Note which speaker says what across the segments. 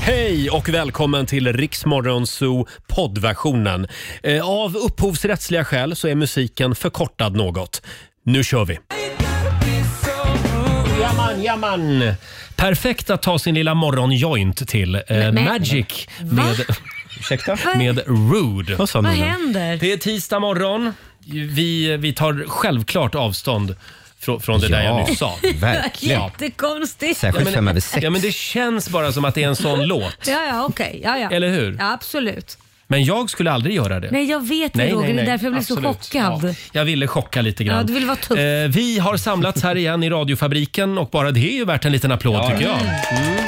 Speaker 1: Hej och välkommen till Riksmorgon Zoo poddversionen. Eh, Av upphovsrättsliga skäl så är musiken förkortad något. Nu kör vi! Jaman, jaman! Perfekt att ta sin lilla morgonjoint till. Eh,
Speaker 2: men-
Speaker 1: Magic med,
Speaker 3: Ursäkta?
Speaker 1: med Rude.
Speaker 3: Vad sa
Speaker 2: Vad
Speaker 3: ni nu?
Speaker 2: händer?
Speaker 1: Det är tisdag morgon. Vi, vi tar självklart avstånd från, från det där jag nyss sa.
Speaker 3: verkligen.
Speaker 2: Jättekonstigt. Ja,
Speaker 3: Särskilt fem över sex.
Speaker 1: Ja, men det känns bara som att det är en sån låt.
Speaker 2: ja, okej. Ja, ja.
Speaker 1: Eller hur?
Speaker 2: Ja, absolut.
Speaker 1: Men jag skulle aldrig göra det.
Speaker 2: Nej, jag vet det Roger. Det är därför jag blev så
Speaker 1: Absolut.
Speaker 2: chockad.
Speaker 1: Ja, jag ville chocka lite grann.
Speaker 2: Ja, du vill vara tuff.
Speaker 1: Eh, vi har samlats här igen i radiofabriken och bara det är ju värt en liten applåd tycker jag. Mm. Eh,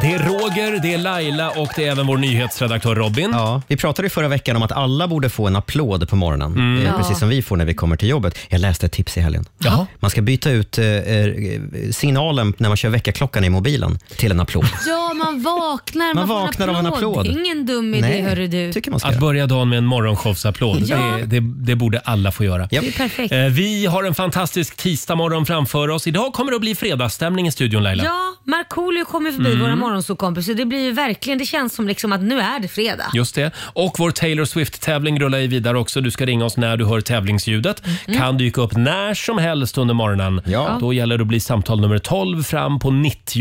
Speaker 1: Det är Roger, det är Laila och det är även vår nyhetsredaktör Robin.
Speaker 3: Ja, vi pratade ju förra veckan om att alla borde få en applåd på morgonen.
Speaker 1: Mm.
Speaker 3: Eh, Precis som vi får när vi kommer till jobbet. Jag läste ett tips i helgen.
Speaker 1: Jaha.
Speaker 3: Man ska byta ut eh, eh, signalen när man kör väckarklockan i mobilen till en applåd.
Speaker 2: Ja, man vaknar.
Speaker 3: Man
Speaker 2: får
Speaker 3: vaknar av en applåd.
Speaker 2: Det är Ingen dum idé, hörru du.
Speaker 3: tycker man ska
Speaker 1: Att
Speaker 3: göra.
Speaker 1: börja dagen med en morgonshowsapplåd,
Speaker 2: Ja.
Speaker 1: det, det, det borde alla få göra.
Speaker 3: Japp.
Speaker 2: Det är perfekt.
Speaker 1: Eh, Vi har en fantastisk tisdagmorgon framför oss. Idag kommer det att bli fredagsstämning i studion Laila. Mm.
Speaker 2: Ja, Markoolio kommer förbi våra morgonsåkompisar. Det blir ju verkligen, det känns som liksom att nu är det fredag.
Speaker 1: Just det. Och vår Taylor Swift-tävling rullar ju vidare också. Du ska ringa oss när du hör tävlingsljudet.
Speaker 2: Mm.
Speaker 1: Kan dyka upp när som helst under morgonen.
Speaker 3: Ja.
Speaker 1: Då gäller det att bli samtal nummer 12 fram på 90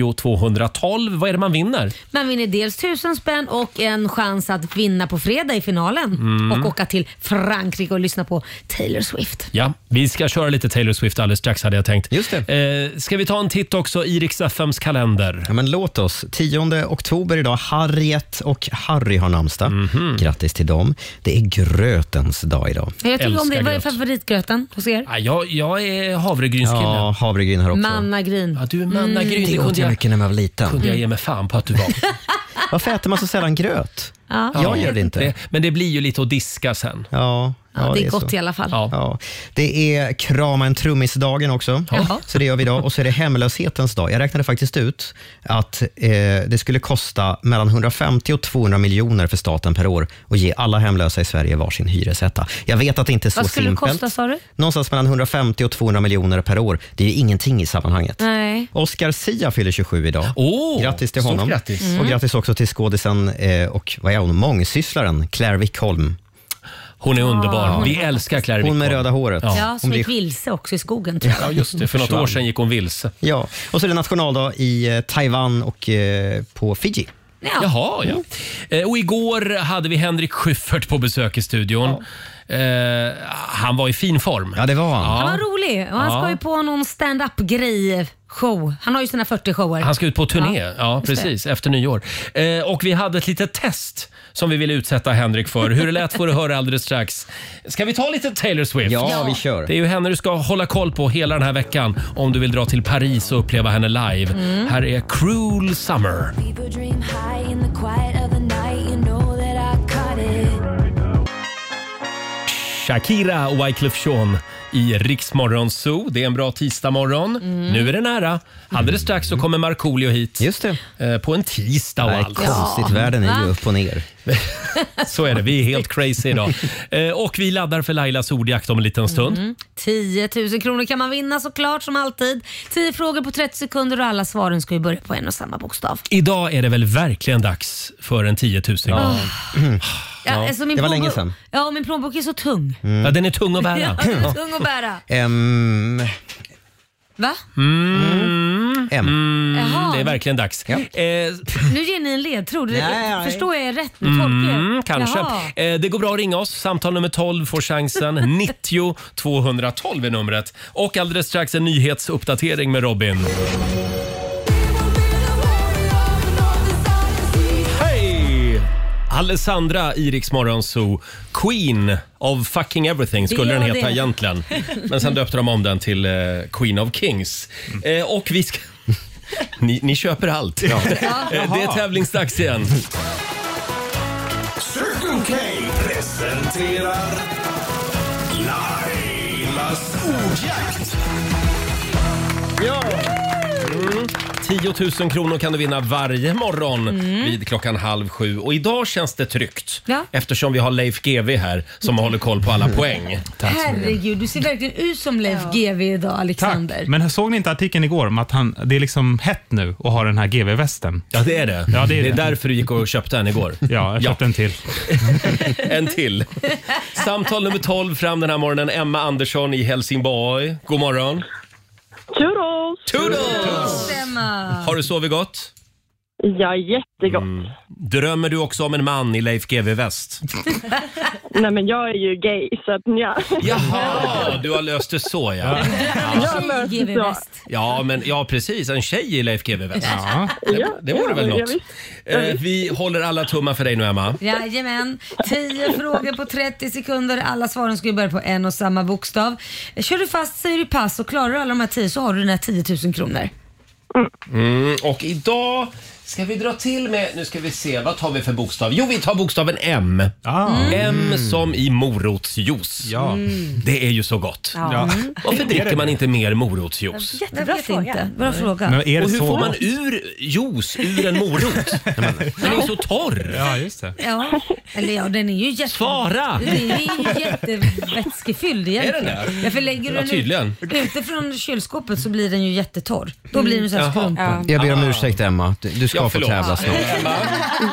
Speaker 1: 212. Vad är det man vinner?
Speaker 2: Man vinner dels tusen spänn och en chans att vinna på fredag i finalen
Speaker 1: Mm.
Speaker 2: och åka till Frankrike och lyssna på Taylor Swift.
Speaker 1: Ja, vi ska köra lite Taylor Swift alldeles strax hade jag tänkt.
Speaker 3: Just
Speaker 1: det. Eh, ska vi ta en titt också i Rix FMs kalender?
Speaker 3: Ja, men låt oss. 10 oktober idag. Harriet och Harry har namnsdag.
Speaker 1: Mhm.
Speaker 3: Grattis till dem. Det är grötens dag idag.
Speaker 2: Jag tycker om
Speaker 1: Älskar
Speaker 2: det. Vad är
Speaker 1: gröt.
Speaker 2: favoritgröten hos er?
Speaker 1: Ah, jag, jag är havregrynskillen. Ja.
Speaker 3: Ja, havregryn här också. Mm,
Speaker 2: Mannagryn.
Speaker 1: du är mannagryn.
Speaker 3: det
Speaker 1: Det
Speaker 3: åt
Speaker 1: kunde
Speaker 3: jag
Speaker 1: jag,
Speaker 3: mycket när man var liten.
Speaker 1: kunde jag ge mig fan på att du var.
Speaker 3: Varför äter man så sällan gröt?
Speaker 2: Ja.
Speaker 3: Jag gör det inte.
Speaker 1: Det, men det blir ju lite att diska sen.
Speaker 3: Ja,
Speaker 2: Ja, det är
Speaker 3: så.
Speaker 2: gott i alla fall.
Speaker 1: Ja.
Speaker 3: Ja. Det är krama en trummis-dagen också,
Speaker 2: Jaha.
Speaker 3: så det gör vi idag. Och så är det hemlöshetens dag. Jag räknade faktiskt ut att eh, det skulle kosta mellan 150 och 200 miljoner för staten per år att ge alla hemlösa i Sverige varsin hyresetta. Jag vet att det inte är så
Speaker 2: Vad skulle det
Speaker 3: simpelt.
Speaker 2: kosta, sa du?
Speaker 3: Någonstans mellan 150 och 200 miljoner per år. Det är ju ingenting i sammanhanget.
Speaker 2: Nej.
Speaker 3: Oscar Sia fyller 27 idag.
Speaker 1: Åh,
Speaker 3: grattis till
Speaker 1: stort
Speaker 3: honom.
Speaker 1: grattis. Mm.
Speaker 3: Och grattis också till skådisen eh, och vad är hon, mångsysslaren Claire Wickholm.
Speaker 1: Hon är underbar.
Speaker 2: Ah. hon
Speaker 1: Vi älskar Claire
Speaker 3: Hon med
Speaker 1: Wickholm.
Speaker 3: röda håret.
Speaker 1: Ja. Mm.
Speaker 2: Ja, som
Speaker 3: Hon blir-
Speaker 2: gick vilse också i skogen tror jag.
Speaker 1: Ja, just det. För något år sedan gick hon vilse.
Speaker 3: Ja, och så är det nationaldag i eh, Taiwan och eh, på Fiji.
Speaker 2: Ja.
Speaker 1: Jaha,
Speaker 3: Mm.
Speaker 1: ja. Eh, Och igår hade vi Henrik Schyffert på besök i studion. Eh, han var i fin form.
Speaker 3: Ja, det var han.
Speaker 2: Han var rolig och han
Speaker 1: Ja.
Speaker 2: ska ju på någon stand-up grej show. Han har ju sina 40 shower.
Speaker 1: Han ska ut på turné, ja,
Speaker 2: Ja,
Speaker 1: precis, efter nyår. Eh, och vi hade ett litet test som vi ville utsätta Henrik för. Hur det lät får du höra alldeles strax. Ska vi ta lite Taylor Swift?
Speaker 3: Ja, vi kör.
Speaker 1: Det är ju henne du ska hålla koll på hela den här veckan om du vill dra till Paris och uppleva henne live. Här är Cruel Summer.
Speaker 4: Fever dream high in the quiet of the night, you know that I caught it.
Speaker 1: Shakira och Wyclef Jean i Riksmorgon Zoo. Det är en bra tisdagmorgon. Nu är det nära. Alldeles strax så kommer Markoolio hit.
Speaker 3: Just det.
Speaker 1: Eh, På en tisdag och
Speaker 3: Nej,
Speaker 1: allt.
Speaker 3: konstigt. Världen är ju upp och ner.
Speaker 1: Så är det. Vi är helt crazy idag. Eh, Och vi laddar för Lailas ordjakt om en liten stund.
Speaker 2: Mm. 10 000 kronor kan man vinna såklart som alltid. 10 frågor på 30 sekunder och alla svaren ska ju börja på en och samma bokstav.
Speaker 1: Idag är det väl verkligen dags för en 10 000 ja.
Speaker 2: Ah. Ja, alltså min
Speaker 3: det var
Speaker 2: plånbok-
Speaker 3: länge sedan. Mm.
Speaker 2: Ja, och min plånbok är så tung.
Speaker 1: ja, Den är tung att
Speaker 2: Ja,
Speaker 1: bära.
Speaker 2: den är tung att bära.
Speaker 3: M. Mm.
Speaker 2: Va?
Speaker 3: M.
Speaker 2: Jaha,
Speaker 1: Mm. Det är verkligen dags.
Speaker 3: Ja.
Speaker 1: Eh,
Speaker 2: nu ger ni en ledtråd.
Speaker 3: Nej, nej.
Speaker 2: Förstår jag er rätt nu? Tolkar jag?
Speaker 1: Mm, kanske.
Speaker 2: Jaha.
Speaker 1: Eh, det går bra att ringa oss. Samtal nummer 12 får chansen. 90 212 är numret. Och alldeles strax en nyhetsuppdatering med Robin. Hej! Alessandra i Rix Morgon Zoo. Queen of fucking everything skulle
Speaker 2: Det
Speaker 1: den
Speaker 2: var
Speaker 1: heta
Speaker 2: det.
Speaker 1: egentligen. Men sen döpte de om den till eh, Queen of Kings.
Speaker 2: Mm.
Speaker 1: Eh, och vi ska... Ni, ni köper allt. Eh, det är tävlingsdags igen.
Speaker 5: Circle K presenterar Lailas ordjakt.
Speaker 1: Ja! 10 000 Mm. kronor kan du vinna varje morgon vid klockan halv sju. Och idag känns det tryggt
Speaker 2: Ja.
Speaker 1: eftersom vi har Leif GW här som håller koll på alla poäng.
Speaker 2: Herregud, du ser verkligen ut som Leif GW idag Alexander.
Speaker 6: Men såg ni inte artikeln igår om att han, det är liksom hett nu att ha den här GV-västen?
Speaker 1: Ja, det är det.
Speaker 6: Ja, det är det.
Speaker 1: därför du gick och köpte en igår.
Speaker 6: Ja, jag köpte en till.
Speaker 1: En till. Samtal nummer 12 fram den här morgonen. Emma Andersson i Helsingborg. God morgon.
Speaker 7: Toodles!
Speaker 1: Toodles!
Speaker 2: Emma.
Speaker 1: Har du sovit gott? Mm.
Speaker 7: Ja, jättegott.
Speaker 1: Drömmer du också om en man i Leif GW Väst?
Speaker 7: Nej, men jag är ju gay, så att ja.
Speaker 1: Jaha, du har löst det så ja.
Speaker 7: Jag möts
Speaker 2: GW
Speaker 7: så.
Speaker 2: West.
Speaker 1: Ja, men ja precis. En tjej i Leif GW Väst.
Speaker 6: Ja.
Speaker 1: Det, det vore
Speaker 7: ja,
Speaker 1: väl
Speaker 7: ja,
Speaker 1: något.
Speaker 7: visst.
Speaker 1: Eh, vi håller alla tummar för dig nu, Emma.
Speaker 2: Jajamän. 10 frågor på 30 sekunder. Alla svaren ska ju börja på en och samma bokstav. Kör du fast säger du pass och klarar du alla de här 10 så har du dina 10 000 kronor.
Speaker 1: Mm, och idag ska vi dra till med, nu ska vi se, vad tar vi för bokstav? Jo, vi tar bokstaven M.
Speaker 6: Ah.
Speaker 1: M som i morotsjuice.
Speaker 6: Ja.
Speaker 1: Det är ju så gott.
Speaker 6: Ja.
Speaker 1: Varför dricker man inte mer morotsjuice?
Speaker 2: Jag vet inte. Bra fråga.
Speaker 6: Men är det
Speaker 1: Och hur
Speaker 6: så
Speaker 1: får man
Speaker 6: gott?
Speaker 1: ur juice ur en morot? Den är ju så torr.
Speaker 6: Ja, just det.
Speaker 2: Ja, eller ja, den är ju jätte...
Speaker 1: Svara!
Speaker 2: Den är ju jättevätskefylld egentligen.
Speaker 1: Är den det?
Speaker 2: Ja, för lägger
Speaker 1: Ja,
Speaker 2: du
Speaker 1: tydligen.
Speaker 2: den ute från kylskåpet så blir den ju jättetorr. Då blir den så här
Speaker 1: Jaha.
Speaker 2: skrumpen.
Speaker 3: Jag ber om ursäkt Emma, du, du ska
Speaker 1: Ja,
Speaker 3: få
Speaker 1: förlåt.
Speaker 3: tävla snart.
Speaker 1: Emma?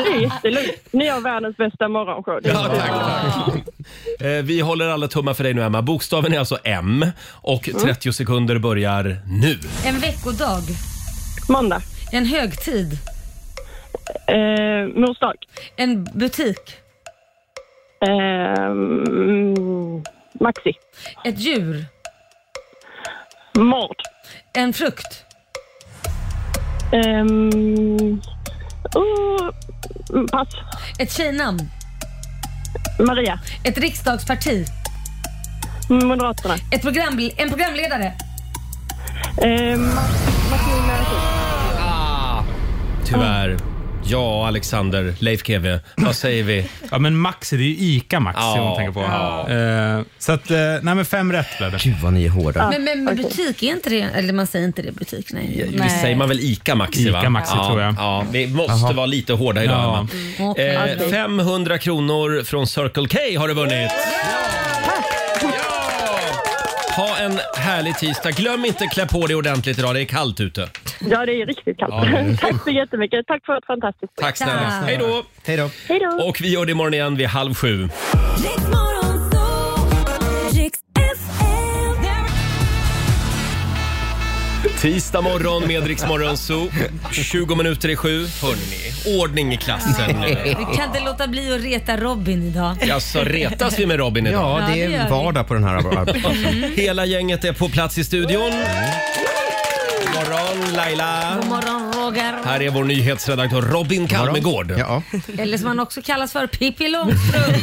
Speaker 7: Det är jättelugnt. Ni har världens bästa morgonshow.
Speaker 1: Ja, tack, tack. Eh, Vi håller alla tummar för dig nu, Emma. Bokstaven är alltså M och 30 sekunder börjar nu.
Speaker 2: En veckodag.
Speaker 7: Måndag.
Speaker 2: En högtid.
Speaker 7: Eh, mors dag.
Speaker 2: En butik.
Speaker 7: Eh, mm, maxi.
Speaker 2: Ett djur.
Speaker 7: Mord.
Speaker 2: En frukt.
Speaker 7: Eh, oh, pass.
Speaker 2: Ett tjejnamn.
Speaker 7: Maria. Mm,
Speaker 2: Ett riksdagsparti.
Speaker 7: Moderaterna.
Speaker 2: Ett programl- en programledare.
Speaker 7: Eh, Ma- Martin Luther.
Speaker 1: Ah. Tyvärr. Ja, Alexander, Leif GW, vad säger vi?
Speaker 6: Ja, men Maxi, det är ju ICA Maxi
Speaker 1: Ja.
Speaker 6: om man tänker på.
Speaker 1: Ja.
Speaker 6: Eh, så att, eh, nej men fem rätt blev det.
Speaker 3: Gud vad ni är hårda.
Speaker 2: Men, men, men butik är inte det, eller man säger inte det butik, nej.
Speaker 1: Visst säger man väl ICA Maxi? Va?
Speaker 6: Ica Maxi,
Speaker 1: ja,
Speaker 6: tror jag.
Speaker 1: Ja, vi måste
Speaker 6: Jaha.
Speaker 1: vara lite hårda idag,
Speaker 6: Ja.
Speaker 1: Emma.
Speaker 2: Mm, okej.
Speaker 1: Eh, 500 kronor från Circle K har du vunnit. Ja! Ha en härlig tisdag. Glöm inte klä på dig ordentligt idag. Det är kallt ute.
Speaker 7: Ja, det är riktigt kallt. Tack så jättemycket. Tack för ett fantastiskt
Speaker 1: Tack snälla.
Speaker 2: Tack.
Speaker 1: Hej då!
Speaker 3: Hej då.
Speaker 7: Hej då!
Speaker 1: Och vi gör det imorgon igen vid halv sju.
Speaker 4: Riks Morgonzoo, Riks FM.
Speaker 1: Tisdag morgon med Rix Morgon Zoo. 20 minuter i sju. Hörrni, ordning i klassen.
Speaker 2: Vi kan inte låta bli att reta Robin idag.
Speaker 1: Alltså retas vi med Robin idag?
Speaker 3: Ja, det
Speaker 2: det gör
Speaker 3: är
Speaker 2: vi.
Speaker 3: vardag på den här arbetsplatsen.
Speaker 1: Hela gänget är på plats i studion.
Speaker 3: Mm.
Speaker 1: God morgon Laila.
Speaker 2: God morgon Roger.
Speaker 1: Här är vår nyhetsredaktör Robin Kalmegård.
Speaker 3: Ja.
Speaker 2: Eller som han också kallas för, Pippi Långstrump.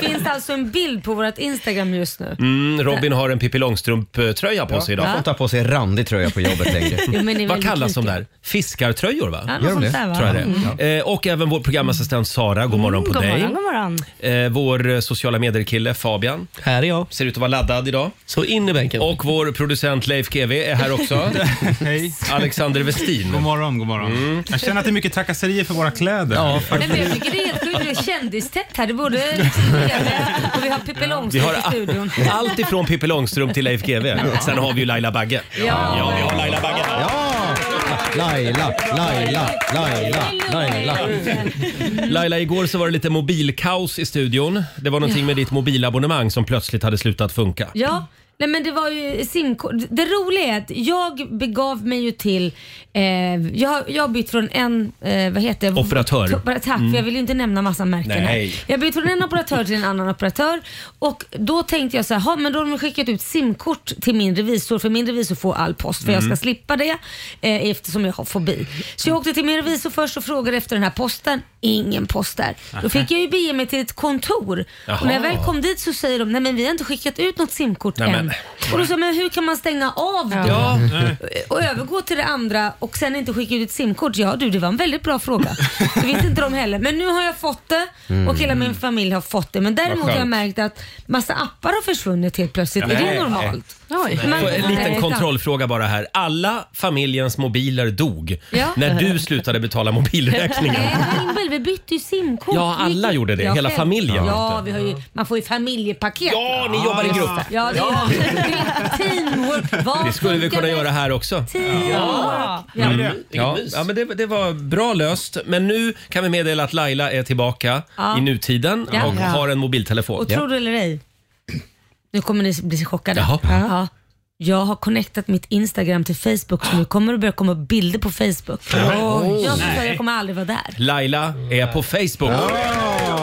Speaker 2: Det finns alltså en bild på vårt Instagram just nu.
Speaker 1: Mm, Robin har en Pippi Långstrump-tröja på sig idag.
Speaker 3: Jag får inte ha på sig randig tröja på jobbet längre.
Speaker 2: Jo, men ni är
Speaker 1: Vad
Speaker 2: väl
Speaker 1: kallas de
Speaker 2: lika.
Speaker 1: där? Fiskartröjor va?
Speaker 2: Ja,
Speaker 3: Gör de
Speaker 2: Gör sånt
Speaker 3: det?
Speaker 2: Där, va? Mm.
Speaker 1: Tror jag det. Eh, och även vår programassistent Sara, god morgon på
Speaker 8: god
Speaker 1: dig.
Speaker 8: Morgon, god morgon.
Speaker 1: Eh, vår eh, sociala medier-kille Fabian
Speaker 9: Här är jag.
Speaker 1: ser ut att vara laddad idag.
Speaker 9: Så in i bänken.
Speaker 1: Och vår producent Leif GW är här också.
Speaker 6: Hej.
Speaker 1: Alexander Westin. Mm.
Speaker 6: God morgon, god morgon. Jag känner att det är mycket trakasserier för våra kläder. Ja,
Speaker 2: Nej, men jag tycker det är helt sjukt. Det är kändistätt här. Det borde och vi har Pippi
Speaker 1: Vi
Speaker 2: Långstrump
Speaker 1: har
Speaker 2: i studion.
Speaker 1: allt ifrån Pippi Långstrump till Leif GW. Sen har vi ju Laila Bagge. ja vi har Laila Bagge.
Speaker 3: Ja! Laila, Laila, Laila, Laila.
Speaker 1: Laila, igår så var det lite mobilkaos i studion. Det var någonting med ditt mobilabonnemang som plötsligt hade slutat funka.
Speaker 2: Ja, nej men det var ju simkort. Det roliga är att jag begav mig ju till, eh, jag har- jag har bytt från en, eh, vad heter det?
Speaker 1: Operatör. Mm.
Speaker 2: To- Tack, för jag vill ju inte nämna massa märken här.
Speaker 1: Nej.
Speaker 2: Jag bytte från en operatör till en annan operatör och då tänkte jag så här, "Ha, men då har de skickat ut simkort till min revisor för min revisor får all post för
Speaker 1: Mm.
Speaker 2: jag ska slippa det eh, eftersom jag har fobi. Så jag åkte till min revisor först och frågade efter den här posten. Ingen post där. Då fick jag ju bege mig till ett kontor och när jag väl kom dit så säger de, nej men vi har inte skickat ut något simkort
Speaker 1: Nej,
Speaker 2: än.
Speaker 1: men-
Speaker 2: Och då sa jag, men hur kan man stänga av det
Speaker 1: Ja,
Speaker 2: och övergå till det andra och sen inte skicka ut ett simkort? Ja du, det var en väldigt bra fråga. Det visste inte de heller. Men nu har jag fått det och hela min familj har fått det. Men däremot har jag
Speaker 1: skönt.
Speaker 2: märkt att massa appar har försvunnit helt plötsligt. är
Speaker 1: Nej.
Speaker 2: det normalt?
Speaker 8: Oj.
Speaker 2: Man-
Speaker 1: Får En liten
Speaker 2: Nej,
Speaker 1: kontrollfråga bara här. Alla familjens mobiler dog
Speaker 2: Ja.
Speaker 1: när du slutade betala mobilräkningen.
Speaker 2: Nej, Himmel, vi bytte ju simkort.
Speaker 1: Ja, alla gjorde det. Hela
Speaker 2: själv-
Speaker 1: familjen.
Speaker 2: Ja, vi har ju, man får ju familjepaket.
Speaker 1: Ja, ni jobbar i grupp.
Speaker 2: Ja, det gör vi. Det är teamwork. Vad
Speaker 1: Det skulle vi
Speaker 2: funkar
Speaker 1: kunna
Speaker 2: bäst?
Speaker 1: göra här också. Mm.
Speaker 2: Teamwork. Ja.
Speaker 1: Ja, ja men det, det var bra löst. Men nu kan vi meddela att Laila är tillbaka
Speaker 2: Ja.
Speaker 1: i nutiden
Speaker 2: Ja.
Speaker 1: och
Speaker 2: Ja.
Speaker 1: har en mobiltelefon.
Speaker 2: Och tror du eller ej, nu kommer ni bli chockade.
Speaker 1: Jaha.
Speaker 2: Ja. Jag har connectat mitt Instagram till Facebook så nu kommer det börja komma bilder på Facebook. Oh, jag, sa, jag kommer aldrig vara där.
Speaker 1: Laila är på Facebook.
Speaker 2: Nej,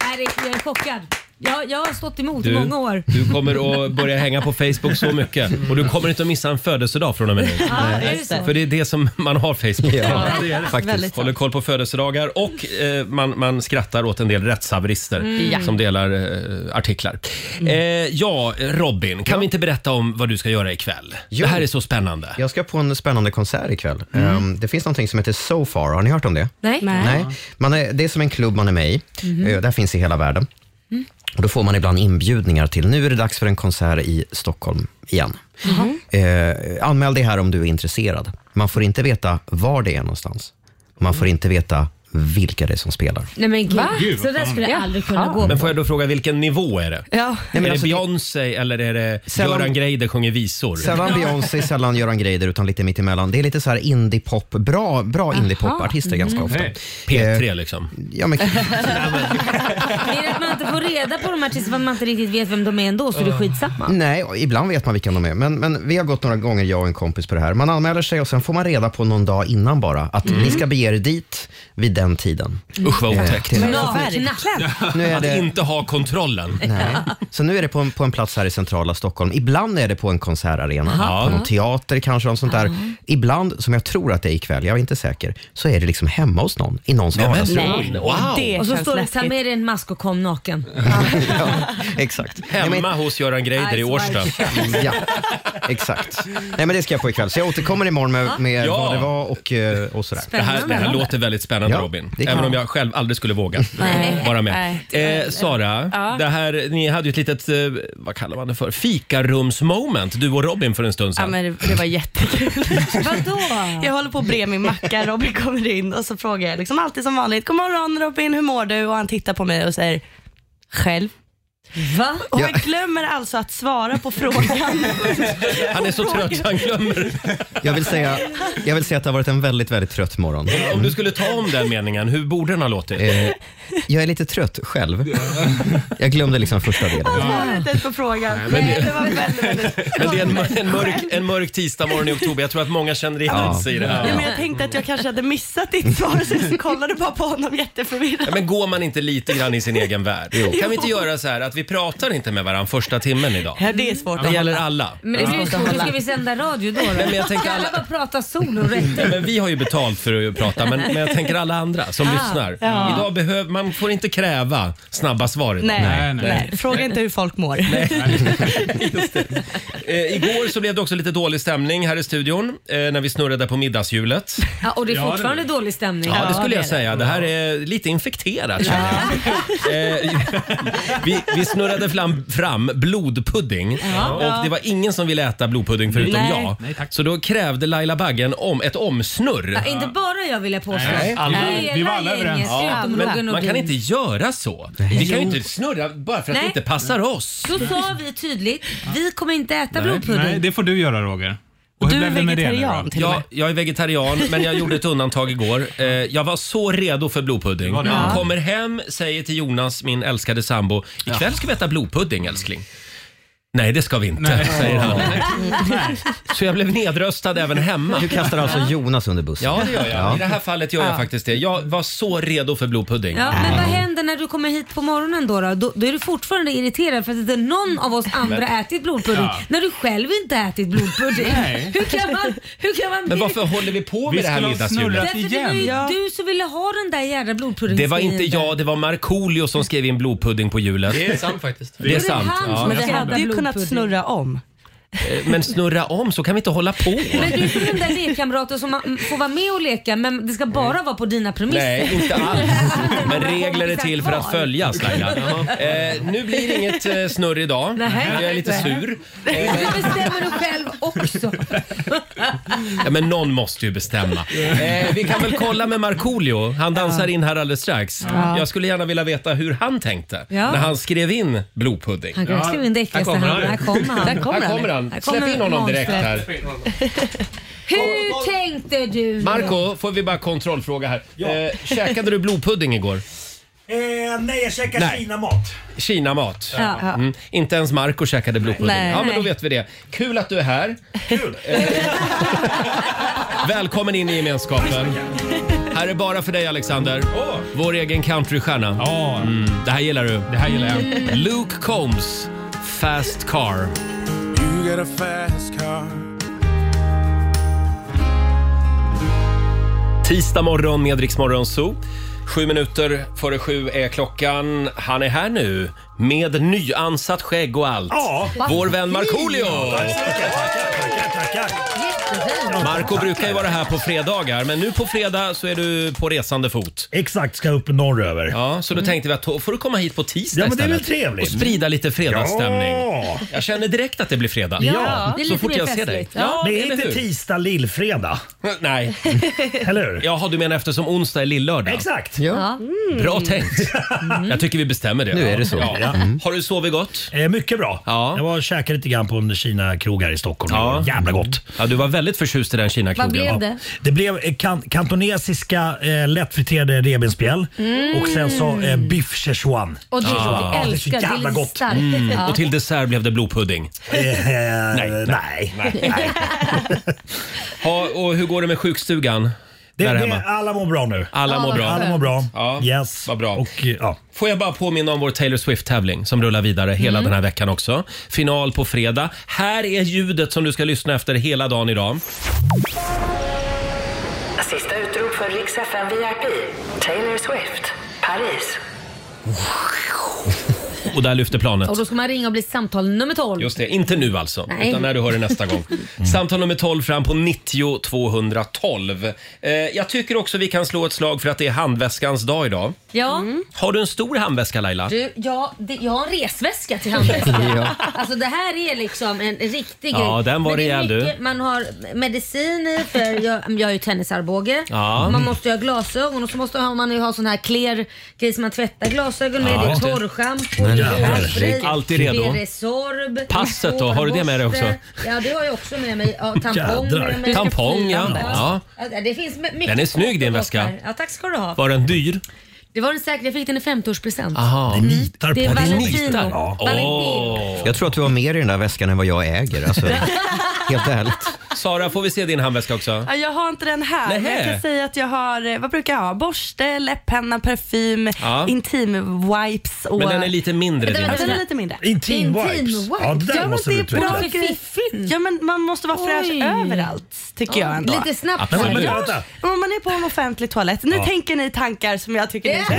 Speaker 2: det- jag är chockad. Jag, jag har stått emot i
Speaker 1: Du,
Speaker 2: många år.
Speaker 1: du kommer att börja hänga på Facebook så mycket och du kommer inte att missa en födelsedag från och med nu.
Speaker 2: Ja, är det så?
Speaker 1: För det är det som man har Facebook för.
Speaker 3: Ja,
Speaker 8: det är det.
Speaker 3: faktiskt.
Speaker 8: Väldigt
Speaker 1: Håller koll på födelsedagar och eh, man, man skrattar åt en del rättshaverister som delar eh, artiklar. Eh, ja, Robin, kan vi inte berätta om vad du ska göra ikväll?
Speaker 3: Jo.
Speaker 1: Det här är så spännande. Mm.
Speaker 3: Jag ska på en spännande konsert ikväll. Ehm, det finns någonting som heter So Far. Har ni hört om det?
Speaker 2: Nej?
Speaker 8: Nej.
Speaker 3: Nej. Man är, det är som en klubb man är med i. Eh, Där finns i hela världen.
Speaker 2: Mm.
Speaker 3: Och då får man ibland inbjudningar till, nu är det dags för en konsert i Stockholm igen.
Speaker 2: Mm.
Speaker 3: Eh, anmäl dig här om du är intresserad. Man får inte veta var det är någonstans. Man får inte veta vilka det är som spelar.
Speaker 2: Nej men gud.
Speaker 8: Va?
Speaker 2: Så där skulle jag
Speaker 8: Ja.
Speaker 2: aldrig kunna gå
Speaker 1: Men
Speaker 2: på.
Speaker 1: får jag då fråga, vilken nivå är det?
Speaker 8: Ja.
Speaker 3: Nej, men
Speaker 1: är
Speaker 3: alltså,
Speaker 1: det
Speaker 3: det-
Speaker 1: Beyoncé eller är det
Speaker 3: Sällan-
Speaker 1: Göran Greider sjunger visor?
Speaker 3: Sällan Beyoncé, sällan Göran Greider, utan lite mittemellan. Det är lite så här indiepop, bra, bra indiepopartister
Speaker 2: Mm.
Speaker 3: ganska ofta. Eh,
Speaker 1: P3 liksom.
Speaker 3: Ja, men,
Speaker 2: Det är att man inte får reda på de här tills man inte riktigt vet vem de är ändå så det är skitsamma.
Speaker 3: nej, och ibland vet man vilka de är, men, men vi har gått några gånger, jag och en kompis, på det här. Man anmäler sig och sen får man reda på någon dag innan bara att
Speaker 2: Mm.
Speaker 3: ni ska bege er dit vid den tiden. Eh,
Speaker 1: Usch vad otäckt.
Speaker 3: till-
Speaker 2: Nakna.
Speaker 3: nu är
Speaker 1: Att
Speaker 3: det,
Speaker 1: inte ha kontrollen.
Speaker 3: nej. Så nu är det på en, på en plats här i centrala Stockholm. Ibland är det på en konsertarena, på någon teater kanske, och sånt där. Ibland, som jag tror att det är ikväll, jag är inte säker, så är det liksom hemma hos någon, i någons
Speaker 1: Men,
Speaker 3: vardagsrum.
Speaker 1: oj, wow.
Speaker 8: Det
Speaker 2: Och så
Speaker 8: känns
Speaker 2: står det
Speaker 8: läskigt.
Speaker 2: ta med dig en mask och kom naken.
Speaker 3: ja, exakt. Nej, men-
Speaker 1: Hemma hos Göran Greider i
Speaker 2: Ice
Speaker 1: Årsta.
Speaker 2: White Shot.
Speaker 3: Ja, exakt. Nej, men det ska jag på ikväll. Så jag återkommer imorgon med, med
Speaker 1: Ja.
Speaker 3: vad det var och, eh, och sådär.
Speaker 1: Det här, det här
Speaker 2: Spännande.
Speaker 1: låter väldigt spännande
Speaker 3: Ja,
Speaker 1: Robin.
Speaker 3: det kan
Speaker 1: Även
Speaker 3: jag.
Speaker 1: om jag själv aldrig skulle våga vara med. Eh, Sara, det här, ni hade ju ett litet, eh, vad kallar man det för, fikarumsmoment du och Robin för en stund
Speaker 8: Ja,
Speaker 1: sedan.
Speaker 8: men det, det var jättekul.
Speaker 2: Vadå?
Speaker 8: Jag håller på att bre min macka, Robin kommer in och så frågar jag liksom alltid som vanligt, God morgon Robin, hur mår du? Och han tittar på mig och säger, själv.
Speaker 2: Va?
Speaker 8: Och
Speaker 3: Ja.
Speaker 8: jag glömmer alltså att svara på frågan.
Speaker 1: Han är så trött så han glömmer.
Speaker 3: Jag vill, säga, jag vill säga att det har varit en väldigt, väldigt trött morgon. Mm.
Speaker 1: Om du skulle ta om den meningen, hur borde den ha låtit?
Speaker 3: Eh, jag är lite trött själv. Jag glömde liksom första delen.
Speaker 8: Svarade inte ens på frågan. Nej, det var väldigt, väldigt...
Speaker 1: Men det är en, en, mörk, en mörk tisdag morgon i oktober. Jag tror att många känner igen
Speaker 3: Ja.
Speaker 1: sig i det
Speaker 8: Ja,
Speaker 1: här.
Speaker 8: men jag tänkte att jag kanske hade missat ditt svar så jag kollade bara på honom jätteförvirrad.
Speaker 1: Ja, men går man inte lite grann i sin egen värld? Kan vi inte göra så här att vi pratar inte med varandra första timmen idag?
Speaker 8: Ja, det är svårt
Speaker 1: Det
Speaker 8: att
Speaker 1: gäller
Speaker 8: hålla.
Speaker 1: alla.
Speaker 2: Men det blir ju så. Hur ska vi sända radio då? då?
Speaker 1: men jag tänker
Speaker 2: ska alla
Speaker 1: alla-
Speaker 2: bara prata sol och rätt?
Speaker 1: Ja, men vi har ju betalt för att prata, men, men jag tänker alla andra som lyssnar. Idag behöv, man får inte kräva snabba svar idag.
Speaker 8: Nej, nej,
Speaker 6: Nej, nej.
Speaker 8: Fråga inte hur folk mår.
Speaker 1: Eh, igår så blev det också lite dålig stämning här i studion eh, när vi snurrade på middagshjulet.
Speaker 2: Ja, och det är fortfarande dålig stämning.
Speaker 1: Ja, det skulle
Speaker 2: är
Speaker 1: jag säga. Det här är lite infekterat känner jag. Eh, vi, vi snurrade fram, fram blodpudding eh, och det var ingen som ville äta blodpudding förutom
Speaker 8: Nej.
Speaker 1: jag.
Speaker 6: Nej, tack.
Speaker 1: så då krävde Laila Baggen om ett omsnurr.
Speaker 2: Ja, inte bara jag vill jag påstå.
Speaker 6: alla-
Speaker 2: Hela
Speaker 6: vi var alla
Speaker 2: gänget,
Speaker 6: överens.
Speaker 2: utom
Speaker 1: Men
Speaker 2: Roger
Speaker 1: man
Speaker 2: Nordin.
Speaker 1: kan inte göra så. Vi kan ju inte snurra bara för att det
Speaker 2: Nej.
Speaker 1: inte passar oss.
Speaker 2: Så sa vi tydligt, vi kommer inte äta
Speaker 6: Nej,
Speaker 2: blodpudding.
Speaker 6: det får du göra Roger. Och hur
Speaker 8: Du är
Speaker 6: blev det med det nu då?
Speaker 8: vegetarian till och
Speaker 1: Jag,
Speaker 8: med.
Speaker 1: jag är vegetarian, men jag gjorde ett undantag igår. Eh, jag var så redo för blodpudding.
Speaker 6: Var det? Ja.
Speaker 1: Kommer hem, säger till Jonas, min älskade sambo, ikväll ska vi äta blodpudding älskling. Nej, det ska vi inte, säger han. Så jag blev nedröstad även hemma.
Speaker 3: Du kastar alltså Jonas under bussen.
Speaker 1: Ja, det gör jag. I det här fallet gör jag faktiskt det. Jag var så redo för blodpudding.
Speaker 2: Ja, men vad händer när du kommer hit på morgonen då? Då, då, då är du fortfarande irriterad för att inte någon av oss andra ätit blodpudding.
Speaker 6: Ja.
Speaker 2: När du själv inte ätit blodpudding.
Speaker 6: Nej.
Speaker 2: hur kan man, hur kan man
Speaker 1: Men
Speaker 2: bli-
Speaker 1: varför håller vi på med
Speaker 6: Vi
Speaker 1: det här
Speaker 6: skulle ha
Speaker 1: middagshjulet?
Speaker 6: snurrat
Speaker 2: Därför det var
Speaker 6: igen?
Speaker 2: ju
Speaker 8: Ja.
Speaker 2: du som ville ha den där jävla blodpuddingen.
Speaker 1: Det var inte jag, det var Markoolio som skrev in blodpudding på hjulet.
Speaker 9: Det är sant faktiskt.
Speaker 1: Det är sant.
Speaker 2: han som
Speaker 1: Ja.
Speaker 8: Men vi
Speaker 2: Jag ska
Speaker 8: hade
Speaker 2: äta
Speaker 8: ju kunnat
Speaker 2: blodpudding.
Speaker 8: snurra om.
Speaker 1: Eh, Men snurra om, så kan vi inte hålla på.
Speaker 2: Men du är som den där lekkamraten som man får vara med och leka men det ska bara vara på dina premisser.
Speaker 1: Nej, inte alls. Men regler är till för att följas Laila. Eh, nu blir det inget eh, snurr idag.
Speaker 2: Nej.
Speaker 1: Jag är lite
Speaker 2: Nej.
Speaker 1: sur.
Speaker 2: Du bestämmer du själv också.
Speaker 1: Ja, men någon måste ju bestämma. Eh, vi kan väl kolla med Markoolio. Han dansar in här alldeles strax. Jag skulle gärna vilja veta hur han tänkte
Speaker 2: Ja.
Speaker 1: när han skrev in blodpudding.
Speaker 2: Han kanske skrev in det äckligaste
Speaker 1: kommer
Speaker 2: han.
Speaker 1: han.
Speaker 2: Här kommer han.
Speaker 8: Där kommer
Speaker 1: Här kommer han.
Speaker 2: Här kommer
Speaker 1: Släpp in honom direkt
Speaker 2: monstret.
Speaker 1: här.
Speaker 2: Hur tänkte du?
Speaker 1: Marco, får vi bara kontrollfråga här. Eh, käkade du blodpudding igår?
Speaker 5: Eh, nej, jag käkar
Speaker 1: Nej.
Speaker 5: kinamat.
Speaker 1: Kinamat.
Speaker 2: Ja.
Speaker 1: Mm. Inte ens Marco käkade blodpudding.
Speaker 8: Nej.
Speaker 1: Ja, men då
Speaker 2: Nej.
Speaker 1: vet vi det. Kul att du är här. Eh, Välkommen in i gemenskapen. Här är bara för dig Alexander. Vår egen countrystjärna. Mm.
Speaker 6: Ja,
Speaker 1: Det här gillar du.
Speaker 6: det här gillar jag.
Speaker 1: Luke Combs, Fast Car.
Speaker 5: You got a fast car.
Speaker 1: Tisdag morgon med Rix Morgon Zoo. Sju minuter före sju är klockan. Han är här nu med nyansat skägg och allt.
Speaker 5: Ja.
Speaker 1: Vår vän Markoolio!
Speaker 5: Tackar, tackar.
Speaker 1: Marco brukar ju vara här på fredagar, men nu på fredag så är du på resande fot.
Speaker 5: Exakt, ska upp norröver. Mm.
Speaker 1: Ja, så då tänkte vi att då får du komma hit på tisdag
Speaker 5: Ja, men det är väl
Speaker 1: istället
Speaker 5: trevligt.
Speaker 1: Och sprida lite fredagsstämning.
Speaker 5: Ja.
Speaker 1: Jag känner direkt att det blir fredag.
Speaker 2: Ja, det är
Speaker 1: Så
Speaker 2: lite
Speaker 1: fort
Speaker 2: mer
Speaker 1: jag ser dig.
Speaker 2: festligt.
Speaker 1: Ja,
Speaker 5: Det är
Speaker 1: eller
Speaker 5: inte
Speaker 1: hur?
Speaker 5: tisdag lillfredag,
Speaker 1: Nej.
Speaker 5: eller hur?
Speaker 1: Jaha, du menar eftersom onsdag är lillördag?
Speaker 5: Exakt. Mm.
Speaker 3: Ja.
Speaker 1: Bra tänkt. Jag tycker vi bestämmer det. Nu
Speaker 3: är det så.
Speaker 1: Ja. Har du sovit gott?
Speaker 5: Eh, mycket bra.
Speaker 1: Ja.
Speaker 5: Jag var och käkade lite grann på en Kina-krog här i Stockholm.
Speaker 1: Ja.
Speaker 5: Jävla gott.
Speaker 1: Ja, du var väldigt förtjust i den
Speaker 2: Vad
Speaker 1: kinakrogen.
Speaker 2: blev
Speaker 1: Ja.
Speaker 2: det?
Speaker 5: Det blev eh, kan kantonesiska eh, lättfriterade revbensspjäll
Speaker 2: Mm.
Speaker 5: och sen så eh, biff szechuan.
Speaker 2: Och det
Speaker 5: Ja, Ah, det är
Speaker 2: jag
Speaker 5: så
Speaker 2: älskar. Det är
Speaker 5: jävla
Speaker 2: lite
Speaker 5: gott. Mm.
Speaker 2: starkt. Ja.
Speaker 1: Och till dessert blev det blodpudding.
Speaker 5: Eh, nej,
Speaker 1: nej.
Speaker 5: nej.
Speaker 1: Ha, och hur går det med sjukstugan?
Speaker 5: Det,
Speaker 1: där
Speaker 5: det,
Speaker 1: hemma?
Speaker 5: alla mår bra nu.
Speaker 1: Alla mår bra.
Speaker 5: Alla mår bra.
Speaker 1: Ja,
Speaker 5: yes.
Speaker 1: vad bra.
Speaker 5: Och, eh, ja.
Speaker 1: Får jag bara påminna om vår Taylor Swift-tävling som rullar vidare
Speaker 2: Mm.
Speaker 1: hela den här veckan också. Final på fredag. Här är ljudet som du ska lyssna efter hela dagen idag.
Speaker 9: Sista utrop för Rix FM VIP. Taylor Swift, Paris.
Speaker 1: Och där lyfter planet.
Speaker 2: Och då ska man ringa och bli samtal nummer 12.
Speaker 1: Just det, inte nu alltså,
Speaker 2: Nej.
Speaker 1: utan när du hör det nästa gång. Samtal nummer 12 fram på 90 212. Eh, jag tycker också vi kan slå ett slag för att det är handväskans dag idag.
Speaker 2: Ja.
Speaker 1: Har du en stor handväska Laila?
Speaker 2: Du, ja, det, jag har en resväska till handväskan. Alltså det här är liksom en riktig
Speaker 1: Ja,
Speaker 2: grej.
Speaker 1: den var
Speaker 2: Men det är
Speaker 1: rejäl, du.
Speaker 2: mycket- Man har mediciner för jag, jag är ju tennisarmbåge.
Speaker 1: Ja.
Speaker 2: Man måste ju ha glasögon och så måste man ju ha sån här kler grej som man tvättar glasögon med.
Speaker 1: Ja,
Speaker 2: det är
Speaker 1: just det.
Speaker 2: torrschampo,
Speaker 1: herregud. Alltid redo.
Speaker 2: Det är Resorb,
Speaker 1: Passet då, har du det med dig också?
Speaker 2: hårborste. Ja, det har jag också med mig. Ja, tampong
Speaker 5: Jädrar.
Speaker 2: med mig.
Speaker 1: Tampong, ja.
Speaker 2: ja. ja. Det finns mycket
Speaker 1: Den är snygg, din
Speaker 2: gott
Speaker 1: väska.
Speaker 2: här. Ja, tack ska du ha.
Speaker 1: Var den dyr?
Speaker 2: Det var den säkert. Jag fick den i 50-årspresent.
Speaker 1: Aha.
Speaker 5: Nitar
Speaker 2: Mm. Det är
Speaker 5: på
Speaker 2: Valentino.
Speaker 5: nitar. Ja.
Speaker 2: Valentino.
Speaker 1: Åh.
Speaker 3: Jag tror att du har mer i den där väskan än vad jag äger. Alltså, helt ärligt.
Speaker 1: Sara, får vi se din handväska också?
Speaker 8: Ja, Jag har inte den här, men jag
Speaker 1: Nähä.
Speaker 8: kan säga att jag har, eh, vad brukar jag ha? Borste, läpppenna, parfym,
Speaker 1: Ja.
Speaker 8: intim-wipes och...
Speaker 1: Men den är lite mindre
Speaker 2: Vänta,
Speaker 1: din.
Speaker 8: Ja, den är lite mindre.
Speaker 5: Intim wipes.
Speaker 2: Intim
Speaker 5: Ja, det
Speaker 2: wipes.
Speaker 5: där
Speaker 8: Ja, men
Speaker 5: måste
Speaker 8: det
Speaker 5: du
Speaker 8: är
Speaker 5: utveckla.
Speaker 8: bra.
Speaker 2: Varför fiffigt?
Speaker 8: Ja, men man måste vara fräsch
Speaker 2: Oj.
Speaker 8: överallt, tycker jag ändå.
Speaker 2: Lite snabbt.
Speaker 1: Absolut.
Speaker 5: Men
Speaker 2: här.
Speaker 5: vänta, vänta.
Speaker 8: Om man är på en offentlig toalett, nu tänker ni tankar som jag tycker ni
Speaker 2: Ja.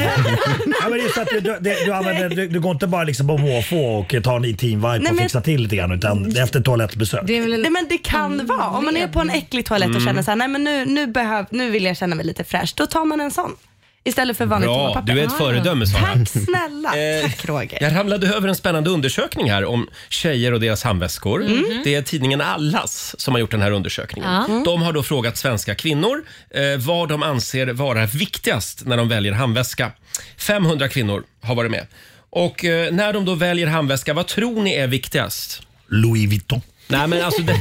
Speaker 5: Ja, men det är så att du, du, du, använder, du, du går inte bara liksom på måfå och tar en intim vibe
Speaker 8: Nej,
Speaker 5: och
Speaker 8: men-
Speaker 5: fixar till lite grann utan efter toalettbesök.
Speaker 2: Det är väl
Speaker 8: Nej men det kan vara. Om man är på en äcklig toalett
Speaker 1: Mm.
Speaker 8: och känner så här, nej men nu, nu, behöv, nu vill jag känna mig lite fräsch. Då tar man en sån. Istället för vanligt
Speaker 1: Bra,
Speaker 8: toapapper. Ah,
Speaker 1: du är ett föredöme Sara.
Speaker 8: Tack snälla.
Speaker 1: Eh,
Speaker 8: Tack Roger.
Speaker 1: Jag ramlade över en spännande undersökning här om tjejer och deras handväskor.
Speaker 2: Mhm.
Speaker 1: Mm. Det är tidningen Allas som har gjort den här undersökningen.
Speaker 2: Mm.
Speaker 1: De har då frågat svenska kvinnor eh, vad de anser vara viktigast när de väljer handväska. 500 kvinnor har varit med. Och eh, när de då väljer handväska, vad tror ni är viktigast?
Speaker 5: Louis Vuitton.
Speaker 1: Nej men alltså, det,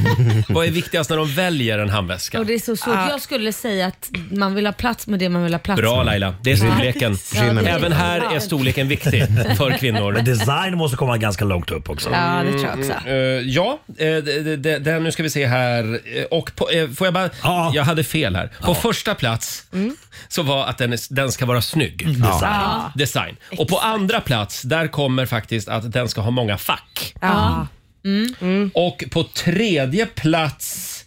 Speaker 1: vad är viktigast när de väljer en handväska?
Speaker 2: Och det är så svårt. Jag skulle säga att man vill ha plats med det man vill ha plats
Speaker 1: Bra
Speaker 2: med.
Speaker 1: Laila, det är storleken.
Speaker 2: Ja, det är-
Speaker 1: Även här är storleken viktig för kvinnor.
Speaker 5: Men design måste komma ganska långt upp också.
Speaker 8: Ja det tror jag också.
Speaker 1: Eh, ja, eh, d- d- d- den- nu ska vi se här. Eh, Och på, eh, får jag bara...
Speaker 5: Ja.
Speaker 1: Jag hade fel här. På första plats
Speaker 8: Mm.
Speaker 1: så var att den, är, den ska vara snygg.
Speaker 5: Mm, Design.
Speaker 1: Design. Och på andra plats, där kommer faktiskt att den ska ha Mm. många fack.
Speaker 8: Ja. Mm.
Speaker 1: Och på tredje plats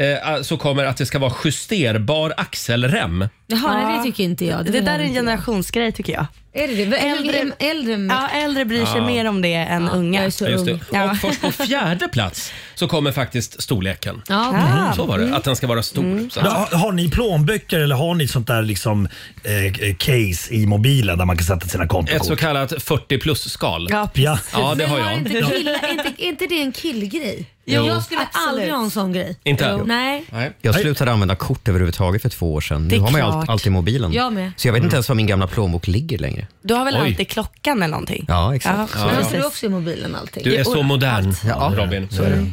Speaker 1: eh, så kommer att det ska vara justerbar axelrem.
Speaker 2: Jaha, nej, det tycker inte jag.
Speaker 8: Det
Speaker 2: menar
Speaker 8: där är
Speaker 2: jag
Speaker 8: en
Speaker 2: inte.
Speaker 8: generationsgrej tycker jag.
Speaker 2: Är det det? Äldre, äldre,
Speaker 8: Äldre-
Speaker 2: äldre
Speaker 8: Ja, äldre bryr sig mer om det än
Speaker 2: Jag
Speaker 8: unga.
Speaker 2: är så
Speaker 1: Ja, Just det.
Speaker 2: ung.
Speaker 1: Och
Speaker 8: Ja.
Speaker 1: först på fjärde plats så kommer faktiskt storleken.
Speaker 2: Ja, okej.
Speaker 1: Så var
Speaker 8: Mm.
Speaker 1: det, att den ska vara stor. Mm. Så att-
Speaker 5: Men Har, har ni plånböcker eller har ni sånt där liksom, eh, eh, case i mobilen där man kan sätta sina
Speaker 1: Ett så
Speaker 5: kontokort?
Speaker 1: kallat 40 plus-skal.
Speaker 8: Ja,
Speaker 5: Ja.
Speaker 1: Ja, det
Speaker 2: Men
Speaker 1: har
Speaker 2: var
Speaker 1: jag.
Speaker 2: Inte killar, är inte, är inte det en killgrej?
Speaker 1: Jo.
Speaker 2: jag skulle
Speaker 8: Absolut.
Speaker 2: aldrig ha en sån grej.
Speaker 1: Inte?
Speaker 2: Jo. Nej.
Speaker 1: Nej.
Speaker 3: Jag slutade använda kort överhuvudtaget för två år sedan. Nu
Speaker 8: är
Speaker 3: har man ju
Speaker 8: klart.
Speaker 3: allt, allt i mobilen.
Speaker 2: Jag med.
Speaker 3: Så jag vet inte ens var min gamla plånbok ligger längre.
Speaker 8: Du har väl
Speaker 1: Oj.
Speaker 8: alltid klockan eller någonting?
Speaker 3: Ja, exakt.
Speaker 8: Ja,
Speaker 2: Men
Speaker 8: precis.
Speaker 2: har du också i mobilen allting?
Speaker 1: Du är så modern,
Speaker 3: Ja.
Speaker 1: Robin.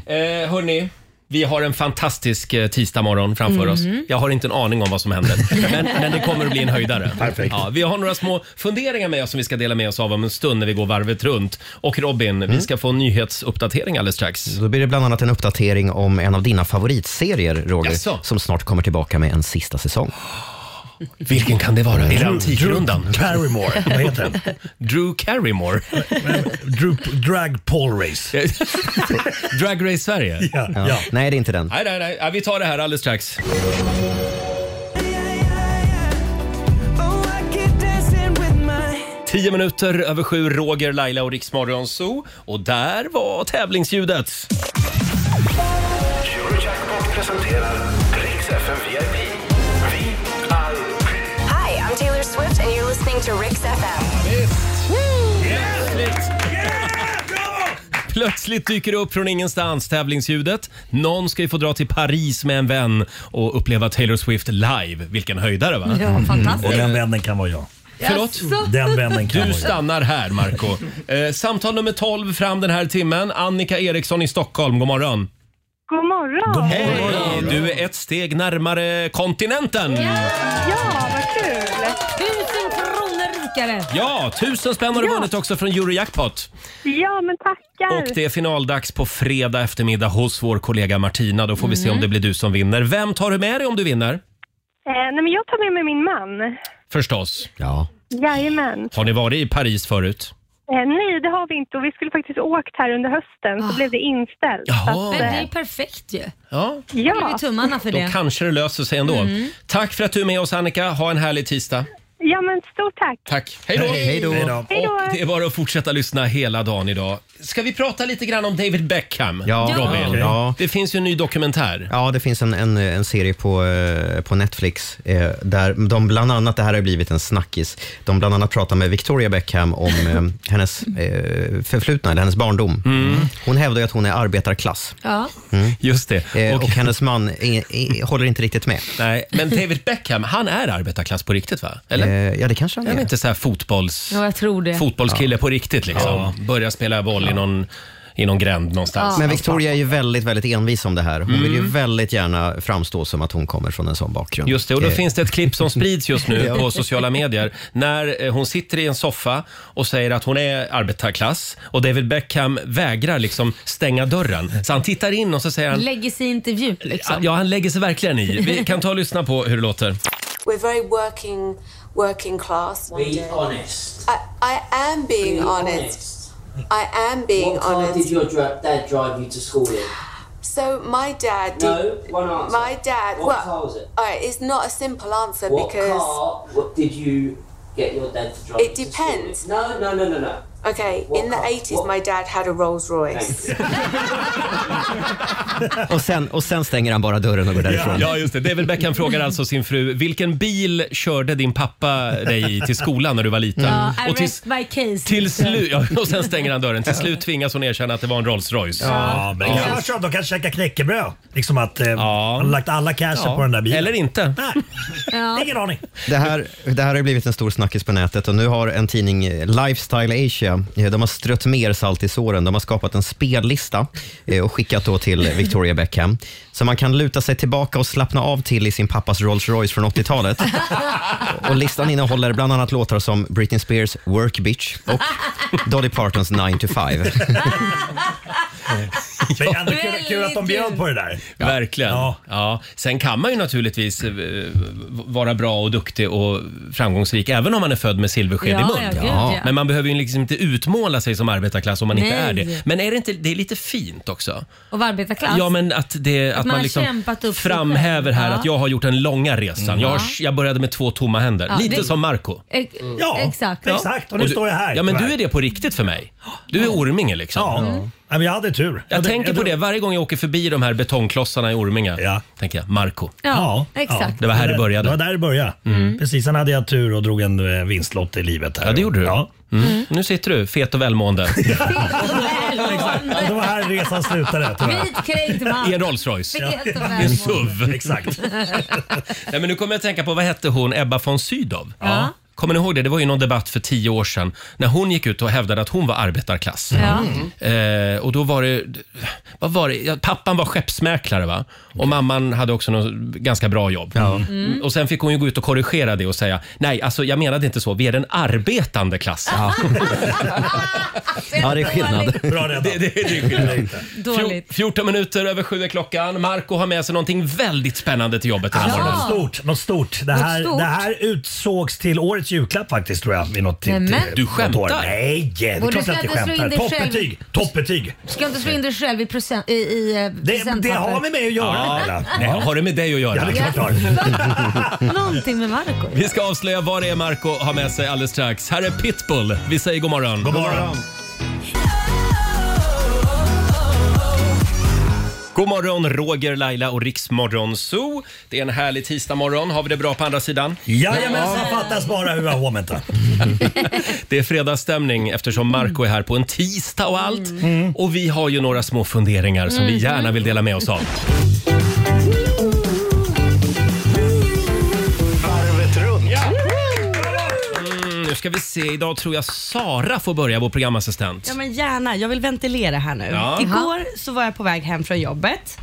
Speaker 1: Eh, hörni, vi har en fantastisk eh, tisdagmorgon framför oss. Jag har inte en aning om vad som händer, men, men det kommer att bli en höjdare.
Speaker 5: Perfekt.
Speaker 1: Ja, vi har några små funderingar med oss som vi ska dela med oss av om en stund när vi går varvet runt. Och Robin,
Speaker 5: Mm.
Speaker 1: vi ska få en nyhetsuppdatering alldeles strax.
Speaker 3: Då blir det bland annat en uppdatering om en av dina favoritserier, Roger,
Speaker 1: Jaså?
Speaker 3: som snart kommer tillbaka med en sista säsong.
Speaker 1: Vilken kan det vara? Är det Antikrundan?
Speaker 5: Barrymore, vad heter den?
Speaker 1: Drew Carrymore?
Speaker 5: Drup, drag Paul Race.
Speaker 1: Drag Race Sverige?
Speaker 5: Ja, ja.
Speaker 3: Nej, det är inte den.
Speaker 1: Nej, nej, nej. Ja, vi tar det här alldeles strax. Tio minuter över sju, Roger, Laila och Riksmorgon Zoo. Och där var tävlingsljudet.
Speaker 10: Eurojackpot presenterar Rix FM VIP. VIP.
Speaker 9: Hi, I'm Taylor Swift and you're listening to Rix FM.
Speaker 1: Plötsligt dyker det upp från ingenstans, tävlingsljudet. Någon ska ju få dra till Paris med en vän och uppleva Taylor Swift live. Vilken höjdare va? Mm.
Speaker 2: Ja,
Speaker 5: Och
Speaker 2: fantastiskt.
Speaker 5: den vännen kan vara jag.
Speaker 1: Förlåt?
Speaker 5: Den vännen kan
Speaker 1: Du
Speaker 5: vara jag.
Speaker 1: stannar här, Marco. Eh, samtal nummer 12 fram den här timmen. Annika Eriksson i Stockholm, god morgon.
Speaker 7: God morgon!
Speaker 1: Hej! Du är ett steg närmare kontinenten.
Speaker 7: Ja, vad kul!
Speaker 2: Tusen kronor rikare!
Speaker 1: Ja, tusen spänn har du vunnit också från Eurojackpot.
Speaker 7: Ja, men tackar!
Speaker 1: Och det är finaldags på fredag eftermiddag hos vår kollega Martina. Då får vi se om det blir du som vinner. Vem tar du med dig om du vinner?
Speaker 7: Eh, nej, men jag tar med mig min man.
Speaker 1: Förstås.
Speaker 3: Ja.
Speaker 7: Jajamän.
Speaker 1: Har ni varit i Paris förut?
Speaker 7: Eh, nej, det har vi inte och vi skulle faktiskt åkt här under hösten så blev det inställt. eh,
Speaker 1: Jaha.
Speaker 2: Men det är ju perfekt ju.
Speaker 1: Ja, Mm.
Speaker 2: Håller vi
Speaker 7: Ja,
Speaker 2: tummarna för
Speaker 1: då
Speaker 2: det.
Speaker 1: kanske det löser sig ändå. Tack för att du är med oss Annika. Ha en härlig tisdag.
Speaker 7: ja men stort tack.
Speaker 1: Tack. Hej då!
Speaker 3: Hej då.
Speaker 5: Hej då.
Speaker 7: Hej då.
Speaker 1: Och det är bara att fortsätta lyssna hela dagen idag. Ska vi prata lite grann om David Beckham?
Speaker 3: Ja,
Speaker 1: Robin.
Speaker 3: ja.
Speaker 1: Det finns ju en ny dokumentär.
Speaker 3: Ja, det finns en, en, en serie på, eh, på Netflix eh, där de bland annat, det här har blivit en snackis, de bland annat pratar med Victoria Beckham om eh, hennes eh, förflutna, eller hennes barndom. Hon hävdar ju att hon är arbetarklass
Speaker 2: Ja.
Speaker 1: Mm. Just det.
Speaker 3: eh,
Speaker 1: Och,
Speaker 3: och hennes man är, är, håller inte riktigt med.
Speaker 1: nej, men David Beckham, han är arbetarklass på riktigt va? Eller?
Speaker 3: Eh, ja, det kanske han
Speaker 1: Han är
Speaker 3: är.
Speaker 1: inte så här fotbolls,
Speaker 2: ja, jag tror det.
Speaker 1: fotbollskille på riktigt liksom. Börjar spela boll i, någon, i någon gränd någonstans. Mm.
Speaker 3: Men Victoria är ju väldigt, väldigt envis om det här. Hon vill ju väldigt gärna framstå som att hon kommer från en sån bakgrund.
Speaker 1: Just det, och då
Speaker 3: Eh,
Speaker 1: finns det ett klipp som sprids just nu
Speaker 3: Ja.
Speaker 1: på sociala medier när eh, hon sitter i en soffa och säger att hon är arbetarklass och David Beckham vägrar liksom stänga dörren. Så han tittar in och så säger han "Ah,
Speaker 2: Lägger sig i intervju liksom.
Speaker 1: Ja, han lägger sig verkligen i. Vi kan ta och lyssna på hur det låter.
Speaker 9: We're very working, working class.
Speaker 11: Be honest.
Speaker 9: I, I am being honest. I am being
Speaker 11: What car did
Speaker 9: honest.
Speaker 11: your dra- dad drive you to school in?
Speaker 9: So my dad did.
Speaker 11: No, one answer.
Speaker 9: My dad.
Speaker 11: What
Speaker 9: well,
Speaker 11: car was it?
Speaker 9: All right, it's not a simple answer
Speaker 11: What
Speaker 9: because.
Speaker 11: car what did you get your dad to drive?
Speaker 9: It
Speaker 11: you to school in?
Speaker 9: depends.
Speaker 11: No, no, no, no, no.
Speaker 9: Okay,
Speaker 11: What
Speaker 9: in the
Speaker 11: car?
Speaker 9: 80s,
Speaker 11: What-
Speaker 9: my dad had a Rolls Royce.
Speaker 11: Thank you.
Speaker 3: och, sen, och sen stänger han bara dörren och går därifrån.
Speaker 1: Ja, just det. David Beckham frågar alltså sin fru vilken bil körde din pappa dig i till skolan när du var liten?
Speaker 2: Ja, I
Speaker 1: Och till,
Speaker 2: rest my case.
Speaker 1: till
Speaker 2: liksom.
Speaker 1: slut, ja, och sen stänger han dörren. Till slut tvingas hon erkänna att det var en Rolls Royce.
Speaker 5: Ja, men det kan vara så att de kan käka knäckebröd. Liksom att eh, man har lagt alla cashen på den där bilen.
Speaker 1: Eller inte.
Speaker 5: Nej,
Speaker 2: Ja.
Speaker 5: ingen aning.
Speaker 3: Det här, det här har blivit en stor snackis på nätet och nu har en tidning, eh, Lifestyle Asia, eh, de har strött mer salt i såren. De har skapat en spellista eh, och skickat då till Victoria Beckham. Så man kan luta sig tillbaka och slappna av till i sin pappas Rolls Royce från 80-talet. Och listan innehåller bland annat låtar som Britney Spears Work Bitch och Dolly Partons 9 to 5.
Speaker 5: Men ändå kul, kul att de bjöd på det där.
Speaker 1: Verkligen. Ja. Sen kan man ju naturligtvis eh, vara bra och duktig och framgångsrik även om man är född med silversked
Speaker 10: Ja,
Speaker 1: i
Speaker 10: ja,
Speaker 1: mun.
Speaker 10: gud, ja.
Speaker 1: Men man behöver ju liksom inte utmåla sig som arbetarklass om man inte
Speaker 2: Nej.
Speaker 1: är det. Men är det inte det är lite fint också?
Speaker 2: Och vara arbetarklass.
Speaker 1: Ja, men att, det, att,
Speaker 2: Att man
Speaker 1: man,
Speaker 2: har
Speaker 1: liksom
Speaker 2: kämpat upp sig
Speaker 1: framhäver
Speaker 2: själv.
Speaker 1: här
Speaker 2: Ja.
Speaker 1: att jag har gjort den långa resan. Jag, har, jag började med två tomma händer.
Speaker 2: Ja,
Speaker 1: Lite
Speaker 2: det-
Speaker 1: som Marco
Speaker 2: E-
Speaker 5: Ja,
Speaker 2: exakt.
Speaker 1: du- Ja, men du är det på riktigt för mig. Du är Orminge liksom.
Speaker 5: Ja. men jag hade tur.
Speaker 1: Jag,
Speaker 5: hade-
Speaker 1: tänker
Speaker 5: jag
Speaker 1: på
Speaker 5: hade-
Speaker 1: det varje gång jag åker förbi de här betongklossarna i Orminge. Tänker jag, Marco.
Speaker 5: Ja,
Speaker 1: Ja, Det var här det började. Mm.
Speaker 5: Det var där det började. Precis, sen hade jag tur och drog en eh, vinstlott i livet. Här. Ja, det
Speaker 1: gjorde du.
Speaker 5: Ja.
Speaker 1: Mm. Nu sitter du fet och välmående.
Speaker 5: Och det var här resan slutade. tyvärr.
Speaker 2: Vitkränkt man.
Speaker 1: I en Rolls Royce.
Speaker 2: Fet och
Speaker 1: I en
Speaker 2: välmående.
Speaker 1: SUV. Exakt. Nej, men nu kommer jag att tänka på, vad hette hon, Ebba von Sydow?
Speaker 2: Ja.
Speaker 1: Kommer ni ihåg det? Det var ju någon debatt för tio år sedan när hon gick ut och hävdade att hon var arbetarklass.
Speaker 5: Mm.
Speaker 10: Ja.
Speaker 1: Eh, och då var det, vad var det? Ja, pappan var skeppsmäklare va? Och mamman hade också något ganska bra jobb.
Speaker 10: Mm.
Speaker 1: Och sen fick hon ju gå ut och korrigera det och säga, nej alltså jag menade inte så, vi är den arbetande klassen.
Speaker 10: Ja, det är skillnad.
Speaker 5: Bra
Speaker 1: det, det, det är skillnad.
Speaker 10: Dåligt.
Speaker 1: Fjor- 14 minuter över sju är klockan. Marco har med sig någonting väldigt spännande till jobbet den här
Speaker 5: Alltså, något
Speaker 1: morgonen.
Speaker 5: stort. Något stort. Det,
Speaker 1: Något
Speaker 5: här,
Speaker 1: stort?
Speaker 5: det här utsågs till årets julklapp faktiskt tror jag. Vid något till,
Speaker 2: Nämen.
Speaker 5: till,
Speaker 2: Du
Speaker 5: något
Speaker 2: skämtar?
Speaker 5: år. Nej, det är
Speaker 2: Och du
Speaker 5: klart
Speaker 2: ska
Speaker 5: att jag
Speaker 2: inte slå in
Speaker 5: skämtar.
Speaker 2: dig själv.
Speaker 5: Toppbetyg. Toppbetyg.
Speaker 2: Ska inte slå in dig själv i, procent, i, i eh,
Speaker 5: Det, det har
Speaker 2: presentpapper?
Speaker 5: med mig att göra. Laila.
Speaker 1: Nej, har det med dig att göra?
Speaker 5: Ja, det är klart det har.
Speaker 2: Någonting med Marco
Speaker 1: Vi ska avslöja vad det är Marco har med sig alldeles strax. Här är Pitbull. Vi säger god morgon. God morgon. God morgon, Roger, Laila och Riksmorgon Zoo. Det är en härlig tisdagmorgon. Har vi det bra på andra sidan?
Speaker 5: Jajamensan, fattas bara hur jag håmenta.
Speaker 1: Det är fredagsstämning eftersom Marco är här på en tisdag och allt. Och vi har ju några små funderingar som vi
Speaker 10: Mm.
Speaker 1: gärna vill dela med oss av.
Speaker 10: Varvet runt.
Speaker 1: Mm, nu ska vi se. Idag tror jag Sara får börja, vår programassistent.
Speaker 8: Ja men gärna, jag vill ventilera här nu.
Speaker 1: Ja.
Speaker 8: Igår så var jag på väg hem från jobbet.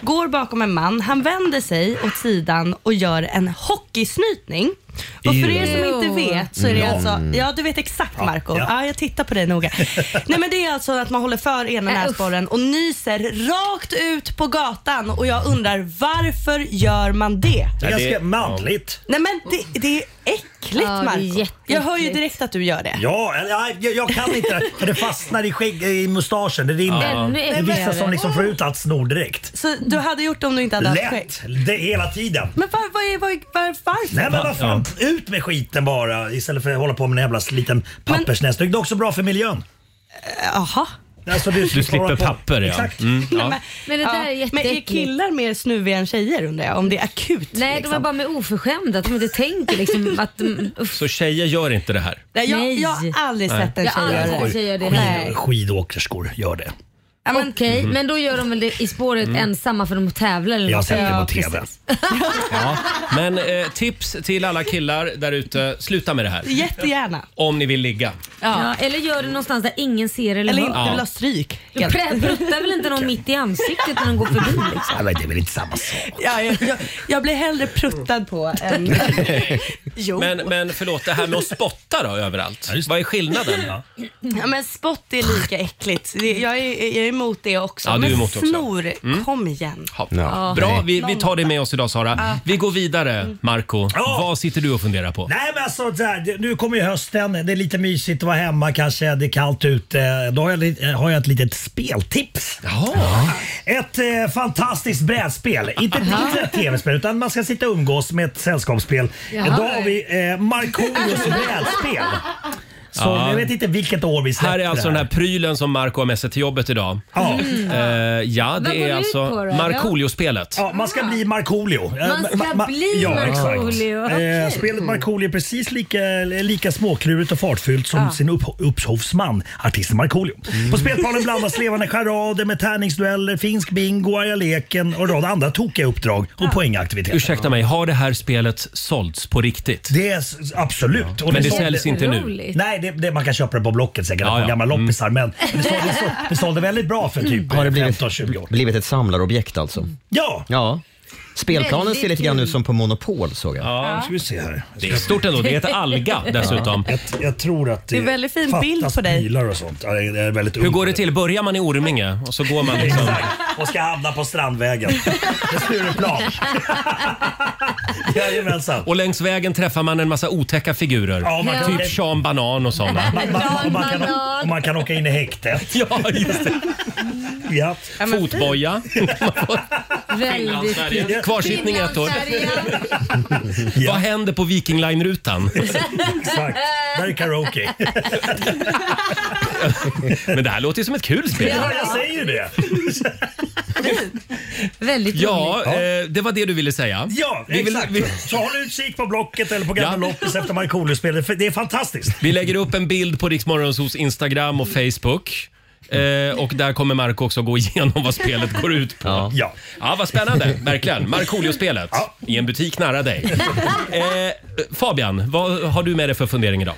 Speaker 8: Går bakom en man, han vänder sig åt sidan och gör en hockeysnytning. Och för er som
Speaker 2: Ew.
Speaker 8: inte vet så är det
Speaker 2: Mm.
Speaker 8: alltså, ja du vet exakt Marco.
Speaker 2: ja.
Speaker 8: Ja. jag tittar på dig noga. Nej men det är alltså att man håller för ena
Speaker 2: Äh, usch.
Speaker 8: näsborren och nyser rakt ut på gatan och jag undrar varför gör man det?
Speaker 5: Det är ganska manligt.
Speaker 8: Nej men det, det är äckligt
Speaker 2: Ja, det är
Speaker 8: Marco. Jag hör ju
Speaker 2: jätteäckligt.
Speaker 8: direkt att du gör det.
Speaker 5: Ja, eller, nej, jag, jag kan inte för det fastnar i, skägg, i mustaschen. Det rinner.
Speaker 8: Ja. Ännu
Speaker 5: Det är vissa
Speaker 8: äckligare.
Speaker 5: som liksom får ut allt snor direkt.
Speaker 8: Så du hade gjort det om du inte hade haft skägg?
Speaker 5: Lätt! Det, hela tiden.
Speaker 8: Men var, var, var, var, varför?
Speaker 5: Nej men vad fan, ut med skiten bara istället för att hålla på med en jävla liten pappersnäsduk. Det är också bra för miljön.
Speaker 8: Jaha.
Speaker 5: Alltså, du,
Speaker 1: Du slipper
Speaker 5: hålla på-
Speaker 1: papper, ja.
Speaker 5: Exakt.
Speaker 1: Mm, ja.
Speaker 2: Men det där är
Speaker 8: men är
Speaker 2: jätteäckligt.
Speaker 8: killar mer snuviga än tjejer undrar jag? Om det är akut? liksom?
Speaker 2: Nej, de är bara med oförskämda. Att de inte tänker liksom att... mm, uff.
Speaker 1: Så tjejer, gör inte det här.
Speaker 8: Nej, jag,
Speaker 2: Nej.
Speaker 8: jag har aldrig
Speaker 1: Nej.
Speaker 8: sett en
Speaker 2: Jag har
Speaker 8: tjej
Speaker 2: aldrig
Speaker 8: göra
Speaker 2: sett en
Speaker 8: det.
Speaker 2: tjej göra det.
Speaker 5: Skid, skidåkerskor gör det.
Speaker 8: Ja, men-
Speaker 2: Okej,
Speaker 1: Mm.
Speaker 2: men då gör de väl det i spåret ensamma för de tävlar eller
Speaker 1: Jag har
Speaker 2: något.
Speaker 1: sett det på
Speaker 2: Ja,
Speaker 1: TV.
Speaker 2: Mm, precis.
Speaker 1: Ja. Men eh, tips till alla killar där ute. Sluta med det här.
Speaker 8: Jättegärna.
Speaker 1: Om ni vill ligga.
Speaker 8: Ah.
Speaker 2: Ja. eller gör det någonstans där ingen ser eller
Speaker 1: Eller
Speaker 2: hör.
Speaker 1: inte Ja. vill ha
Speaker 8: stryk.
Speaker 2: Du prä- pruttar väl inte någon mitt i ansiktet när de går förbi? Liksom.
Speaker 5: Nej, men det är väl inte samma sak?
Speaker 8: Ja, jag, jag, jag blir hellre pruttad på än... Jo.
Speaker 1: Men, men förlåt, det här med att spotta då överallt. Vad är skillnaden?
Speaker 8: Ja, men spott är lika äckligt. Det- Jag är, jag är emot det också.
Speaker 1: Ja, du är
Speaker 8: men
Speaker 1: emot också.
Speaker 8: snor,
Speaker 1: Mm.
Speaker 8: kom igen.
Speaker 1: Ja.
Speaker 8: Ja.
Speaker 1: Bra,
Speaker 8: Nej.
Speaker 1: vi, vi tar det med oss idag Sara.
Speaker 8: Ja.
Speaker 1: Vi går vidare, Marco. Vad sitter du och funderar på?
Speaker 5: Nej men alltså så här, det- nu kommer ju hösten, det är lite mysigt att vara hemma kanske, det är kallt ute. Då har jag, li- eh, har jag ett litet speltips. Ett eh, fantastiskt brädspel. Inte ett
Speaker 10: Jaha.
Speaker 5: litet tv-spel utan man ska sitta och umgås med ett sällskapsspel.
Speaker 10: Jaha.
Speaker 5: Idag har vi eh, Markoolios brädspel. Så
Speaker 1: Ja.
Speaker 5: jag vet inte vilket år vi släppte
Speaker 1: Här är alltså
Speaker 5: det
Speaker 1: den här prylen som Marco har med sig till jobbet idag.
Speaker 5: Ja.
Speaker 2: Mm.
Speaker 1: Eh, ja
Speaker 2: Vad går
Speaker 1: det
Speaker 2: det
Speaker 1: är
Speaker 2: ut
Speaker 1: alltså
Speaker 2: på då?
Speaker 1: Markoolio-spelet.
Speaker 5: Ja, man ska bli Markoolio. Eh,
Speaker 2: Man ska bli
Speaker 5: exakt.
Speaker 2: Markoolio.
Speaker 5: Eh,
Speaker 2: Okej.
Speaker 5: spelet Markoolio är precis lika, lika småklurigt och fartfyllt som
Speaker 2: Ja. Mm.
Speaker 5: sin upp, upphovsman, artisten Markoolio. På spelplanen blandas levande charader med tärningsdueller, finsk bingo, arga leken och en rad andra tokiga uppdrag och poängaktiviteter.
Speaker 1: Ursäkta mig, har det här spelet sålts på riktigt?
Speaker 5: Det är s- absolut.
Speaker 1: Ja.
Speaker 5: Och
Speaker 1: Men det
Speaker 5: sålde-
Speaker 1: säljs inte nu. Roligt.
Speaker 5: Nej, det, det, man kan köpa det på Blocket säkert,
Speaker 1: Ja, Mm. ja.
Speaker 5: på gamla loppisar. Men det sålde, det, sålde, det sålde väldigt bra för typ
Speaker 3: Har det blivit,
Speaker 5: 15-20 år.
Speaker 3: blivit ett samlarobjekt alltså?
Speaker 5: Ja,
Speaker 3: Ja. Spelplanen ser
Speaker 2: Väldigt
Speaker 3: lite grann
Speaker 2: kul.
Speaker 3: ut som på Monopol såg jag.
Speaker 1: Ja.
Speaker 5: ska vi se här.
Speaker 1: Det är stort ändå. Det heter Alga dessutom.
Speaker 5: Jag, jag tror att det,
Speaker 8: Det är väldigt fin
Speaker 5: fattas
Speaker 8: bild på dig.
Speaker 5: bilar och sånt. Ja, det är- det är väldigt
Speaker 1: Hur
Speaker 5: ung.
Speaker 1: går det till? Börjar man i Orminge och så går man liksom...
Speaker 5: Och ska hamna på Strandvägen. Det är Stureplan. Jajamensan.
Speaker 1: Och längs vägen träffar man en massa otäcka figurer.
Speaker 5: Ja, man-
Speaker 1: Typ Sean Banan och sådana.
Speaker 5: Man, man, och man, kan, och man kan åka in i häktet.
Speaker 1: Ja, just det.
Speaker 5: Ja.
Speaker 1: Ja, men Fotboja.
Speaker 2: Väldigt
Speaker 1: Sverige. Kvarsittning ett år.
Speaker 2: Finland, Sverige.
Speaker 1: Vad händer på Viking Line-rutan?
Speaker 5: Exakt. Där är karaoke.
Speaker 1: Men det här låter ju som ett kul spel.
Speaker 5: Ja, jag säger ju det.
Speaker 2: Väldigt
Speaker 1: Ja, eh, det var det du ville säga.
Speaker 5: Ja,
Speaker 1: vi vill,
Speaker 5: exakt.
Speaker 1: vi,
Speaker 5: Så håll utkik på Blocket eller på Gamla loppis efter Markoolio-spelet. för Det är fantastiskt.
Speaker 1: vi lägger upp en bild på Riksmorgonsos Instagram och Facebook. Eh, och där kommer Marco också gå igenom vad spelet går ut på. Ja,
Speaker 5: ja.
Speaker 1: vad spännande. Verkligen. Markoolio-spelet i en butik nära dig. Eh, Fabian, vad har du med dig för fundering idag?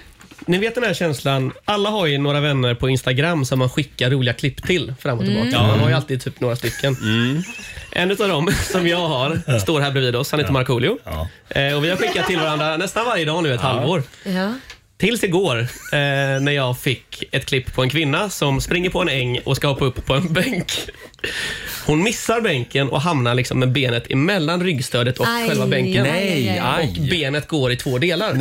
Speaker 12: Ni vet den här känslan, alla har ju några vänner på Instagram som man skickar roliga klipp till fram och tillbaka.
Speaker 1: Mm.
Speaker 12: Man har ju alltid typ några stycken. En av dem som jag har står här bredvid oss, han heter Markoolio. Eh, Och vi har skickat till varandra nästan varje dag nu ett halvår.
Speaker 2: Ja.
Speaker 12: Tills igår eh, när jag fick ett klipp på en kvinna som springer på en äng och ska hoppa upp på en bänk. Hon missar bänken och hamnar liksom med benet emellan ryggstödet och
Speaker 2: Aj,
Speaker 12: själva bänken.
Speaker 2: Nej, aj, aj.
Speaker 12: Och benet går i två delar.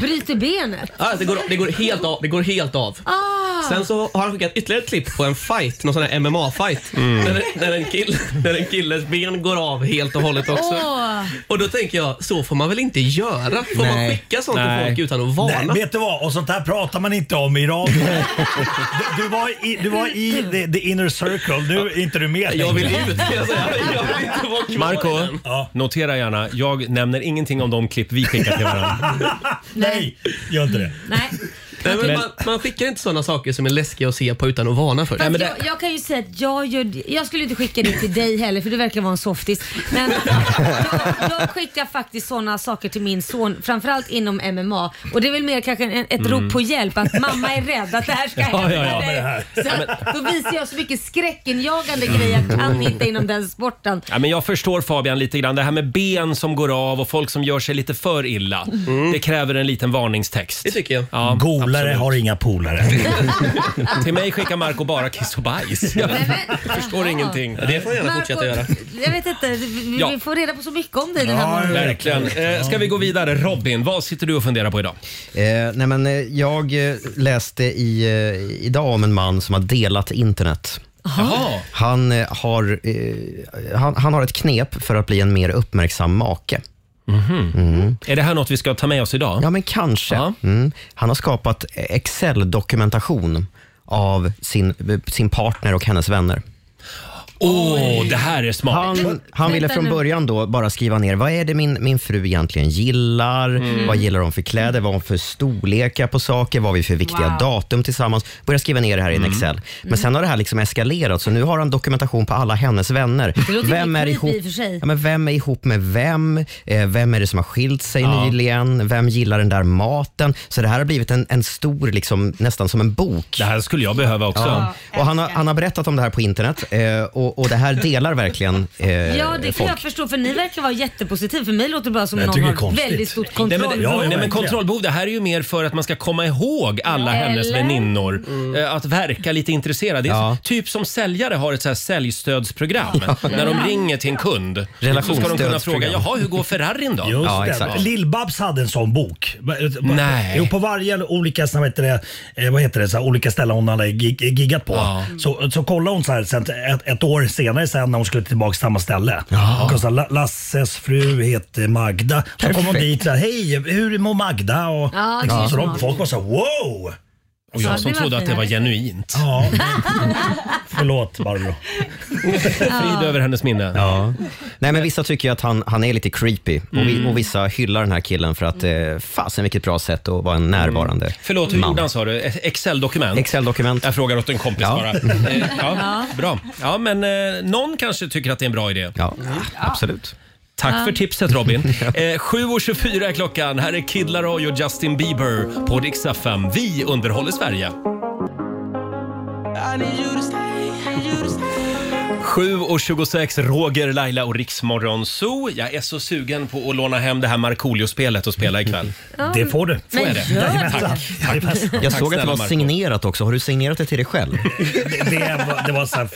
Speaker 2: Bryter benet.
Speaker 12: Ja, det, går, det, går helt av, det går helt av.
Speaker 2: Ah.
Speaker 12: Sen så har han skickat ytterligare ett klipp på en fight, någon sån här MMA-fight.
Speaker 2: Mm.
Speaker 12: När, när, en kill, när en killes ben går av helt och hållet också.
Speaker 2: Åh.
Speaker 12: Och då tänker jag, så får man väl inte göra? Får man skicka sånt till folk utan att varna?
Speaker 5: Nej, vet du vad? Och sånt här pratar man inte om i radio. Du, du var i, du var i the, the inner circle. Nu är inte du med
Speaker 12: Jag vill
Speaker 5: längre.
Speaker 12: ut, kan jag säga. Jag vill inte vara kvar i
Speaker 1: Marco,
Speaker 12: den.
Speaker 1: notera gärna. Jag nämner ingenting om de klipp vi skickar till varandra.
Speaker 5: Nej, gör inte det.
Speaker 12: Nej, men man, man skickar inte såna saker som är läskiga att se på utan att varna för.
Speaker 2: Fast jag, jag kan ju säga att jag gör det- Jag skulle inte skicka det till dig heller för du verkar vara en softis. Men jag, jag skickar faktiskt sådana saker till min son, framförallt inom MMA. Och det är väl mer kanske en, ett
Speaker 1: Mm.
Speaker 2: rop på hjälp att mamma är rädd att det här ska
Speaker 1: Ja,
Speaker 2: hända
Speaker 1: ja, ja.
Speaker 2: dig.
Speaker 1: Ja, men Mm. det
Speaker 2: Så
Speaker 1: här.
Speaker 2: att, då visar jag så mycket skräckinjagande grejer jag kan inte inom den sporten.
Speaker 1: Ja, men jag förstår Fabian lite grann. Det här med ben som går av och folk som gör sig lite för illa. Det kräver en liten varningstext. Det
Speaker 12: Mm. tycker jag.
Speaker 1: Ja,
Speaker 5: Golare
Speaker 1: absolut.
Speaker 5: har inga polare.
Speaker 1: Till mig skickar Marco bara kiss och bajs. Jag förstår ingenting.
Speaker 12: det får han gärna fortsätta göra.
Speaker 2: Jag vet inte, vi,
Speaker 1: Ja.
Speaker 2: vi får reda på så mycket om dig den här morgonen.
Speaker 1: Verkligen. Eh, Ska vi gå vidare? Robin, vad sitter du och funderar på idag?
Speaker 3: Eh, nej men, eh, jag eh, läste i, eh, idag om en man som har delat internet.
Speaker 1: Jaha.
Speaker 3: Han, eh, har, eh, han, han har ett knep för att bli en mer uppmärksam make. Mm.
Speaker 1: Mhm. Är det här något vi ska ta med oss idag?
Speaker 3: Ja, men kanske. Mm. Han har skapat Excel-dokumentation av sin, eh, sin partner och hennes vänner.
Speaker 1: Åh, det här är smart.
Speaker 3: Han, han ville från början då bara skriva ner vad är det min, min fru egentligen gillar.
Speaker 1: Mm.
Speaker 3: Vad gillar hon för kläder? Vad har hon för storlekar på saker? Vad har vi för viktiga
Speaker 1: Wow.
Speaker 3: datum tillsammans? Börja skriva ner det här i
Speaker 1: Mm.
Speaker 3: en Excel.
Speaker 2: Mm.
Speaker 3: Men sen har det här liksom eskalerat så nu har han dokumentation på alla hennes vänner.
Speaker 2: Det låter
Speaker 3: Vem
Speaker 2: lite
Speaker 3: är,
Speaker 2: creepy
Speaker 3: ihop,
Speaker 2: i och för sig.
Speaker 3: ja, men vem är ihop med vem? Eh, vem är det som har skilt sig nyligen? Vem gillar den där maten? Så det här har blivit en, en stor, liksom, nästan som en bok.
Speaker 1: Det här skulle jag behöva också.
Speaker 3: Ja. Och han, har, han har berättat om det här på internet eh, och, och det här delar verkligen eh,
Speaker 2: Ja det kan
Speaker 3: folk.
Speaker 2: jag förstå för ni verkar vara jättepositiva. För mig låter det bara som
Speaker 3: Jag
Speaker 2: någon
Speaker 3: tycker
Speaker 2: har
Speaker 3: det är konstigt.
Speaker 2: väldigt stort
Speaker 1: Nej,
Speaker 2: kontroll.
Speaker 1: men, nej, men kontrollbehov, det här är ju mer för att man ska komma ihåg alla
Speaker 2: Eller?
Speaker 1: hennes väninnor.
Speaker 3: Mm.
Speaker 1: Eh, Att verka lite intresserad. Det är så- typ som säljare har ett så här säljstödsprogram. När de ringer till en kund så ska de kunna fråga,
Speaker 5: Relationsstödsprogram.
Speaker 1: jaha hur går Ferrarin då?
Speaker 5: Just det. Lill-Babs hade en sån bok.
Speaker 1: Nej.
Speaker 5: Jo, på varje olika, så här, vad heter det, eh, vad heter det, så här, olika ställen hon hade gig, giggat på.
Speaker 1: Ja.
Speaker 5: Så, så kollade hon så här, sen, ett, ett år senare sen när hon skulle tillbaka till samma ställe. Hon kollade så här, La- Lasses fru heter Magda. Så kom hon
Speaker 1: Perfekt.
Speaker 5: dit så här, hej hur mår Magda? Och,
Speaker 2: Ja,
Speaker 5: liksom,
Speaker 2: det är
Speaker 5: så de,
Speaker 2: smart.
Speaker 5: folk var så här, wow!
Speaker 1: Och jag Ja, som det var trodde att det var fint. genuint.
Speaker 5: Ja, förlåt Barbro.
Speaker 1: Frid över hennes minne.
Speaker 3: Ja. Nej, men vissa tycker ju att han, han är lite creepy och,
Speaker 1: Mm.
Speaker 3: vi, och vissa hyllar den här killen för att eh, fasen vilket bra sätt att vara en närvarande
Speaker 1: Förlåt, hur
Speaker 3: man.
Speaker 1: gjorde han sa du? Excel-dokument?
Speaker 3: Excel-dokument.
Speaker 1: Jag frågar åt en kompis
Speaker 3: Ja.
Speaker 1: bara. Eh, Ja, bra. Ja, men eh, någon kanske tycker att det är en bra idé.
Speaker 3: Ja, absolut.
Speaker 1: Tack
Speaker 2: Mm. Ja.
Speaker 1: för tipset Robin. Eh, 7.24 är klockan. Här är Kid Laroi och Justin Bieber på Dix FM. Vi underhåller Sverige. 7.26, Roger, Laila och Riksmorgon Zoo. Jag är så sugen på att låna hem det här Markoolio-spelet och spela ikväll.
Speaker 2: Ja, Det får du.
Speaker 1: Får jag
Speaker 2: Mm. men
Speaker 1: det?
Speaker 2: gör det.
Speaker 1: Tack. Tack.
Speaker 3: Jag
Speaker 1: Tack
Speaker 3: såg att det
Speaker 1: snälla,
Speaker 3: var
Speaker 1: Marco.
Speaker 3: signerat också. Har du signerat det till dig själv?
Speaker 5: Det, det var, det var så här,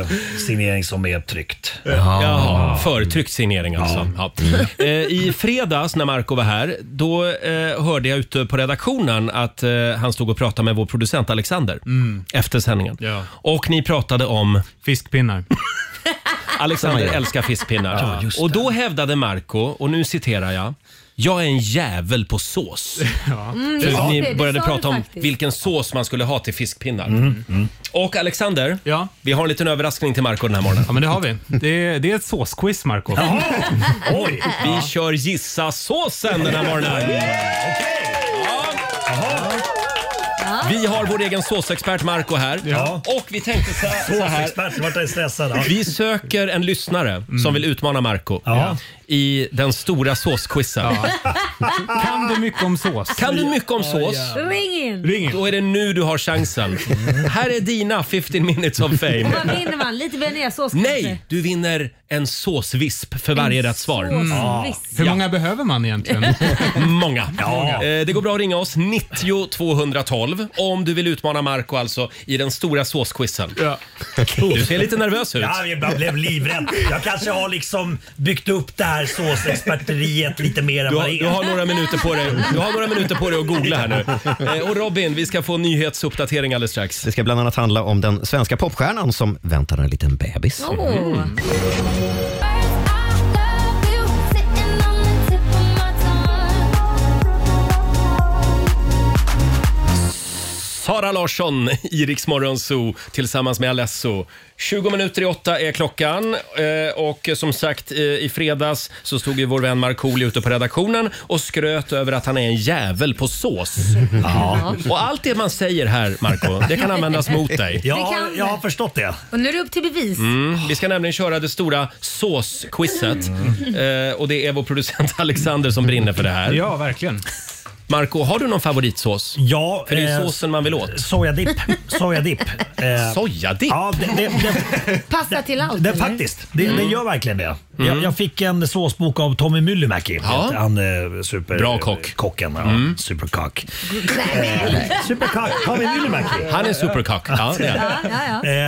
Speaker 5: eh, signering som är tryckt.
Speaker 1: Jaha, förtryckt signering alltså. Ja.
Speaker 6: Mm.
Speaker 1: Eh, I fredags när Marco var här, då eh, hörde jag ute på redaktionen att eh, han stod och pratade med vår producent Alexander
Speaker 6: Mm.
Speaker 1: efter sändningen.
Speaker 6: Ja.
Speaker 1: Och ni pratade om... Fiskpinnar. Alexander
Speaker 6: Samma grej.
Speaker 1: älskar fiskpinnar.
Speaker 6: Ja, just
Speaker 1: och då hävdade Marco, och nu citerar jag, jag är en jävel på sås.
Speaker 2: Mm,
Speaker 1: För
Speaker 2: just det,
Speaker 1: ni
Speaker 2: det
Speaker 1: började
Speaker 2: sa du
Speaker 1: prata om
Speaker 2: faktiskt.
Speaker 1: vilken sås man skulle ha till fiskpinnar.
Speaker 6: Mm.
Speaker 1: Och Alexander, vi har en liten överraskning till Marco den här morgonen.
Speaker 6: Ja, men det har vi. Det, det är ett såsquiz, Marco.
Speaker 1: Oj. Vi kör gissa såsen den här morgonen.
Speaker 2: Ja.
Speaker 1: Vi har vår egen såsexpert Marco här.
Speaker 5: Ja.
Speaker 1: Och vi tänkte så här. så här.
Speaker 5: Såsexpert, vart är stressad. Ja.
Speaker 1: Vi söker en lyssnare som vill utmana Marco
Speaker 5: Ja.
Speaker 1: i den stora såsquizen.
Speaker 6: Kan du mycket om sås?
Speaker 1: Kan du mycket om sås?
Speaker 2: Ring in!
Speaker 1: Då är det nu du har chansen. Här är dina 15 minutes of
Speaker 2: Och vad
Speaker 1: fame.
Speaker 2: vinner man? Lite bearnaisesås kanske?
Speaker 1: Nej, du vinner en såsvisp för varje rätt svar. Mm.
Speaker 2: såsvisp.
Speaker 1: Ja.
Speaker 6: Hur många behöver man egentligen?
Speaker 1: Många. Eh, Det går bra att ringa oss, 90 212, om du vill utmana Marco alltså i den stora såsquizen. Du ser lite nervös ut.
Speaker 5: Ja, jag blev livrädd. Jag kanske har liksom byggt upp det här såsexperteriet lite mer än
Speaker 1: Du
Speaker 5: vad
Speaker 1: har,
Speaker 5: det är.
Speaker 1: du, har några minuter på dig, du har några minuter på dig att googla här nu. Eh, Och Robin, vi ska få en nyhetsuppdatering alldeles strax.
Speaker 3: Det ska bland annat handla om den svenska popstjärnan som väntar en liten bebis.
Speaker 1: Mm. Sara Larsson i Rix Morgon Zoo tillsammans med Alesso. 20 minuter i åtta är klockan Eh, och som sagt eh, i fredags så stod ju vår vän Markoolio ute på redaktionen och skröt över att han är en jävel på sås.
Speaker 5: Ja.
Speaker 1: Och allt det man säger här, Marco, det kan användas mot dig.
Speaker 5: Ja,
Speaker 2: Det kan
Speaker 5: jag har förstått det.
Speaker 2: Och nu är det upp till bevis.
Speaker 1: Mm. Vi ska nämligen köra det stora såsquizet.
Speaker 5: Mm.
Speaker 1: Eh, och det är vår producent Alexander som brinner för det här.
Speaker 6: Ja, verkligen.
Speaker 1: Marco, har du någon favoritsås?
Speaker 5: Ja.
Speaker 1: För det är
Speaker 5: eh,
Speaker 1: såsen man vill åt.
Speaker 5: Sojadipp. Sojadipp. Eh,
Speaker 1: Sojadipp?
Speaker 5: Ja, det, det, det,
Speaker 2: Passar till allt
Speaker 5: det,
Speaker 2: eller?
Speaker 5: faktiskt. Det, det
Speaker 2: Mm.
Speaker 5: gör verkligen det. Jag, jag fick en såsbok av Tommy Myllymäki.
Speaker 1: Mm. Ja.
Speaker 5: Han eh, super...
Speaker 1: Bra kock. Mm.
Speaker 5: Kocken, ja. Superkock. Superkock. Tommy Myllymäki.
Speaker 1: Han är superkock. Ja, det är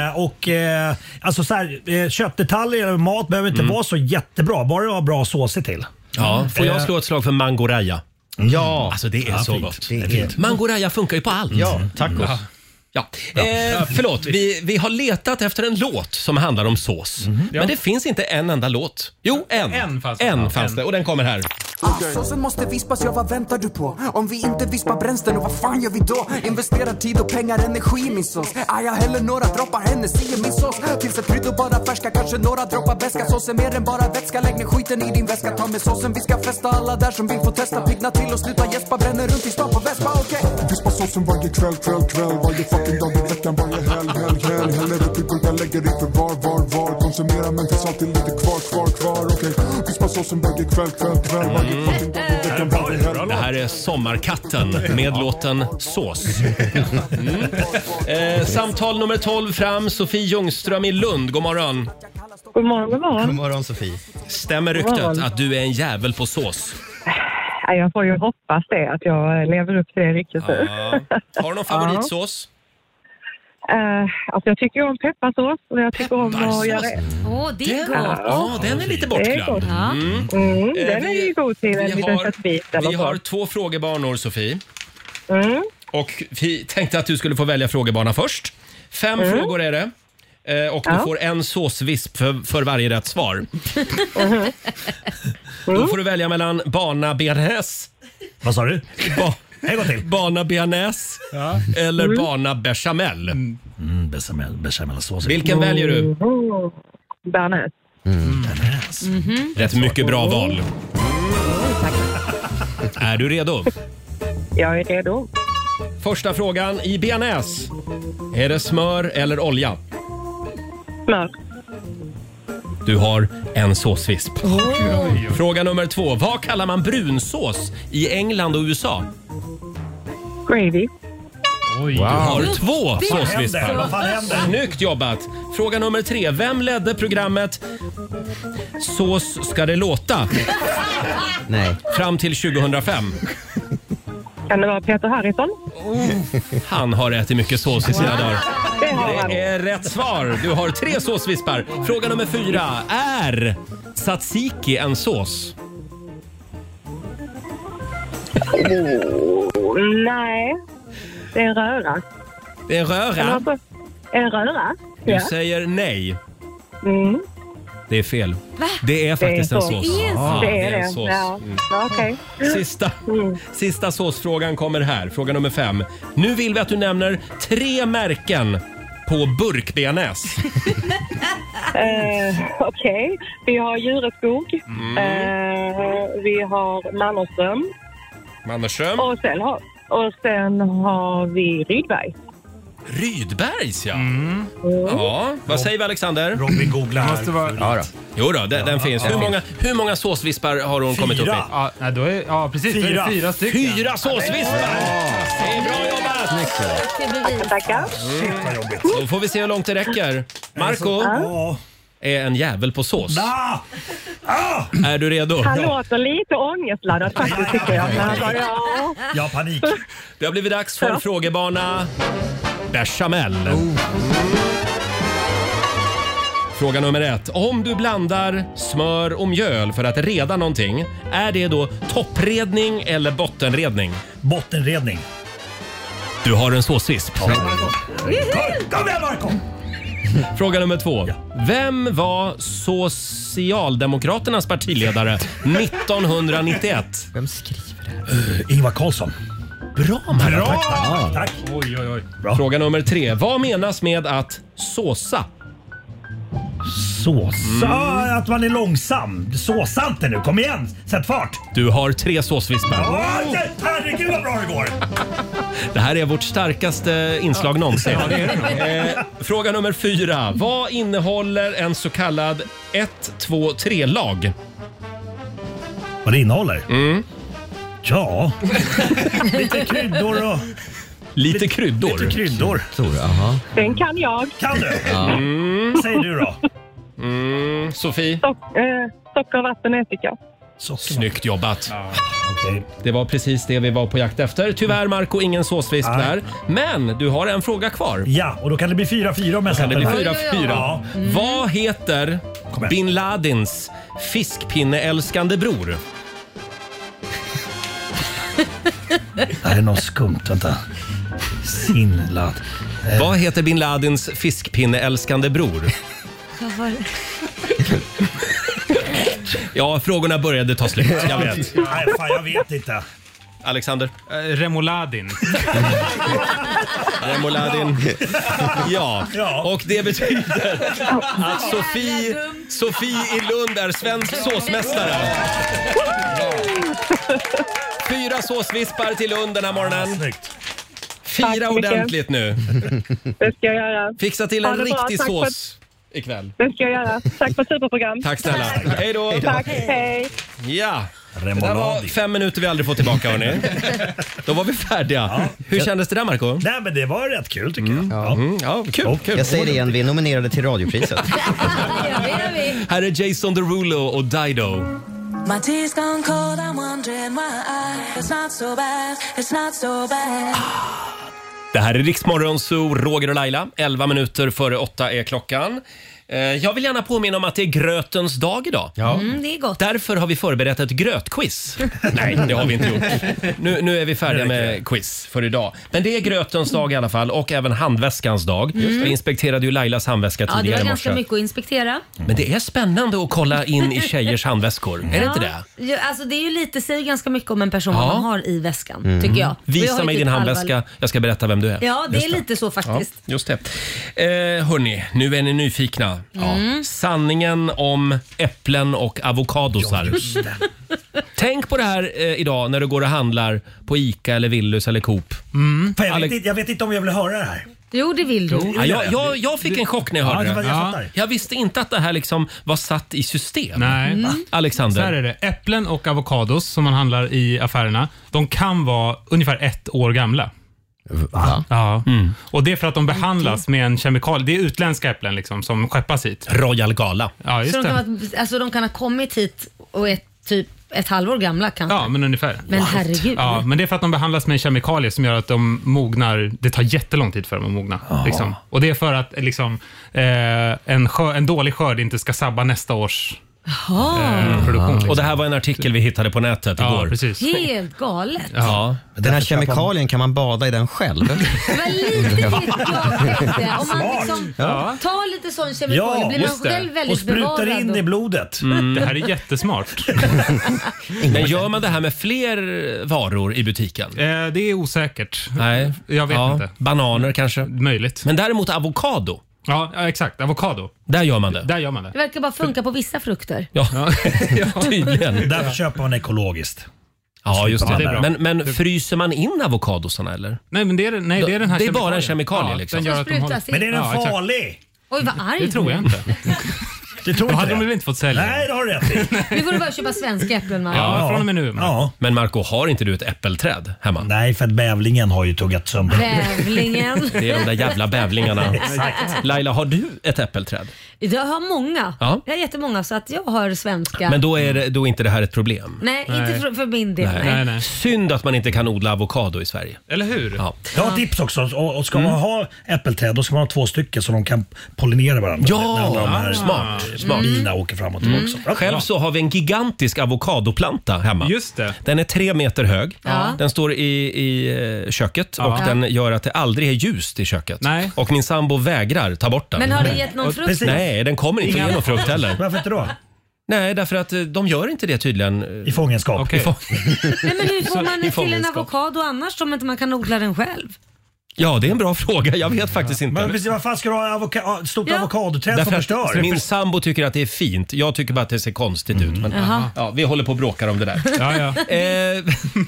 Speaker 1: han.
Speaker 5: Eh, och, eh, alltså så här, eh, köttdetaljer och mat behöver inte vara så jättebra, bara det har bra såser till.
Speaker 1: Mm. Ja, Mm. får jag
Speaker 5: Eh,
Speaker 1: slå ett slag för mangoraja?
Speaker 3: Ja.
Speaker 1: Alltså det är
Speaker 5: Ja,
Speaker 1: så
Speaker 5: fint.
Speaker 1: gott.
Speaker 5: Det är fint.
Speaker 1: Mangoraja funkar ju på allt. Mm.
Speaker 3: Ja, tacos.
Speaker 1: Ja. Ja. Eh, förlåt, vi, vi har letat efter en låt som handlar om sås. Men det finns inte en enda låt. Jo, en. Mhm. En fanns, en fanns det och den kommer här.
Speaker 13: Såsen Alltså, måste vispas, ja vad väntar du på? Om vi inte vispar bränns den, och vad fan gör vi då? Investerar tid och pengar, energi i min sås. Ah, jag häller några droppar Hennessy i min sås. Tillsätt kryddor, bara färska, kanske några droppar beska. Sås är mer än bara vätska, lägg ner skiten i din väska. Ta med såsen, vi ska festa alla där som vill få testa. Pigna till och sluta gäspa, bränner runt i stan på vespa, okej?
Speaker 14: Vispa såsen varje kväll, kväll, kväll Varje fucking dag i veckan, varje helg, helg, helg Häller upp i burkar, lägger i förvar, var, var Konsumerar men finns alltid lite kvar, kvar, kvar Okej, vispa såsen varje kväll, kväll, kväll Varje fucking dag i veckan, varje helg
Speaker 1: Det här är Sommarkatten med låten Sås. Mm. Eh, samtal nummer 12 fram, Sofie Ljungström i Lund. God morgon.
Speaker 15: God morgon, god morgon.
Speaker 3: God morgon Sofie.
Speaker 1: Stämmer
Speaker 15: God morgon.
Speaker 1: ryktet att du är en jävel på sås?
Speaker 15: Nej, Jag får ju hoppas det, att jag lever upp till det riktigt nu.
Speaker 1: Ja. Har du någon favoritsås?
Speaker 15: Ja. Eh, alltså jag tycker ju om pepparsås och jag tycker om att
Speaker 1: Pepparsås?
Speaker 15: göra...
Speaker 2: Åh, det är
Speaker 1: Ja,
Speaker 2: gott.
Speaker 1: den är lite
Speaker 15: Det är
Speaker 1: bortglömd.
Speaker 15: gott.
Speaker 1: Mm.
Speaker 15: Mm,
Speaker 1: Eh,
Speaker 15: den är
Speaker 1: vi-
Speaker 15: ju god till en
Speaker 1: vi
Speaker 15: liten
Speaker 1: har-
Speaker 15: köttbit eller
Speaker 1: Vi
Speaker 15: så.
Speaker 1: har två frågebanor, Sofie.
Speaker 15: Mm.
Speaker 1: Och vi tänkte att du skulle få välja frågebana först. Fem
Speaker 15: Mm.
Speaker 1: frågor är det. Eh, Och du
Speaker 15: Ja.
Speaker 1: får en såsvisp för, för varje rätt svar.
Speaker 15: Mm.
Speaker 1: Då får du välja mellan bana bearnaise.
Speaker 5: Vad sa du?
Speaker 1: Ba
Speaker 5: en gång till.
Speaker 1: Bana bearnaise eller
Speaker 5: Mm.
Speaker 1: bana bechamel.
Speaker 5: Mm, bechamel, bechamelsås. Mm.
Speaker 1: Vilken väljer du? Mm.
Speaker 15: Mhm. Bearnaise. Mhm.
Speaker 1: Rätt mycket bra val. Är du redo?
Speaker 15: Jag är redo.
Speaker 1: Första frågan i bearnaise. Är det smör eller olja?
Speaker 15: Smör.
Speaker 1: Du har en såsvisp. Fråga nummer två. Vad kallar man brunsås i England och USA?
Speaker 15: Gravy.
Speaker 1: Oj, du har
Speaker 10: Just
Speaker 1: två
Speaker 10: det. Vad fan
Speaker 1: såsvispar.
Speaker 10: händer?
Speaker 1: Snyggt jobbat! Fråga nummer tre. Vem ledde programmet Sås ska det låta? Nej. Fram till 2005.
Speaker 15: Kan det vara Peter Harrison?
Speaker 1: Oh. Han har ätit mycket sås i sina dagar.
Speaker 15: Det har han.
Speaker 1: Det är rätt svar. Du har tre såsvispar. Fråga nummer fyra. Är tzatziki en sås?
Speaker 15: Nej, det är en röra.
Speaker 1: Det är en
Speaker 15: Eller
Speaker 1: röra.
Speaker 15: vad- En röra?
Speaker 1: Du
Speaker 15: Ja.
Speaker 1: säger nej.
Speaker 15: Mm.
Speaker 1: Det är fel. Det är faktiskt
Speaker 15: Det är
Speaker 1: en
Speaker 15: så.
Speaker 1: sås.
Speaker 15: Det är en sås.
Speaker 1: Ja,
Speaker 15: Det är
Speaker 1: en
Speaker 15: det.
Speaker 1: sås.
Speaker 15: Ja.
Speaker 1: Mm.
Speaker 15: Ja, okej. Mm.
Speaker 1: Sista, sista såsfrågan kommer här. Fråga nummer fem. Nu vill vi att du nämner tre märken på burkbearnaise.
Speaker 15: Eh, Okej, vi har Djureskog.
Speaker 1: Mm.
Speaker 15: Eh, vi har Mannerström.
Speaker 1: Mannerström.
Speaker 15: Och sen har, och sen har vi Rydberg. Mm.
Speaker 1: Rydbergs ja. Mm. Ja, vad säger vi Alexander?
Speaker 5: Robin googlar här. Måste vara-
Speaker 1: Ja, då. Jo då, den, den finns.
Speaker 6: ja.
Speaker 1: Hur, många, hur många såsvispar har hon kommit upp i?
Speaker 6: Fyra. Ja, nej, då är, ja precis. Fyra. Då
Speaker 1: Fyra.
Speaker 6: är det fyra stycken.
Speaker 1: Fyra såsvispar! Det är bra Mm. jobbat!
Speaker 15: Tackar, tackar.
Speaker 5: Shit vad jobbigt.
Speaker 1: Då får vi se hur långt det räcker. Marco
Speaker 5: Ja.
Speaker 1: är en jävel på sås.
Speaker 5: Ah! Ah!
Speaker 1: Är du redo?
Speaker 15: Han låter lite ångestladdad faktiskt tycker jag. Men han bara, ja.
Speaker 5: Jag har panik.
Speaker 1: Det har blivit dags för frågebana bechamel. Fråga nummer ett. Om du blandar smör och mjöl för att reda någonting, är det då toppredning eller bottenredning?
Speaker 5: Bottenredning.
Speaker 1: Du har en såsvisp.
Speaker 5: Kom igen Marco!
Speaker 1: Fråga nummer två. Vem var Socialdemokraternas partiledare 1991?
Speaker 3: Vem skriver
Speaker 5: Eh, Ingvar Carlsson.
Speaker 1: Bra Marja.
Speaker 5: Bra!
Speaker 1: Tack, tack,
Speaker 5: Tack,
Speaker 1: tack.
Speaker 5: tack.
Speaker 6: Oj, oj, oj.
Speaker 1: Fråga nummer tre. Vad menas med att såsa? Mm.
Speaker 5: Såsa. Ah, Att man är långsam. Såsa inte nu. Kom igen. Sätt fart.
Speaker 1: Du har tre såsvispar.
Speaker 5: Ah, herregud vad bra det går.
Speaker 1: Det här är vårt starkaste inslag någonsin.
Speaker 5: Ja, det är
Speaker 1: Eh, Fråga nummer fyra. Vad innehåller en så kallad 1-2-3-lag?
Speaker 5: Vad det innehåller?
Speaker 1: Mm.
Speaker 5: Ja. Lite kryddor och...
Speaker 1: Lite kryddor?
Speaker 5: Lite kryddor.
Speaker 15: Den kan jag.
Speaker 5: Kan du?
Speaker 1: Mm.
Speaker 5: Säg du då.
Speaker 1: Mm. Sofie?
Speaker 15: Sock, eh, socker, vatten och ättika.
Speaker 1: Snyggt jobbat. Det var precis det vi var på jakt efter. Tyvärr Marco, ingen såsvisp
Speaker 5: Nej.
Speaker 1: där. Men du har en fråga kvar.
Speaker 5: Ja, och då kan det bli 4-4 om jag
Speaker 1: Kan det bli
Speaker 5: sätter den.
Speaker 1: 4-4?
Speaker 5: Ja.
Speaker 1: Vad heter bin Ladins fiskpinneälskande bror?
Speaker 5: Det här är något skumt. Vänta. Sinlad. Eh.
Speaker 1: Vad heter bin Ladins fiskpinneälskande bror?
Speaker 2: Vad var det?
Speaker 1: Ja, frågorna började ta slut. Jag vet.
Speaker 5: Nej, fan jag vet inte.
Speaker 1: Alexander?
Speaker 6: Remoladin.
Speaker 1: Remoladin. Ja. och det betyder att Sofie, Sofie i Lund är svensk såsmästare. Fyra såsvispar till Lund den här morgonen. Fira
Speaker 15: Tack så mycket.
Speaker 1: ordentligt nu.
Speaker 15: Det ska jag göra.
Speaker 1: Fixa till
Speaker 15: Ha
Speaker 1: en
Speaker 15: det bra.
Speaker 1: riktig
Speaker 15: Tack för-
Speaker 1: sås ikväll.
Speaker 15: Det ska jag göra. Tack för ett superprogram.
Speaker 1: Tack snälla. Hej då.
Speaker 15: Tack, hej.
Speaker 1: Ja, det där var fem minuter vi aldrig får tillbaka hörni. Då var vi färdiga. Hur kändes det där Marco?
Speaker 5: Nej men det var rätt kul tycker jag. Ja.
Speaker 1: Mm. Ja, kul, kul.
Speaker 3: Jag säger det igen, vi är nominerade till radiopriset.
Speaker 1: Här är Jason Derulo Mm. och Dido.
Speaker 9: My tea's gone cold, I'm wondering why. It's not so bad, it's not so bad.
Speaker 1: Det här är Riksmorgon Zoo, Roger och Laila. 11 minuter före åtta är klockan. Eh, Jag vill gärna påminna om att det är grötens dag idag.
Speaker 2: Mm, det är gott.
Speaker 1: Därför har vi förberett ett grötquiz. Nej, det har vi inte gjort. Nu, nu är vi färdiga med quiz för idag. Men det är grötens dag i alla fall och även handväskans dag.
Speaker 2: Just det.
Speaker 1: Jag inspekterade ju Lailas handväska
Speaker 2: Ja, det
Speaker 1: tidigare
Speaker 2: var
Speaker 1: i
Speaker 2: ganska
Speaker 1: morse.
Speaker 2: mycket att inspektera.
Speaker 1: Men det är spännande att kolla in i tjejers handväskor. Är det inte det?
Speaker 2: Ja, alltså det är ju lite, säger ganska mycket om en person
Speaker 1: Ja. Mm.
Speaker 2: vad man har i väskan, tycker jag. Och jag har
Speaker 1: Visa
Speaker 2: ju
Speaker 1: mig
Speaker 2: typ
Speaker 1: din
Speaker 2: halva-
Speaker 1: handväska, jag ska berätta vem du är.
Speaker 2: Ja, det
Speaker 1: Just
Speaker 2: är lite så faktiskt.
Speaker 1: Ja, just det. Eh, hörni, nu är ni nyfikna.
Speaker 2: Mm.
Speaker 1: Ja. Sanningen om äpplen och avokadosar. Tänk på det här eh, idag när du går och handlar på ICA eller Willys eller Coop.
Speaker 5: Mm. Fan, jag, vet
Speaker 1: Alex-
Speaker 5: inte, jag vet inte om jag vill höra det här.
Speaker 2: Jo, det vill du.
Speaker 1: Ja, jag, jag, jag fick en chock när jag
Speaker 5: Ja,
Speaker 1: hörde
Speaker 5: det var-
Speaker 1: det.
Speaker 5: jag fattar.
Speaker 1: Jag visste inte att det här liksom var satt i system.
Speaker 6: Nej.
Speaker 1: Mm. Alexander.
Speaker 6: Så här är det. Äpplen och avokados som man handlar i affärerna, de kan vara ungefär ett år gamla. Va? Ja.
Speaker 1: Mm.
Speaker 6: Och det är för att de behandlas med en kemikalie. Det är utländska äpplen liksom, som skeppas hit.
Speaker 1: Royal Gala.
Speaker 6: Ja, just
Speaker 2: Så de kan,
Speaker 6: det.
Speaker 2: vara, alltså, de kan ha kommit hit och är typ ett halvår gamla kanske.
Speaker 6: Ja, men ungefär.
Speaker 2: Men herregud.
Speaker 6: Ja, men det är för att de behandlas med en kemikalie som gör att de mognar. Det tar jättelång tid för dem att mogna. Liksom. Och det är för att liksom, eh, en, skör, en dålig skörd inte ska sabba nästa års
Speaker 2: Ah.
Speaker 6: eh, produktion.
Speaker 1: Och det här var en artikel vi hittade på nätet
Speaker 6: Ja,
Speaker 1: igår.
Speaker 6: precis.
Speaker 2: Helt galet.
Speaker 1: Ja.
Speaker 3: Den här kemikalien, kan man bada i den själv?
Speaker 2: Men lite vet jag inte. Om man liksom
Speaker 3: Ja.
Speaker 2: tar lite sån kemikalie blir man själv väldigt bevarad. och-
Speaker 1: blodet.
Speaker 6: Mm.
Speaker 5: Mm.
Speaker 6: Det här är jättesmart.
Speaker 1: Men gör man det här med fler varor i butiken?
Speaker 6: Eh, det är osäkert.
Speaker 1: Nej.
Speaker 6: Jag vet
Speaker 1: Ja,
Speaker 6: inte.
Speaker 1: Bananer kanske?
Speaker 6: Möjligt.
Speaker 1: Men däremot avokado?
Speaker 6: Ja, ja, exakt. Avokado.
Speaker 1: Där gör man det?
Speaker 6: Där gör man
Speaker 2: Det verkar bara funka på vissa frukter.
Speaker 1: Ja, tydligen.
Speaker 5: Därför köper man ekologiskt.
Speaker 1: Ja, just
Speaker 5: Ja, det är
Speaker 1: det.
Speaker 5: bra.
Speaker 1: Men, men fryser man in avokadosarna eller?
Speaker 6: Nej, men det är, nej, det är den här
Speaker 1: Det är bara en
Speaker 6: kemikalien.
Speaker 1: kemikalie
Speaker 6: Ja,
Speaker 1: liksom.
Speaker 6: den gör att de håller-
Speaker 5: Men är den
Speaker 6: Ja, exakt.
Speaker 5: farlig?
Speaker 2: Oj vad arg
Speaker 6: Det tror jag
Speaker 2: du
Speaker 6: inte.
Speaker 5: Det tror
Speaker 6: Då hade de väl inte fått sälja?
Speaker 5: Nej, det har du rätt i.
Speaker 2: är. Nu får du bara köpa svenska äpplen Mark.
Speaker 6: Ja, från och med nu.
Speaker 5: Ja.
Speaker 1: Men Marco har inte du ett äppelträd hemma?
Speaker 5: Nej, för att bävlingen har ju tuggat sönder.
Speaker 2: Bävlingen.
Speaker 1: Det är de där jävla bävlingarna.
Speaker 2: Exakt.
Speaker 1: Laila, har du ett äppelträd?
Speaker 2: Jag har många.
Speaker 1: Ja.
Speaker 2: Jag har jättemånga så att jag har svenska.
Speaker 1: Men då är, det, då är inte det här ett problem.
Speaker 2: Nej, inte för, för min del. Nej.
Speaker 1: Synd att man inte kan odla avokado i Sverige.
Speaker 6: Eller hur?
Speaker 1: Ja.
Speaker 5: Jag har ett tips också. Och, och ska
Speaker 1: Mm.
Speaker 5: man ha äppelträd då ska man ha två stycken så de kan pollinera varandra.
Speaker 1: Ja, Ah,
Speaker 5: när de här,
Speaker 1: smart,
Speaker 5: eh,
Speaker 1: smart.
Speaker 5: Bina åker fram och tillbaka. också.
Speaker 1: Själv så har vi en gigantisk avokadoplanta hemma.
Speaker 6: Just det.
Speaker 1: Den är tre meter hög.
Speaker 6: Ja.
Speaker 1: Den står i, i eh, köket
Speaker 6: Ja.
Speaker 1: och den gör att det aldrig är ljust i köket.
Speaker 6: Nej.
Speaker 1: Och min sambo vägrar ta bort den.
Speaker 2: Men har det gett någon
Speaker 1: Och-
Speaker 2: frukt? Precis.
Speaker 1: Nej, den kommer inte
Speaker 2: Inga-
Speaker 1: ge någon frukt heller.
Speaker 5: Varför inte då?
Speaker 1: Nej, därför att eh, de gör inte det tydligen. eh, I
Speaker 5: fångenskap.
Speaker 1: I
Speaker 2: Nej, men hur får man till en
Speaker 1: fångenskap.
Speaker 2: avokado annars om inte man kan odla den själv?
Speaker 1: Ja, det är en bra fråga. Jag vet faktiskt inte.
Speaker 5: Men precis, vad fan ska du ha avoka- ett stort avokadoträd som
Speaker 1: Därför att
Speaker 5: förstör?
Speaker 1: Min sambo tycker att det är fint. Jag tycker bara att det ser konstigt ut. Men,
Speaker 5: Jaha.
Speaker 1: ja, vi håller på och bråkar om det där.
Speaker 6: Ja, ja.
Speaker 1: Eh,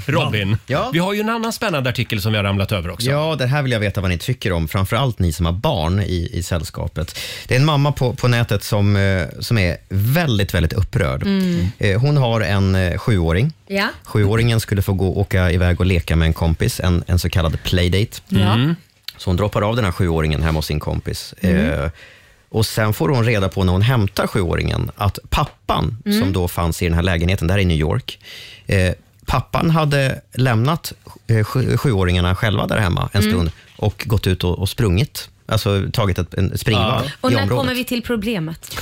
Speaker 1: Robin,
Speaker 3: Ja.
Speaker 1: vi har ju en annan spännande artikel som vi har ramlat över också.
Speaker 3: Ja, det här vill jag veta vad ni tycker om, framförallt ni som har barn i, i sällskapet. Det är en mamma på, på nätet som, eh, som är väldigt, väldigt upprörd.
Speaker 2: Mm.
Speaker 3: Eh, Hon har en eh, sjuåring.
Speaker 2: Ja.
Speaker 3: Sjuåringen skulle få gå åka iväg och leka med en kompis, en, en så kallad playdate.
Speaker 2: Ja. Mm.
Speaker 3: Så hon droppar av den här sjuåringen hemma hos sin kompis.
Speaker 2: Mm.
Speaker 3: Eh, och Sen får hon reda på när hon hämtar sjuåringen att pappan,
Speaker 2: Mm.
Speaker 3: som då fanns i den här lägenheten, där i New York, eh, pappan hade lämnat eh, sju- sjuåringarna själva där hemma en
Speaker 2: Mm.
Speaker 3: stund och gått ut och, och sprungit. Alltså tagit ett en springvarv
Speaker 2: Och
Speaker 3: i
Speaker 2: när
Speaker 3: området.
Speaker 2: kommer vi till problemet?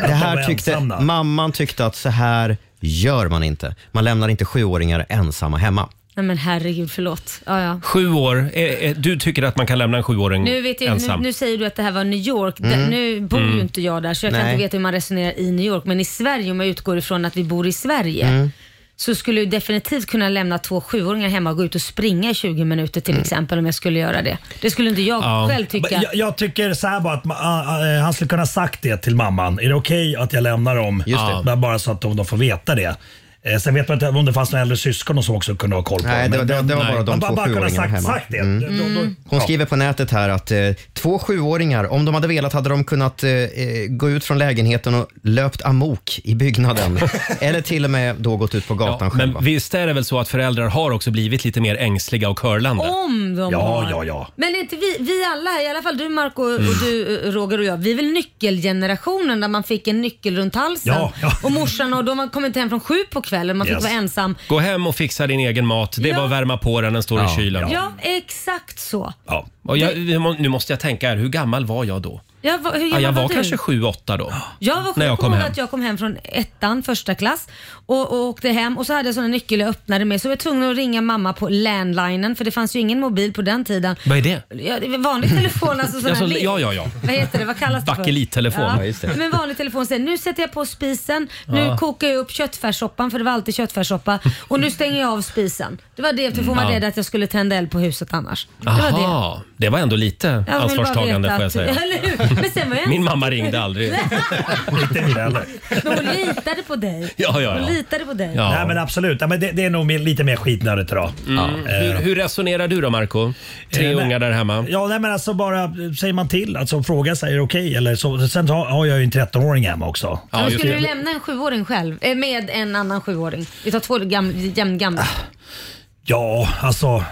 Speaker 3: Det här tyckte, mamman tyckte att så här gör man inte. Man lämnar inte sjuåringar ensamma hemma.
Speaker 2: Nej men herregud, förlåt. Ja, ja.
Speaker 1: Sju år. Eh, eh, Du tycker att man kan lämna en sjuåring
Speaker 2: Nu, vet jag, nu,
Speaker 1: ensam?
Speaker 2: nu säger du att det här var New York.
Speaker 1: Mm.
Speaker 2: Där- Nu bor
Speaker 1: Mm.
Speaker 2: ju inte jag där så jag kan
Speaker 1: Nej.
Speaker 2: inte veta hur man resonerar i New York. Men i Sverige, om jag utgår ifrån att vi bor i Sverige,
Speaker 3: Mm.
Speaker 2: så skulle jag definitivt kunna lämna två sjuåringar hemma och gå ut och springa i 20 minuter till
Speaker 3: Mm.
Speaker 2: exempel om jag skulle göra det. Det skulle inte jag själv tycka.
Speaker 5: Men Jag, jag tycker så här bara att ma- äh, äh, han skulle kunna sagt det till mamman. Är det okej att jag lämnar dem?
Speaker 3: Just det.
Speaker 5: Bara- Bara så att de, de får veta det. Eh, Sen vet man inte om det fanns några äldre syskon och så också kunde ha koll på
Speaker 3: Nej, det var-
Speaker 5: Men-
Speaker 3: det var- det var
Speaker 5: men-
Speaker 3: bara de
Speaker 5: man
Speaker 3: två
Speaker 5: bara kunna
Speaker 3: sjuåringarna
Speaker 5: sagt,
Speaker 3: hemma.
Speaker 5: Sagt det.
Speaker 3: Mm.
Speaker 5: Då- då- då-
Speaker 3: Hon skriver på nätet här att eh, två sjuåringar, om de hade velat hade de kunnat eh, eh, gå ut från lägenheten och löpt amok i byggnaden. Eller till och med då gått ut på gatan
Speaker 1: Ja,
Speaker 3: själva.
Speaker 1: men visst är det väl så att föräldrar har också blivit lite mer ängsliga och curlande?
Speaker 2: Om de har. Men är inte vi, vi alla här, i alla fall du Marco och
Speaker 1: Mm.
Speaker 2: du eh, Roger och jag, vi är väl nyckelgenerationen där man fick en nyckel runt halsen.
Speaker 1: Ja, ja.
Speaker 2: Och morsan och de har kommit hem från sju på kvällen, man
Speaker 1: Yes.
Speaker 2: fick vara ensam.
Speaker 1: Gå hem och fixa din egen mat. Det är
Speaker 2: Ja.
Speaker 1: bara att värma på den, den står i kylen.
Speaker 2: Ja, exakt så.
Speaker 1: Ja. Och jag, nu måste jag tänka här, hur gammal var jag då?
Speaker 2: Jag var, hur
Speaker 1: Ja,
Speaker 2: gammal
Speaker 1: jag var
Speaker 2: du?
Speaker 1: kanske sju, åtta då.
Speaker 2: Jag var
Speaker 1: när jag
Speaker 2: jag
Speaker 1: kom
Speaker 2: ihåg
Speaker 1: hem.
Speaker 2: att jag kom hem från ettan, första klass och, och åkte hem och så hade jag sån en nyckel jag öppnade med så jag var tvungen att ringa mamma på landlinen för det fanns ju ingen mobil på den tiden.
Speaker 1: Vad är det?
Speaker 2: Ja, det var vanlig telefon alltså sån
Speaker 1: Ja,
Speaker 2: här
Speaker 1: så-
Speaker 2: led-
Speaker 1: ja, ja, ja.
Speaker 2: Vad heter det? Vad kallas det för?
Speaker 1: Bakelittelefon. Ja, just det.
Speaker 2: Men vanlig telefon säger nu sätter jag på spisen, nu
Speaker 1: Ja.
Speaker 2: kokar jag upp köttfärssoppan för det var alltid köttfärssoppa och nu stänger jag av spisen. Det var det för hon var
Speaker 1: Mm, Ja.
Speaker 2: rädd att jag skulle tända eld på huset annars. Det var det.
Speaker 1: Aha, det var ändå lite
Speaker 2: Jag vill bara
Speaker 1: ansvarstagande
Speaker 2: veta
Speaker 1: får jag
Speaker 2: att-
Speaker 1: säga.
Speaker 2: Eller hur? Men sen var jag
Speaker 1: Min
Speaker 2: ensam.
Speaker 1: mamma ringde aldrig.
Speaker 5: Inte min heller.
Speaker 2: Men hon litade på dig.
Speaker 1: Ja, ja, ja.
Speaker 2: Hon litade på dig.
Speaker 5: Nej men absolut. Nej, men det, det är nog mer- lite mer skitnödigt idag.
Speaker 1: Mm.
Speaker 5: Eh,
Speaker 1: Hur, hur resonerar du då Marco? Tre
Speaker 5: Eh, nej.
Speaker 1: ungar där hemma.
Speaker 5: Ja, nej, men alltså bara eh, säger man till, alltså fråga sig är det okej? Eller så, sen har, har jag ju en 13-åring hemma också.
Speaker 2: Men skulle du lämna en sjuåring själv? Eh, Med
Speaker 1: Ah.
Speaker 2: en annan sjuåring? Vi tar två gam- jämngamla.
Speaker 5: Ja, alltså.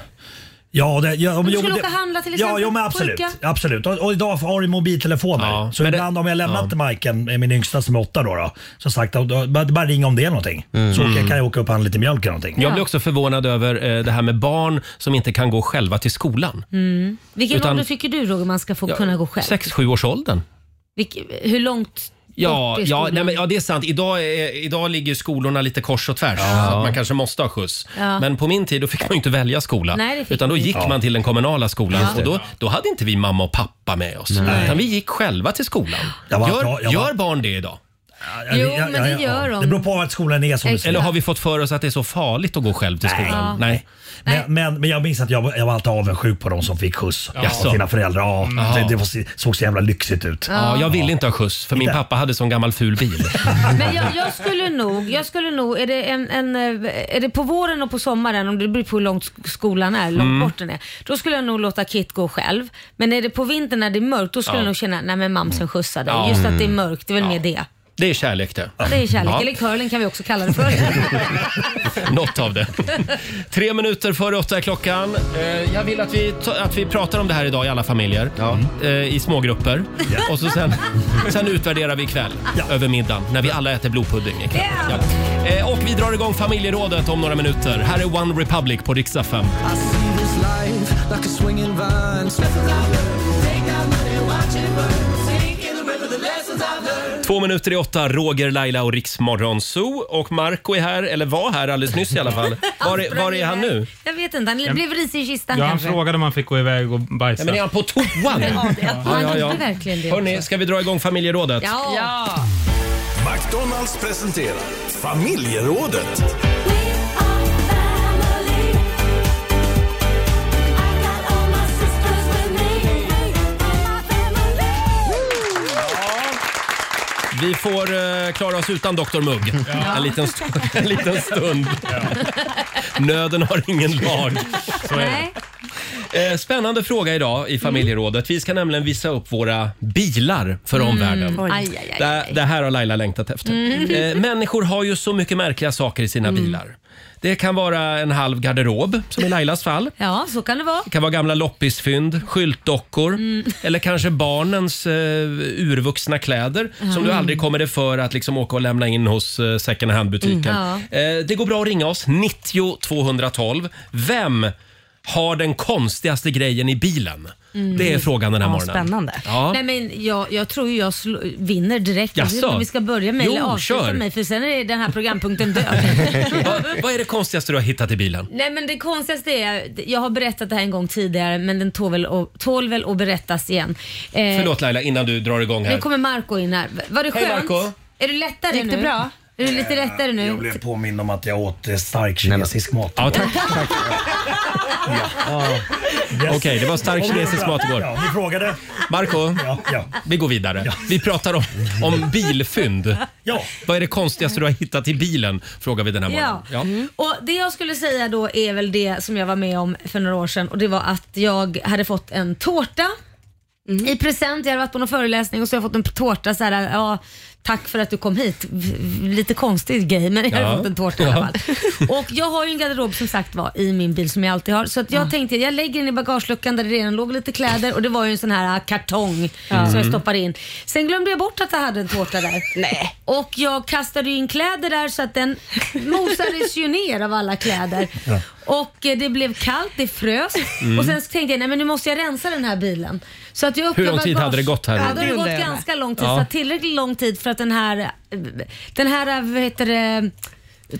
Speaker 5: Ja, det, ja,
Speaker 2: Om du
Speaker 5: jo,
Speaker 2: skulle
Speaker 5: det-
Speaker 2: åka och handla till
Speaker 5: Ja,
Speaker 2: exempel,
Speaker 5: jo, men absolut.
Speaker 2: pulka.
Speaker 5: absolut. Och, och idag har du mobiltelefoner. så ibland om jag lämnat Majken, eh, min yngsta som är åtta då, då som sagt, då, då, bara, bara ring om det är någonting.
Speaker 1: Mm.
Speaker 5: Så åker, jag- kan jag åka upp och handla lite mjölk eller någonting.
Speaker 1: Jag blir också förvånad över eh, det här med barn som inte kan gå själva till skolan.
Speaker 2: Mm. Vilken
Speaker 1: Utan-
Speaker 2: ålder tycker du Roger man ska få kunna gå själv?
Speaker 1: sex sju års åldern.
Speaker 2: Vilk- hur långt
Speaker 1: Ja,
Speaker 2: bort är
Speaker 1: ja,
Speaker 2: skolan?
Speaker 1: nej, men, ja, det är sant. Idag, är, idag ligger skolorna lite kors och tvärs. Så att man kanske måste ha skjuts.
Speaker 2: Ja.
Speaker 1: Men på min tid då fick man ju inte välja skola.
Speaker 2: Nej, det fick
Speaker 1: utan då
Speaker 2: vi
Speaker 1: gick
Speaker 2: inte.
Speaker 1: man till den kommunala skolan
Speaker 2: Ja.
Speaker 1: och då, då hade inte vi mamma och pappa med oss.
Speaker 2: Nej.
Speaker 1: Utan vi gick själva till skolan.
Speaker 5: Jag var-
Speaker 1: gör,
Speaker 5: jag var-
Speaker 1: gör barn det idag?
Speaker 5: Ja, Jo, ja, men ja, det ja. gör de. Det beror på att skolan är som den ser ut.
Speaker 1: Eller har vi fått för oss att det är så farligt att gå själv till
Speaker 5: Nej.
Speaker 1: skolan?
Speaker 5: Ja.
Speaker 1: Nej.
Speaker 5: Men, men, men jag minns att jag, var- jag var alltid avundsjuk på de som fick skjuts
Speaker 1: Ja.
Speaker 5: av sina föräldrar. Ja,
Speaker 1: Mm.
Speaker 5: det, det var- såg så jävla lyxigt ut.
Speaker 1: Ja, jag ville inte ha skjuts för min
Speaker 5: Inte?
Speaker 1: pappa hade sån gammal ful bil.
Speaker 2: Men jag, jag skulle nog, jag skulle nog är, det en, en, eh, är det på våren och på sommaren, om det beror på hur långt sk- skolan är, hur långt
Speaker 1: Mm.
Speaker 2: bort den är, då skulle jag nog låta Kit gå själv. Men är det på vintern när det är mörkt, då skulle
Speaker 1: Ja. Mm.
Speaker 2: jag nog känna, nej men mamsen skjutsar dig.
Speaker 1: Ja.
Speaker 2: Just att det är
Speaker 1: Mm.
Speaker 2: mörkt, det är väl mer det.
Speaker 1: Det är kärlek det.
Speaker 2: Det är kärlek,
Speaker 1: Ja.
Speaker 2: eller curling kan vi också kalla det för.
Speaker 1: Något av det. Tre minuter före åtta är klockan. Eh, Jag vill att vi, ta- att vi pratar om det här idag i alla familjer. Eh, I smågrupper. Och så sen, sen utvärderar vi ikväll över middagen när vi alla äter blodpudding ikväll. Ja. Eh, Och vi drar igång familjerådet om några minuter. Här är One Republic på riksdag 5.
Speaker 10: I see this life like a swinging vine. Lessons I've learned, take my money, watch it burn. Sink in the river, the lessons I've learned.
Speaker 1: Två minuter i åtta, Roger, Laila och Riksmorgon Zoo. Och Marco är här, eller var här alldeles nyss i alla fall. Var, är- var är han nu?
Speaker 2: Jag vet inte, han blev risig i kistan
Speaker 6: Ja, han
Speaker 2: kanske.
Speaker 6: frågade om han fick gå iväg och bajsa.
Speaker 1: Ja, men är han på toan?
Speaker 2: Ja, det- han
Speaker 1: ja, ja.
Speaker 2: gjorde verkligen det.
Speaker 1: Hörni, ska vi dra igång familjerådet?
Speaker 2: Ja. ja.
Speaker 16: McDonalds presenterar familjerådet.
Speaker 1: Vi får eh, klara oss utan Dr Mugg
Speaker 6: Ja.
Speaker 1: en, liten st- en liten stund. Nöden har ingen lag. Så är det.
Speaker 10: Nej.
Speaker 1: Eh, Spännande fråga idag i familjerådet. Vi ska nämligen visa upp våra bilar för
Speaker 10: Mm.
Speaker 1: omvärlden.
Speaker 10: Oj. Aj, aj, aj,
Speaker 1: Det, det här har Laila längtat efter.
Speaker 10: Mm.
Speaker 1: Eh, Människor har ju så mycket märkliga saker i sina
Speaker 2: Mm.
Speaker 1: bilar. Det kan vara en halv garderob, som i Lailas fall.
Speaker 2: Ja, så kan det vara.
Speaker 1: Det kan vara gamla loppisfynd, skyltdockor
Speaker 2: Mm.
Speaker 1: eller kanske barnens eh, urvuxna kläder som
Speaker 2: Mm.
Speaker 1: du aldrig kommer det för att liksom åka och lämna in hos eh, second hand-butiken.
Speaker 2: Mm.
Speaker 1: Eh, det går bra att ringa oss, 90 212. Vem har den konstigaste grejen i bilen?
Speaker 2: Mm.
Speaker 1: Det är frågan den här
Speaker 2: Ja,
Speaker 1: morgonen.
Speaker 2: spännande.
Speaker 1: Ja.
Speaker 2: Nej, men jag, jag tror ju jag sl- vinner direkt. Jag vet inte
Speaker 1: Jaså?
Speaker 2: om vi ska börja med
Speaker 1: Jo,
Speaker 2: eller avsluta
Speaker 1: kör.
Speaker 2: mig för sen är den här programpunkten död.
Speaker 1: Vad, vad är det konstigaste du har hittat i bilen?
Speaker 2: Nej men det konstigaste är, jag har berättat det här en gång tidigare men den tål väl att, tål väl att berättas igen. Eh,
Speaker 1: Förlåt Laila, innan du drar igång
Speaker 2: Nu
Speaker 1: här.
Speaker 2: kommer Marco in här. Var det
Speaker 1: Hej,
Speaker 2: skönt?
Speaker 1: Marco.
Speaker 2: Är du lättare
Speaker 8: Gick det
Speaker 2: nu?
Speaker 8: bra?
Speaker 2: Är du lite lättare nu?
Speaker 5: Jag blev påmind om att jag åt eh, stark kinesisk mat.
Speaker 1: Ja, tack. Okej, det var stark kinesisk mat igår.
Speaker 5: Ja, ni frågade.
Speaker 1: Marco, vi går vidare. Vi pratar om, om bilfynd.
Speaker 5: Ja.
Speaker 1: Vad är det konstigaste du har hittat i bilen? Frågar vi den här morgonen.
Speaker 2: Ja. Och Det jag skulle säga då är väl det som jag var med om för några år sedan och det var att jag hade fått en tårta i present. Jag hade varit på någon föreläsning och så har jag fått en tårta så här, ja, tack för att du kom hit. V- Lite konstig grej men jag hade
Speaker 10: Ja.
Speaker 2: fått en tårta i alla
Speaker 10: Ja.
Speaker 2: fall. Och jag har ju en garderob som sagt var i min bil som jag alltid har. Så att jag tänkte jag lägger den i bagageluckan där det redan låg lite kläder och det var ju en sån här äh, kartong som jag
Speaker 10: Mm.
Speaker 2: stoppade in. Sen glömde jag bort att jag hade en tårta där. Nej. Och jag kastade ju in kläder där så att den mosades ju ner av alla kläder.
Speaker 10: Ja.
Speaker 2: Och eh, det blev kallt, det frös
Speaker 1: Mm.
Speaker 2: och sen så tänkte jag nej men nu måste jag rensa den här bilen. Så att jag öppnade
Speaker 1: Hur lång tid
Speaker 2: bagage-
Speaker 1: hade det gått här?
Speaker 2: Ja,
Speaker 1: Ja,
Speaker 2: det
Speaker 1: det
Speaker 2: hade
Speaker 1: undrar
Speaker 2: gått
Speaker 1: jag med.
Speaker 2: ganska lång tid.
Speaker 1: Ja.
Speaker 2: Så att tillräckligt lång tid för att den här, den här vad heter det,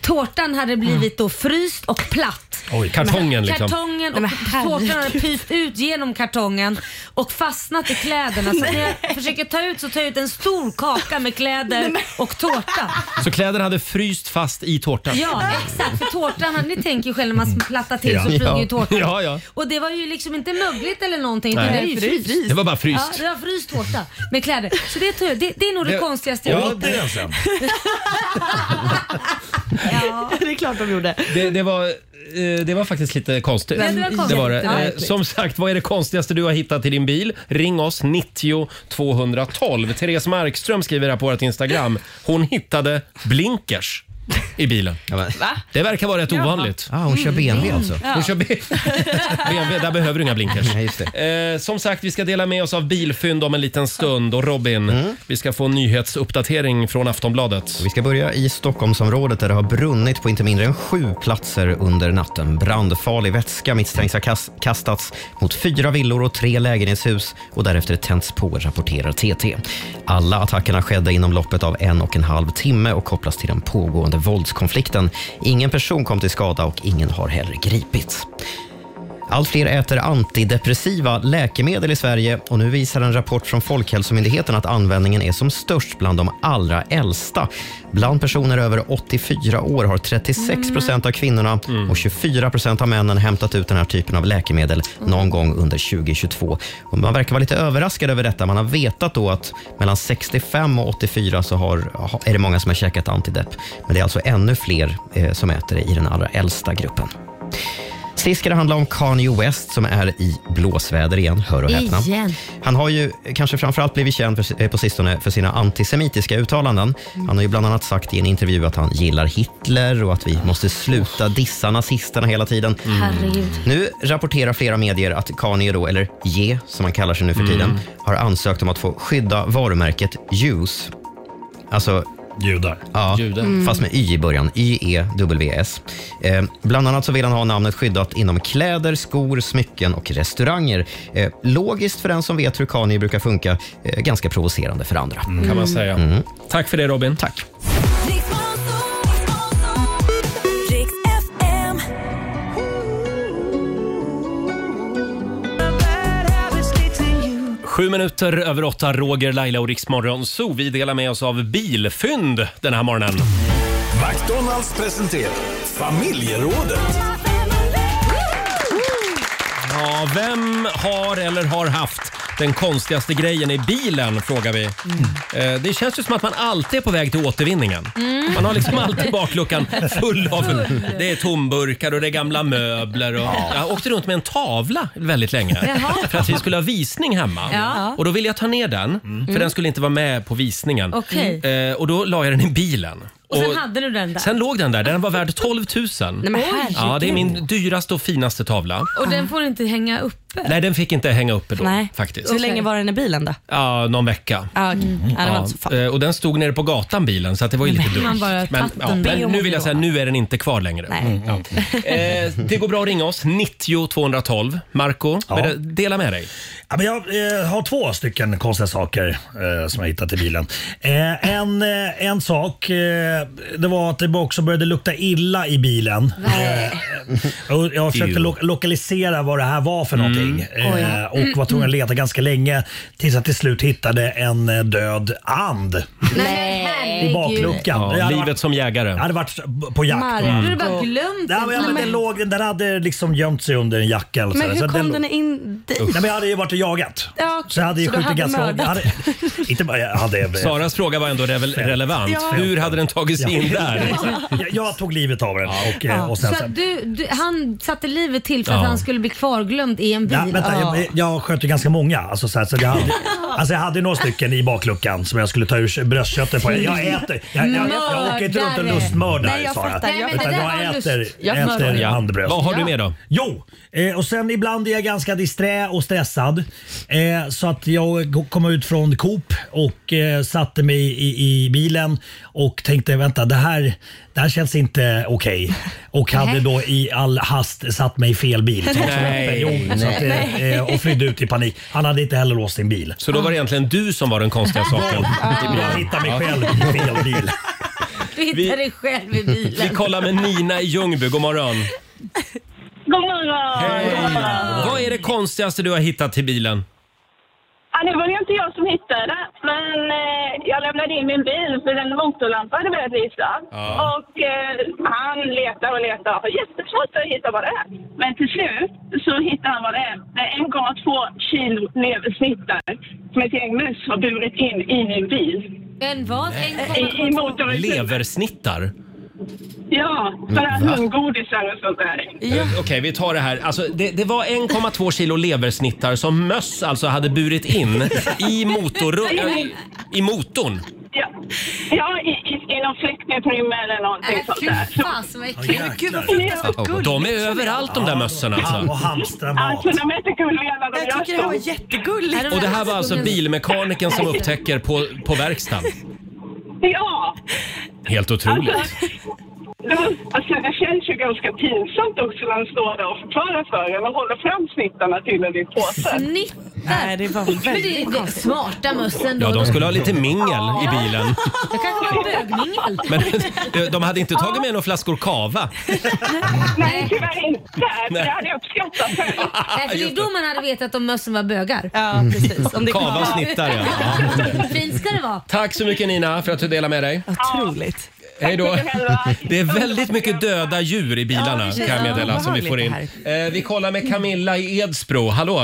Speaker 2: tårtan hade blivit då fryst och platt.
Speaker 1: Oj, kartongen liksom.
Speaker 2: Kartongen och
Speaker 10: Nej, men
Speaker 2: tårtan hade
Speaker 10: herregud.
Speaker 2: pyst ut genom kartongen och fastnat i kläderna. Så när jag försöker ta ut så tar jag ut en stor kaka med kläder och tårta.
Speaker 1: Så kläderna hade fryst fast i tårtan?
Speaker 2: Ja, exakt. För tårtan, hade- ni tänker ju själv när man plattar till så
Speaker 1: Mm. Ja.
Speaker 2: flyger ju
Speaker 1: Ja.
Speaker 2: tårtan.
Speaker 1: Ja, ja.
Speaker 2: Och det var ju liksom inte mögligt eller någonting. utan
Speaker 1: Nej.
Speaker 2: det, är ju
Speaker 1: Nej, för det är
Speaker 2: fryst.
Speaker 1: fryst. Det var bara fryst.
Speaker 2: Ja, det var fryst tårta med kläder. Så det, tror jag- det, det är nog det, konstigaste
Speaker 1: Ja,
Speaker 2: hittat.
Speaker 1: det är sen.
Speaker 8: Ja, det är klart de gjorde.
Speaker 1: Det, det, var, eh, det var faktiskt lite konstigt.
Speaker 8: Ja, det var konstigt.
Speaker 1: var det.
Speaker 8: Ja.
Speaker 1: Eh, Som sagt, vad är det konstigaste du har hittat i din bil? Ring oss 90 212. Therese Markström skriver här på vårt Instagram. Hon hittade blinkers. i bilen. Det verkar vara rätt
Speaker 3: Ja.
Speaker 1: ovanligt.
Speaker 3: Ah, hon kör BMW Mm. alltså. Ja.
Speaker 1: Hon kör B- BMW, där behöver du inga blinkers. Eh, som sagt, vi ska dela med oss av bilfynd om en liten stund. Och Robin,
Speaker 3: Mm.
Speaker 1: vi ska få en nyhetsuppdatering från Aftonbladet.
Speaker 3: Vi ska börja i Stockholmsområdet där det har brunnit på inte mindre än sju platser under natten. Brandfarlig vätska misstänks ha kas- kastats mot fyra villor och tre lägenhetshus och därefter tänts på, rapporterar TT. Alla attackerna skedde inom loppet av en och en halv timme och kopplas till den pågående våldskonflikten. Ingen person kom till skada och ingen har heller gripits. Allt fler äter antidepressiva läkemedel i Sverige och nu visar en rapport från Folkhälsomyndigheten att användningen är som störst bland de allra äldsta. Bland personer över 84 år har 36 procent av kvinnorna och 24 procent av männen hämtat ut den här typen av läkemedel någon gång under 2022. Och man verkar vara lite överraskad över detta. Man har vetat då att mellan 65 och 84 så har, är det många som har käkat antidepp. Men det är alltså ännu fler eh, som äter det i den allra äldsta gruppen. Sist ska det handla om Kanye West som är i blåsväder igen, hör och häpna.
Speaker 10: Igen.
Speaker 3: Han har ju kanske framförallt blivit känd för, eh, på sistone för sina antisemitiska uttalanden. Han har ju bland annat sagt i en intervju att han gillar Hitler och att vi måste sluta dissa nazisterna hela tiden.
Speaker 9: Mm.
Speaker 2: Herregud.
Speaker 3: Nu rapporterar flera medier att Kanye, då, eller Ye som han kallar sig nu för tiden,
Speaker 10: Mm.
Speaker 3: har ansökt om att få skydda varumärket Jews. Alltså Judar. Ja,
Speaker 1: Mm.
Speaker 10: Judar.
Speaker 3: fast med Y i början. Y-E-W-S. Eh, bland annat så vill han ha namnet skyddat inom kläder, skor, smycken och restauranger. Eh, logiskt för den som vet hur Kanye brukar funka. Eh, ganska provocerande för andra.
Speaker 1: Mm.
Speaker 3: Mm.
Speaker 1: Kan man säga. Tack för det Robin.
Speaker 3: Tack.
Speaker 10: Rix FM.
Speaker 1: Sju minuter över åtta, Roger, Laila och Riksmorgon Så Vi delar med oss av bilfynd den här morgonen.
Speaker 16: McDonalds presenterar familjerådet.
Speaker 1: Ja, vem har eller har haft den konstigaste grejen i bilen, frågar vi. Eh, Det känns ju som att man alltid är på väg till återvinningen.
Speaker 10: Mm.
Speaker 1: Man har liksom alltid bakluckan full av... Det är tomburkar och det är gamla möbler. Och... Jag åkte runt med en tavla väldigt länge
Speaker 10: Jaha.
Speaker 1: för att vi skulle ha visning hemma.
Speaker 10: Ja.
Speaker 1: Och då ville jag ta ner den, för den skulle inte vara med på visningen.
Speaker 2: Okej.
Speaker 1: Eh, Och då la jag den i bilen.
Speaker 2: Och sen hade du den där.
Speaker 1: sen låg den där. Den var värd 12 000.
Speaker 2: Nej, men herregud.
Speaker 1: ja, det är min dyraste och finaste tavla.
Speaker 2: Och den får inte hänga uppe.
Speaker 1: Nej, den fick inte hänga uppe då
Speaker 8: Nej.
Speaker 1: faktiskt. Eh,
Speaker 8: Hur länge var den i bilen då?
Speaker 1: Ja, någon vecka.
Speaker 8: Ah, okay. mm. ja, det var inte så farligt.
Speaker 1: eh, och den stod nere på gatan bilen så att det var ju lite dumt.
Speaker 8: man bara
Speaker 1: men,
Speaker 8: tagit den. Be
Speaker 1: men
Speaker 8: om
Speaker 1: nu
Speaker 8: att
Speaker 1: vill jag
Speaker 8: få
Speaker 1: säga, nu är den inte kvar längre. Mm, ja. eh, det går bra att ringa oss, 90 212. Marco,
Speaker 5: Ja.
Speaker 1: ber- dela med dig.
Speaker 5: Ja, men jag eh, har två stycken konstiga saker eh, som jag hittat i bilen. Eh, en, eh, en sak, eh, det var att det också började lukta illa i bilen. Eh, och jag försökte
Speaker 10: Ew.
Speaker 5: lo- lokalisera vad det här var för
Speaker 1: Mm.
Speaker 5: någonting
Speaker 10: Oj.
Speaker 5: eh, och var tvungen att leta ganska länge tills jag till slut hittade en eh, död and i bakluckan.
Speaker 1: Ja,
Speaker 5: Det hade
Speaker 1: livet
Speaker 5: varit-
Speaker 1: som jägare.
Speaker 5: Jag hade varit på jakt.
Speaker 8: Marco,
Speaker 5: Mm.
Speaker 8: du hade bara glömt
Speaker 5: Nej,
Speaker 8: det.
Speaker 5: men, ja, men
Speaker 8: Nej,
Speaker 5: den,
Speaker 8: men-
Speaker 5: låg, den hade liksom gömt sig under en jacka. Eller så
Speaker 8: Men
Speaker 5: där,
Speaker 8: hur
Speaker 5: så
Speaker 8: kom
Speaker 5: låg-
Speaker 8: den in dit?
Speaker 5: Nej, men jag hade ju varit och jagat.
Speaker 8: Ja, okej.
Speaker 5: Så jag hade ju
Speaker 8: Så du
Speaker 5: skjutit
Speaker 8: hade
Speaker 5: ganska
Speaker 8: mördat.
Speaker 5: jag hade, Inte bara jag hade...
Speaker 1: Saras fråga var ändå revel- relevant.
Speaker 5: Ja.
Speaker 1: Hur hade den tagit sig in där?
Speaker 5: Jag, jag tog livet av den. Och, eh, och sen,
Speaker 2: Så
Speaker 5: sen,
Speaker 2: att du, du, han satte livet till för att
Speaker 5: Ja.
Speaker 2: han skulle bli kvarglömd i en bil.
Speaker 5: ja, vänta,
Speaker 10: Ah.
Speaker 2: Ja.
Speaker 5: jag, jag sköt ju ganska många. Alltså, så här, så jag, hade, alltså, jag hade några stycken i bakluckan som jag skulle ta ur bröstköttet på. Jag äter. Jag, jag, jag, jag åker inte runt och
Speaker 10: Mm. Mördare.
Speaker 5: lustmördar
Speaker 10: Nej, jag
Speaker 5: Sara.
Speaker 10: fattar. Jag
Speaker 5: Utan
Speaker 10: fattar.
Speaker 5: jag
Speaker 10: Jag har
Speaker 5: äter,
Speaker 10: lust. Jag
Speaker 5: äter
Speaker 10: mördar.
Speaker 5: handbröst.
Speaker 1: Vad har du med då?
Speaker 5: Jo, eh, och sen ibland är jag ganska disträ och stressad. Eh, så att jag go- kom ut från Coop och eh, satte mig i, i bilen och tänkte vänta det här, det här känns inte okej. Och hade
Speaker 10: Nej.
Speaker 5: då i all hast satt mig i fel bil. Så jag var så
Speaker 10: Nej,
Speaker 5: öppen, jo, så att,
Speaker 10: nej.
Speaker 5: eh, och flydde ut i panik. Han hade inte heller låst sin bil.
Speaker 1: Så då var det egentligen du som var den konstiga saken.
Speaker 5: Jag hittade mig själv i fel bil.
Speaker 2: Du hittade dig själv i bilen.
Speaker 1: Vi kollar med Nina i Ljungby. God morgon.
Speaker 15: God morgon!
Speaker 1: Vad är det konstigaste du har hittat till bilen?
Speaker 15: Ja, det var ju inte jag som hittade det, men eh, jag lämnade in min bil för den motorlampa hade börjat lysa.
Speaker 10: Ja.
Speaker 15: Och eh, han letar och letar och har jättesvårt att hitta vad det är. Men till slut så hittar han vad det är. Det är 1,2 kilo leversnittar som ett gäng möss har burit in i min bil.
Speaker 2: En vad?
Speaker 15: I, i motorn.
Speaker 1: Leversnittar?
Speaker 15: Ja, för att
Speaker 1: Va?
Speaker 15: hundgodisar och sånt där.
Speaker 1: Eh, Okej, vi tar det här. Alltså, det, det var 1,2 kilo leversnittar som möss alltså hade burit in i, motor,
Speaker 15: Nej.
Speaker 1: i motorn.
Speaker 15: Ja, ja i, i, i i någon flyktingprym eller någonting sånt där.
Speaker 17: Fy fasen vad äckligt. Men gud vad
Speaker 1: Wow. De är överallt de där mössorna
Speaker 5: Och
Speaker 1: alltså.
Speaker 5: hamstra mat.
Speaker 15: Alltså de är inte gulliga när de
Speaker 8: Jag tycker det var jättegulligt.
Speaker 1: Och det här var alltså bilmekanikern som upptäcker på, på verkstaden.
Speaker 15: Ja!
Speaker 1: Helt otroligt.
Speaker 15: Det var, alltså, det känns ju ganska pinsamt också när han står där och förklarar för en och håller fram snittarna till en i påsen.
Speaker 17: Snittar.
Speaker 8: det var
Speaker 17: Men det är det smarta mössen då.
Speaker 1: Ja, de skulle ha lite mingel i bilen.
Speaker 17: Det kanske var bögmingel.
Speaker 1: Men de hade inte tagit med några flaskor kava.
Speaker 15: Nej, tyvärr inte.
Speaker 1: Nej.
Speaker 15: Det hade jag uppskattat.
Speaker 2: Nej, för det är
Speaker 1: Just
Speaker 2: då man hade vetat om mössen var bögar.
Speaker 8: Ja, precis. Om det
Speaker 1: Kava och snittar, ja. Ja.
Speaker 2: Fint ska det vara.
Speaker 1: Tack så mycket Nina för att du delade med dig.
Speaker 8: Otroligt.
Speaker 1: Hej då. Det är väldigt mycket döda djur i bilarna kan jag meddela som vi får in. Eh, vi kollar med Camilla i Edsbro. Hallå!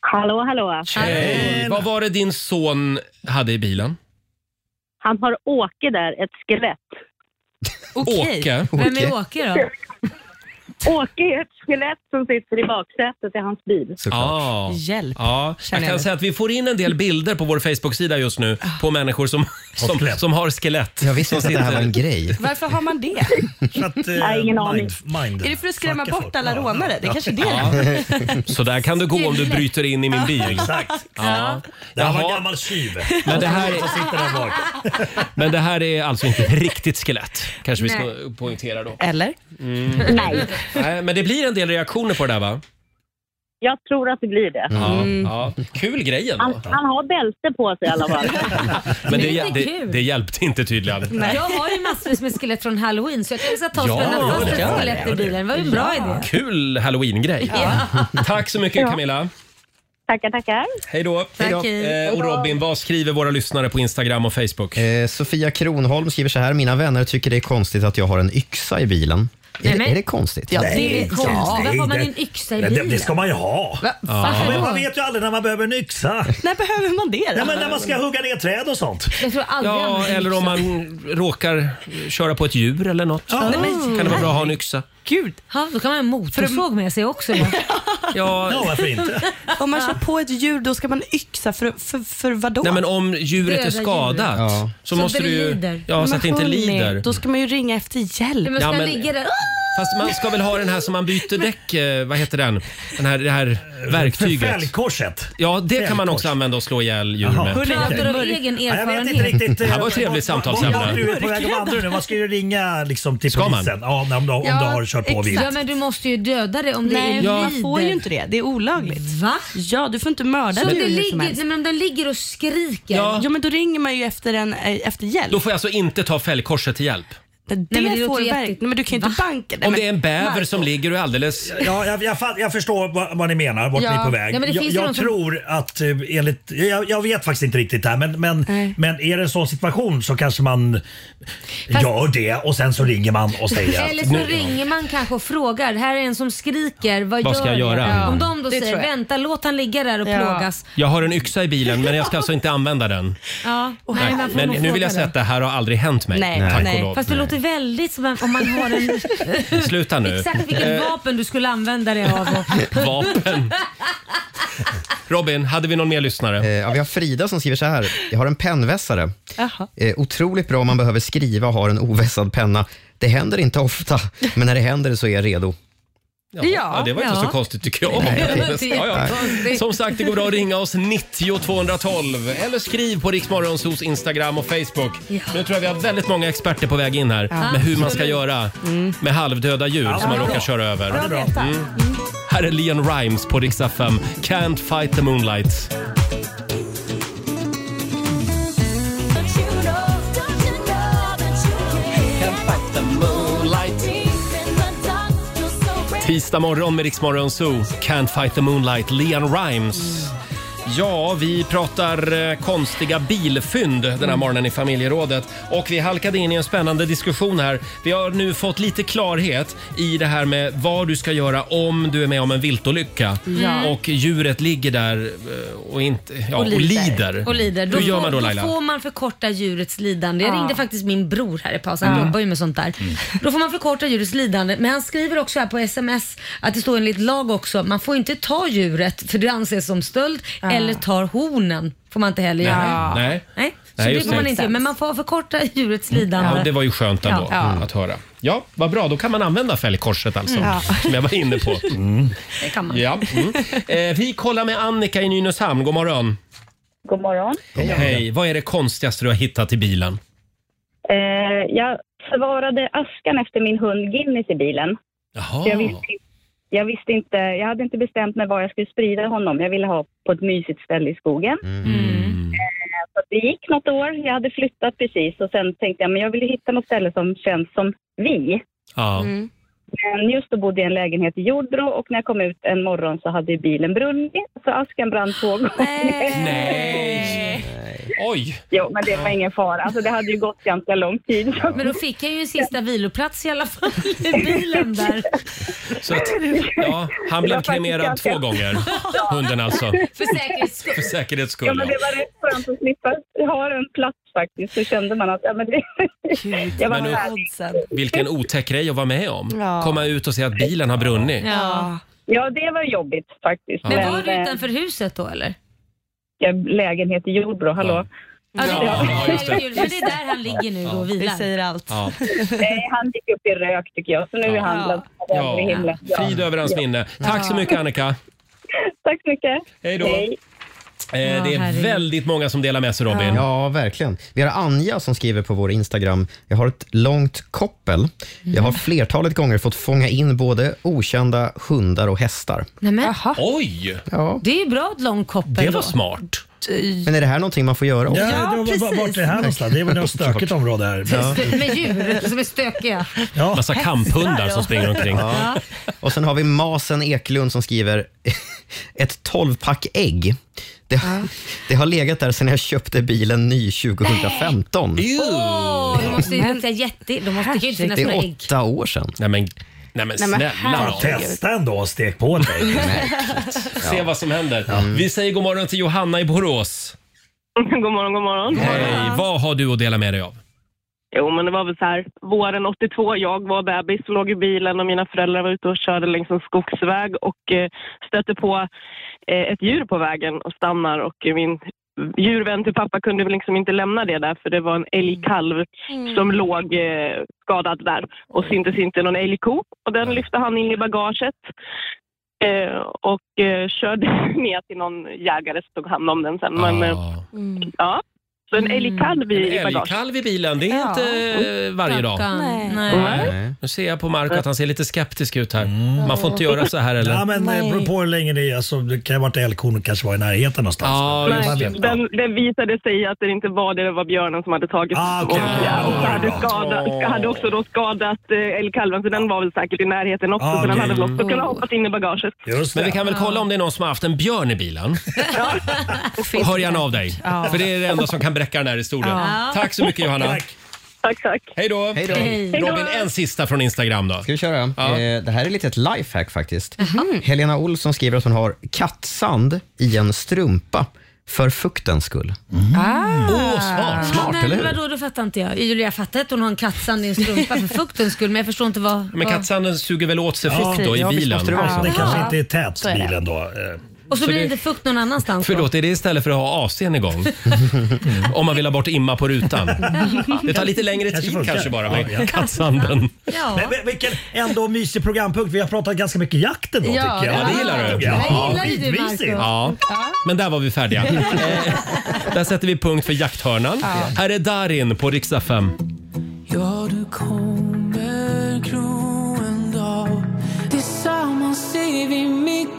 Speaker 18: Hallå, hallå.
Speaker 1: Hej! Vad var det din son hade i bilen?
Speaker 18: Han har Åke där, ett skelett.
Speaker 1: Okej. Åke? Vem är
Speaker 2: Åke då?
Speaker 18: Åke är ett skelett som sitter i baksätet i hans bil.
Speaker 1: Ja.
Speaker 18: Hjälp.
Speaker 1: Ja, Ah. jag
Speaker 18: Känner
Speaker 1: kan
Speaker 18: jag.
Speaker 1: säga att vi får in en del bilder på vår Facebook-sida just nu
Speaker 2: Ah.
Speaker 1: på människor som, som, som har skelett. Jag visste
Speaker 3: inte att det här var en
Speaker 1: grej.
Speaker 8: Varför har man det?
Speaker 1: eh,
Speaker 18: Nej, ingen aning.
Speaker 8: Är det för att skrämma bort alla rånare? Det är kanske är
Speaker 1: Ja.
Speaker 8: det.
Speaker 1: Så där kan du gå om du bryter in i
Speaker 2: Ah.
Speaker 1: min bil.
Speaker 5: Exakt.
Speaker 1: Ja.
Speaker 5: Det här var en
Speaker 1: Jaha.
Speaker 5: gammal tjuv.
Speaker 1: Men det här-
Speaker 5: Som sitter där bak.
Speaker 1: Men det här är alltså inte riktigt skelett, kanske vi ska
Speaker 8: Nej.
Speaker 1: poängtera då.
Speaker 8: Eller?
Speaker 1: Mm.
Speaker 18: Nej.
Speaker 1: Nej, Men det blir en del reaktioner på det där va?
Speaker 18: Jag tror att det blir det.
Speaker 1: Ja,
Speaker 2: Mm.
Speaker 1: ja. Kul grejen
Speaker 18: Han,
Speaker 1: då.
Speaker 18: han har bälte på sig i alla fall.
Speaker 1: Men
Speaker 2: Det är
Speaker 1: det,
Speaker 2: inte
Speaker 1: det,
Speaker 2: kul.
Speaker 1: det hjälpte inte tydligen.
Speaker 2: Jag har ju massvis med skelett från halloween så jag kan sätta ta
Speaker 1: Ja,
Speaker 2: och spänna fast
Speaker 1: gör det.
Speaker 2: ett skelett i bilen. Det var ju en bra idé.
Speaker 1: Kul halloween-grej. Tack så mycket
Speaker 2: Ja.
Speaker 1: Camilla.
Speaker 18: Tackar, tackar.
Speaker 1: Hej då.
Speaker 18: Tack.
Speaker 1: Eh, och Robin, vad skriver våra lyssnare på Instagram och Facebook?
Speaker 3: Eh, Sofia Kronholm skriver så här. Mina vänner tycker det är konstigt att jag har en yxa i bilen. Är, det- är det konstigt?
Speaker 5: Ja, det är Nej, konstigt. ja. Varför har man en
Speaker 2: yxa
Speaker 5: i Det- det- bilen? det ska man ju ha. Va?
Speaker 3: Ja.
Speaker 5: Men man vet ju aldrig när man behöver en yxa.
Speaker 8: När behöver man det då?
Speaker 5: Nej, men när man ska hugga ner träd och sånt.
Speaker 2: Jag tror aldrig jag
Speaker 1: Ja,
Speaker 2: använder
Speaker 1: eller om
Speaker 2: yxa.
Speaker 1: man råkar köra på ett djur eller något.
Speaker 2: Ja. Nej, men-
Speaker 1: Kan det vara bra att ha en yxa?
Speaker 8: Gud.
Speaker 2: Ja, då kan man ha en motorsåg med sig också. Ja.
Speaker 1: Ja,
Speaker 8: Om man kör på ett djur då ska man yxa för, för, för vadå?
Speaker 1: Nej, men om djuret
Speaker 8: Döda
Speaker 1: är
Speaker 8: djur.
Speaker 1: skadat så,
Speaker 8: Så
Speaker 1: måste
Speaker 8: att det
Speaker 1: du ju...
Speaker 8: lider.
Speaker 1: Ja, så
Speaker 8: Men
Speaker 1: att det inte
Speaker 8: hörni,
Speaker 1: lider.
Speaker 8: Då ska man ju ringa efter hjälp.
Speaker 1: Ja, men- Fast man ska väl ha den här som man byter däck, eh, vad heter den? den här, det här verktyget.
Speaker 5: Fällkorset.
Speaker 1: Ja, det kan man
Speaker 5: Fällkors.
Speaker 1: också använda och slå ihjäl djur
Speaker 5: Jaha.
Speaker 1: med.
Speaker 5: Hörni,
Speaker 2: Pratar
Speaker 5: Okej.
Speaker 2: av egen
Speaker 5: Ja, jag vet
Speaker 2: erfarenhet.
Speaker 5: inte riktigt. eh,
Speaker 1: Det här var ett trevligt
Speaker 5: Vad är
Speaker 1: samtalsämne.
Speaker 5: du på väg att vandra nu? Vad ska du ringa liksom, till
Speaker 1: Ska man?
Speaker 5: polisen? Ja, när- om du, om du har kört på vilt.
Speaker 2: Ja, men du måste ju döda det om det
Speaker 8: Nej,
Speaker 2: är
Speaker 8: man får ju inte det. Det är olagligt.
Speaker 2: Va?
Speaker 8: Ja, du får inte mörda
Speaker 2: Så om,
Speaker 8: djur
Speaker 2: det
Speaker 8: hur som
Speaker 2: ligger,
Speaker 8: helst.
Speaker 2: nej, men om den ligger och skriker.
Speaker 8: Ja. men då ringer man ju efter, en, eh, efter hjälp.
Speaker 1: Då får jag alltså inte ta fällkorset till hjälp?
Speaker 8: Det, det,
Speaker 2: men det
Speaker 8: får
Speaker 2: låter
Speaker 8: du verkligen. Nej, men du kan ju inte banka. Nej,
Speaker 1: Om
Speaker 8: men-
Speaker 1: det är en bäver som ligger och är alldeles...
Speaker 5: Ja, jag, jag, fatt- jag förstår vad, vad ni menar, vart
Speaker 8: Ja.
Speaker 5: ni är på väg.
Speaker 8: Ja, men det
Speaker 5: jag
Speaker 8: finns ju
Speaker 5: jag
Speaker 8: de som-
Speaker 5: tror att eh, enligt, jag, jag vet faktiskt inte riktigt det här men, men, men är det en sån situation så kanske man gör det och sen så ringer man och säger att-
Speaker 2: Eller så ringer man kanske och frågar. Här är en som skriker. Vad,
Speaker 1: Vad ska jag
Speaker 2: gör
Speaker 1: göra? Ja.
Speaker 2: Om de då
Speaker 8: Mm. Det
Speaker 2: säger
Speaker 8: tror jag.
Speaker 2: vänta, låt han ligga där och plågas.
Speaker 1: Jag har en yxa i bilen men jag ska alltså inte använda den.
Speaker 2: Ja, nej, man får
Speaker 1: Men
Speaker 2: nog
Speaker 1: nu vill
Speaker 2: fråga
Speaker 1: jag säga
Speaker 2: då.
Speaker 1: att det här har aldrig hänt mig.
Speaker 2: Nej,
Speaker 1: tack och
Speaker 2: nej.
Speaker 1: lov.
Speaker 2: Fast det låter väldigt som en- om man har en...
Speaker 1: Sluta nu.
Speaker 2: Exakt
Speaker 1: Eh,
Speaker 2: vilket vapen du skulle använda dig av. Och...
Speaker 1: Vapen. Robin, hade vi någon mer lyssnare?
Speaker 3: Eh, Ja, vi har Frida som skriver så här. Jag har en pennvässare.
Speaker 8: Jaha.
Speaker 3: Eh, otroligt bra om man behöver skriva och har en ovässad penna. Det händer inte ofta, men när det händer så är jag redo.
Speaker 1: Ja, ja, det var inte
Speaker 3: ja.
Speaker 1: så konstigt tycker jag.
Speaker 3: Nej, det
Speaker 1: ja,
Speaker 3: är
Speaker 1: ja.
Speaker 3: konstigt.
Speaker 1: Som sagt, det går bra att ringa oss 90 212 eller skriv på Riksmorgonsos Instagram och Facebook. Nu tror jag vi har väldigt många experter på väg in här
Speaker 10: Ja.
Speaker 1: med hur man ska
Speaker 10: Absolut.
Speaker 1: göra
Speaker 2: Mm.
Speaker 1: med halvdöda djur
Speaker 10: Ja,
Speaker 1: som man
Speaker 10: bra.
Speaker 1: råkar köra över.
Speaker 10: Bra veta.
Speaker 1: Mm. Här är Leon Rimes på Rix FM. Can't fight the moonlight. Tisdag morgon med Riksmorgon Zoo. Can't fight the moonlight, Leon Rimes. Ja, vi pratar eh, konstiga bilfynd den
Speaker 2: Mm.
Speaker 1: här morgonen i familjerådet. Och vi halkade in i en spännande diskussion här. Vi har nu fått lite klarhet i det här med vad du ska göra om du är med om en viltolycka
Speaker 2: Mm. Ja.
Speaker 1: och djuret ligger där eh, och, inte, ja, och, lider.
Speaker 2: Och lider. Då,
Speaker 1: Hur gör
Speaker 2: får,
Speaker 1: man då
Speaker 2: då
Speaker 1: Laila? Ah.
Speaker 2: får man förkorta djurets lidande. Jag
Speaker 8: Ja.
Speaker 2: ringde faktiskt min bror här i paus, han
Speaker 8: Ja.
Speaker 2: jobbar ju med sånt där.
Speaker 1: Mm.
Speaker 2: Då får man förkorta djurets lidande. Men han skriver också här på sms att det står enligt lag också, man får inte ta djuret för det anses som stöld eller tar hornen. Får man inte heller göra.
Speaker 1: Nej.
Speaker 2: Nej. så det
Speaker 1: just Mm.
Speaker 2: får man inte göra. Men man får förkorta djurets lidande.
Speaker 1: Ja, det var ju skönt ändå
Speaker 2: Ja.
Speaker 1: att höra. Ja, vad bra. Då kan man använda fälgkorset alltså,
Speaker 2: Mm. Ja.
Speaker 1: som jag var inne på. Mm.
Speaker 2: Det kan man.
Speaker 1: Ja, mm. eh, vi kollar med Annika i Nynäshamn. God morgon.
Speaker 19: God morgon.
Speaker 1: Hej. Vad är det konstigaste du har hittat i bilen?
Speaker 19: Eh, jag svarade askan efter min hund Guinness i bilen.
Speaker 1: Jaha.
Speaker 19: Så Jag visste, jag visste inte, jag hade inte bestämt mig var jag skulle sprida honom. Jag ville ha på ett mysigt ställe i skogen.
Speaker 1: Mm.
Speaker 19: Eh, Så att det gick något år, jag hade flyttat precis och sen tänkte jag men jag ville hitta något ställe som känns som vi.
Speaker 1: Ja.
Speaker 19: Men just då bodde jag i en lägenhet i Jordbro och när jag kom ut en morgon så hade ju bilen brunnit så askan brann två gånger.
Speaker 1: Nej! Oj!
Speaker 19: Jo, men det var ingen fara. Alltså, det hade ju gått ganska lång tid.
Speaker 2: Men då fick jag ju en sista viloplats i alla fall i bilen där.
Speaker 1: Så att, ja, han
Speaker 19: Det
Speaker 1: blev
Speaker 19: var faktiskt
Speaker 1: kremerad
Speaker 19: ganska-
Speaker 1: två gånger, hunden alltså.
Speaker 2: För säkerhets skull.
Speaker 1: För säkerhets
Speaker 19: Ja,
Speaker 1: skull,
Speaker 19: men det
Speaker 1: ja.
Speaker 19: var rätt skönt att slippa ha en plats faktiskt. Så kände man att ja, men det, jag var
Speaker 1: Men nu-
Speaker 19: här.
Speaker 1: Vilken otäck grej att vara med om.
Speaker 19: Ja.
Speaker 1: Komma ut och se att bilen har brunnit.
Speaker 19: Ja. ja, det var jobbigt faktiskt. eh,
Speaker 1: Men var
Speaker 2: du utanför huset då eller?
Speaker 19: Ja, lägenhet i Jordbro, hallå?
Speaker 2: Ja, det-
Speaker 1: Ja, just det.
Speaker 2: Herregud, för det är där han ligger nu då och vilar.
Speaker 20: Det säger allt.
Speaker 1: Ja.
Speaker 19: Nej, han gick upp i rök tycker jag, så nu är han bland ja. i
Speaker 1: Ja.
Speaker 19: himlen. Ja.
Speaker 1: Frid över hans
Speaker 19: Ja.
Speaker 1: minne. Tack så mycket Annika.
Speaker 19: Tack så mycket.
Speaker 1: Hej då. Eh, det är
Speaker 19: herregud.
Speaker 1: väldigt många som delar med sig Robin.
Speaker 3: Ja, verkligen. Vi har Anja som skriver på vår Instagram. Jag har ett långt koppel. Jag
Speaker 2: Mm.
Speaker 3: har flertalet gånger fått fånga in både okända hundar och hästar.
Speaker 2: Nej, men.
Speaker 1: Oj!
Speaker 3: Ja.
Speaker 2: Det är ju bra Eh, ett långt koppel då.
Speaker 3: Men är det här någonting man får göra också?
Speaker 5: Ja, Ja, det var- precis. vart- vart är det här någonstans? Det är väl något stökigt
Speaker 3: område här. Ja.
Speaker 2: Med djur som är stökiga.
Speaker 3: Massa
Speaker 2: kamphundar som springer omkring.
Speaker 3: Ja. Och sen har vi Masen Eklund som skriver ett 12-pack ägg. Det, det har legat där sedan jag köpte bilen ny 2015.
Speaker 2: Åh, de måste ju lukta jätte... De måste ju finnas
Speaker 3: Det
Speaker 2: några
Speaker 3: är
Speaker 2: ägg.
Speaker 3: åtta år sedan.
Speaker 1: Nej men, nej men
Speaker 2: Nej, men
Speaker 1: snälla
Speaker 2: herregud.
Speaker 1: Robin.
Speaker 5: Testa ändå och stek på dig.
Speaker 1: Se vad som händer. Mm. Vi säger god morgon till Johanna i Borås.
Speaker 15: God morgon, god morgon.
Speaker 1: Hej, vad har du att dela med dig av?
Speaker 15: Jo, men det var väl så här. Våren 82, jag var bebis och låg i bilen och mina föräldrar var ute och körde längs en skogsväg och eh, stötte på eh, ett djur på vägen och stannar och eh, min djurvän till pappa kunde väl liksom inte lämna det där för det var en älgkalv
Speaker 21: Mm.
Speaker 15: som låg eh, skadad där och syntes inte någon älgko och den lyfte han in i bagaget eh, och eh, körde ner till någon jägare som tog hand om den sen. Men, eh, ja. Så en älgkalv i, i
Speaker 1: En
Speaker 15: bagaget.
Speaker 1: älgkalv i bilen, det är
Speaker 15: Ja. Mm.
Speaker 1: inte eh, varje dag.
Speaker 15: Nej.
Speaker 1: Nej. Nu ser jag på Marco att han ser lite skeptisk ut här.
Speaker 15: Mm.
Speaker 1: Man får inte göra så här eller?
Speaker 5: Ja, men eh,
Speaker 1: Nej.
Speaker 5: beror på hur länge det är. Alltså, det kan ju ha varit älgkon och kanske var i närheten någonstans.
Speaker 1: Ja,
Speaker 5: Men-
Speaker 1: just
Speaker 5: man
Speaker 1: det.
Speaker 5: vet-
Speaker 15: Den, den visade sig att det inte var det, det var björnen som hade tagit
Speaker 5: ah,
Speaker 15: och ja, hade, skadat, hade också då skadat eh, älgkalven så den var väl säkert i närheten också
Speaker 1: Ah,
Speaker 15: så den
Speaker 1: okej.
Speaker 15: hade väl också
Speaker 1: Mm.
Speaker 15: kunnat hoppat in i bagaget.
Speaker 1: Men vi kan väl kolla om det är någon som har haft en björn i bilen? Hör gärna av dig,
Speaker 15: Ja.
Speaker 1: för det är det enda som kan bräcka den här historien.
Speaker 15: Ja.
Speaker 1: Tack så mycket Johanna.
Speaker 15: Tack. Tack, tack.
Speaker 1: Hej då. Hej
Speaker 3: då. Hej.
Speaker 1: Robin, en sista från Instagram då.
Speaker 3: Ska vi köra? Eh, det här är lite ett lifehack faktiskt. Helena Olsson skriver att hon har kattsand i en strumpa för fuktens skull.
Speaker 1: Mm.
Speaker 2: Ah.
Speaker 3: Åh, smart. Smart,
Speaker 2: men
Speaker 3: eller hur?
Speaker 2: Vadå, då fattar inte jag. Julia, jag fattar att hon har en kattsand i en strumpa för fuktens skull, men jag förstår inte vad...
Speaker 1: Men
Speaker 2: vad-
Speaker 1: kattsanden suger väl åt sig
Speaker 5: Ja,
Speaker 1: fukt då i
Speaker 5: ja, visst
Speaker 1: bilen?
Speaker 5: måste det vara så. Det kanske
Speaker 2: Ja.
Speaker 5: inte är tätt,
Speaker 2: Så är det.
Speaker 5: bilen då. eh.
Speaker 2: Och så,
Speaker 1: Så
Speaker 2: blir det
Speaker 1: det-
Speaker 2: inte fukt någon annanstans då?
Speaker 1: Förlåt, är det istället för att ha AC'n igång? Om man vill ha bort imma på rutan. Det tar lite längre
Speaker 5: Kanske
Speaker 1: tid
Speaker 5: funkar.
Speaker 1: kanske bara med
Speaker 5: Ja, ja.
Speaker 1: kattsanden.
Speaker 5: Men, men, vilken ändå mysig programpunkt. Vi har pratat ganska mycket jakt ändå
Speaker 1: Ja,
Speaker 5: tycker jag.
Speaker 1: ja, det gillar du.
Speaker 5: Ja,
Speaker 1: Det
Speaker 2: gillar ju du,
Speaker 5: skitmysigt.
Speaker 2: Marco.
Speaker 1: Ja, men där var vi färdiga. Eh, där sätter vi punkt för jakthörnan.
Speaker 13: Ja.
Speaker 1: Här är Darin på riksdag 5.
Speaker 13: Ja, du kommer gro en dag Tillsammans är vi mycket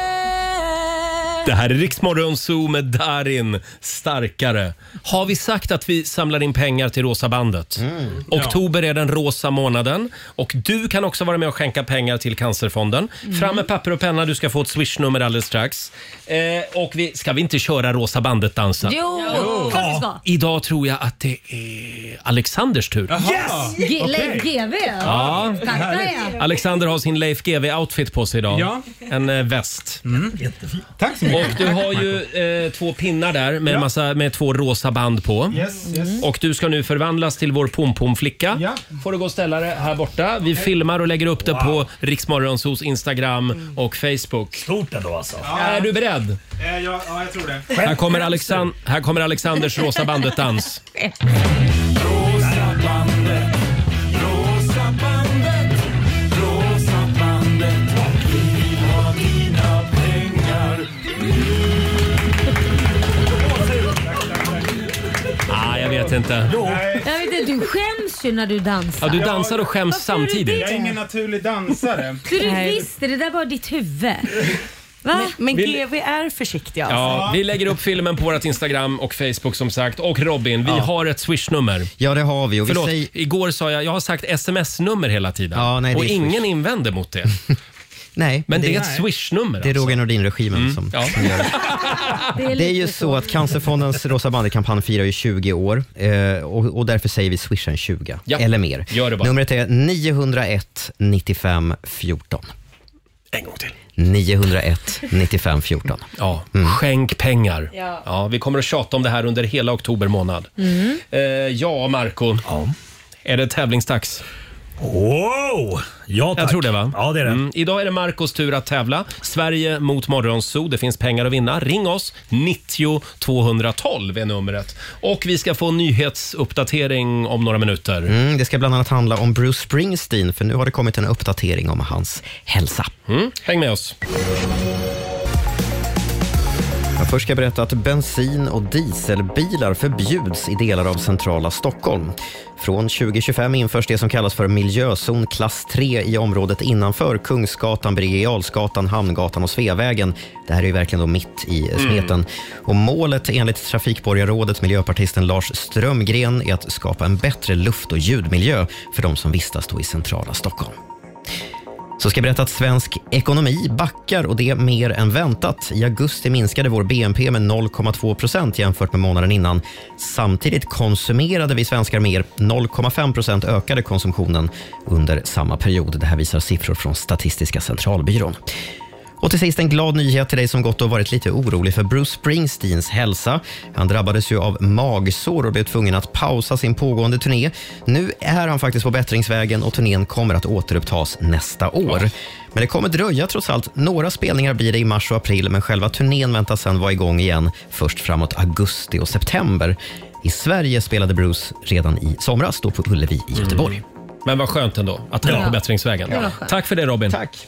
Speaker 13: starkare
Speaker 1: Det här är Riksmorgon Zoo med Darin Starkare. Har vi sagt att vi samlar in pengar till Rosa bandet? Oktober är den rosa månaden och du kan också vara med och skänka pengar till Cancerfonden. Fram med papper och penna, du ska få ett swishnummer alldeles strax. Eh, och vi, ska vi inte köra Rosa bandet-dansen?
Speaker 2: Jo, Jo. klart vi ska.
Speaker 1: Idag tror jag att det är Alexanders tur.
Speaker 2: G-
Speaker 1: Okej.
Speaker 2: Leif GW.
Speaker 1: Ja.
Speaker 2: Starka är.
Speaker 1: Alexander har sin Leif GW outfit på sig idag.
Speaker 6: Ja.
Speaker 1: En eh, väst.
Speaker 6: Tack så mycket.
Speaker 1: Och du har ju eh, två pinnar där med, en massa, med två rosa band på. Mm.
Speaker 16: Yes, yes.
Speaker 1: Och du ska nu förvandlas till vår pompomflicka. Ja. Får du gå och ställa dig här borta. Vi filmar och lägger upp det på Riksmorgonsos Instagram och Facebook.
Speaker 5: Stort ändå alltså.
Speaker 1: Är du beredd?
Speaker 16: Eh, ja, ja, jag tror det.
Speaker 1: Här kommer, Alexan- här kommer Alexanders rosa bandet-dans.
Speaker 16: Rosa bandet, rosa bandet, rosa bandet. Vi har dina pengar.
Speaker 1: Ah, jag vet inte.
Speaker 2: Jag vet inte, du skäms ju när du dansar.
Speaker 1: Ja, du dansar och skäms
Speaker 2: är du
Speaker 1: samtidigt.
Speaker 2: det? Jag är ingen
Speaker 16: naturlig dansare.
Speaker 2: Du, du visste, det där var ditt huvud. Va?
Speaker 8: Men
Speaker 1: Vill-
Speaker 8: GV är försiktiga
Speaker 5: alltså.
Speaker 1: Ja, vi lägger upp filmen på vårt Instagram och Facebook som sagt. Och Robin, vi
Speaker 3: Ja.
Speaker 1: har ett swishnummer.
Speaker 3: Ja, det har vi. Och vi
Speaker 1: Förlåt,
Speaker 3: säger,
Speaker 1: igår sa jag, jag har sagt sms-nummer hela tiden.
Speaker 3: Ja, nej, det
Speaker 1: och
Speaker 3: är Swish.
Speaker 1: ingen invänder mot det.
Speaker 3: nej,
Speaker 1: Men det, är ett swishnummer. alltså. Mm.
Speaker 3: Det är Roger Nordin-regimen som, som gör det. Det är ju så att Cancerfondens Rosa bandet-kampanj firar ju 20 år eh, och, och därför säger vi swisha en 20
Speaker 1: Ja.
Speaker 3: eller mer.
Speaker 1: Gör det bara.
Speaker 3: Numret är 901 95 14.
Speaker 1: En gång till.
Speaker 3: 901 95 14.
Speaker 1: Ja,
Speaker 3: Mm.
Speaker 1: skänk pengar. Ja. vi kommer att tjata om det här under hela oktober månad.
Speaker 17: Mm.
Speaker 1: Eh, ja, Marco. Är det tävlingsdags?
Speaker 5: Wow! Ja,
Speaker 1: Jag
Speaker 5: tack.
Speaker 1: tror det va?
Speaker 5: Ja, det är det.
Speaker 1: Mm. Idag är det Marcos tur att tävla. Sverige mot Morgonzoo. Det finns pengar att vinna. Ring oss! 90 212 är numret. Och vi ska få en nyhetsuppdatering om några minuter.
Speaker 3: Mm, det ska bland annat handla om Bruce Springsteen, för nu har det kommit en uppdatering om hans hälsa.
Speaker 1: Mm, häng med oss.
Speaker 3: Jag först ska jag berätta att bensin och dieselbilar förbjuds i delar av centrala Stockholm. Från 2025 införs det som kallas för miljözon klass 3 i området innanför Kungsgatan, Birger Jarlsgatan, Hamngatan och Sveavägen. Det här är ju verkligen då mitt i smeten. Och målet enligt trafikborgarrådet, miljöpartisten Lars Strömgren, är att skapa en bättre luft och ljudmiljö för de som vistas då i centrala Stockholm. Så ska jag berätta att svensk ekonomi backar och det mer än väntat. I augusti minskade vår BNP med 0,2 procent jämfört med månaden innan. Samtidigt konsumerade vi svenskar mer. 0,5 procent ökade konsumtionen under samma period. Det här visar siffror från Statistiska centralbyrån. Och till sist en glad nyhet till dig som gått och varit lite orolig för Bruce Springsteens hälsa. Han drabbades ju av magsår och blev tvungen att pausa sin pågående turné. Nu är han faktiskt på bättringsvägen och turnén kommer att återupptas nästa år. Men det kommer dröja trots allt. Några spelningar blir det i mars och april, men själva turnén väntas sen vara igång igen först framåt augusti och september. I Sverige spelade Bruce redan i somras, då på Ullevi i Göteborg.
Speaker 1: Men vad skönt ändå att han
Speaker 3: Ja.
Speaker 1: är på bättringsvägen.
Speaker 3: Det var skönt.
Speaker 1: Tack för det Robin.
Speaker 3: Tack.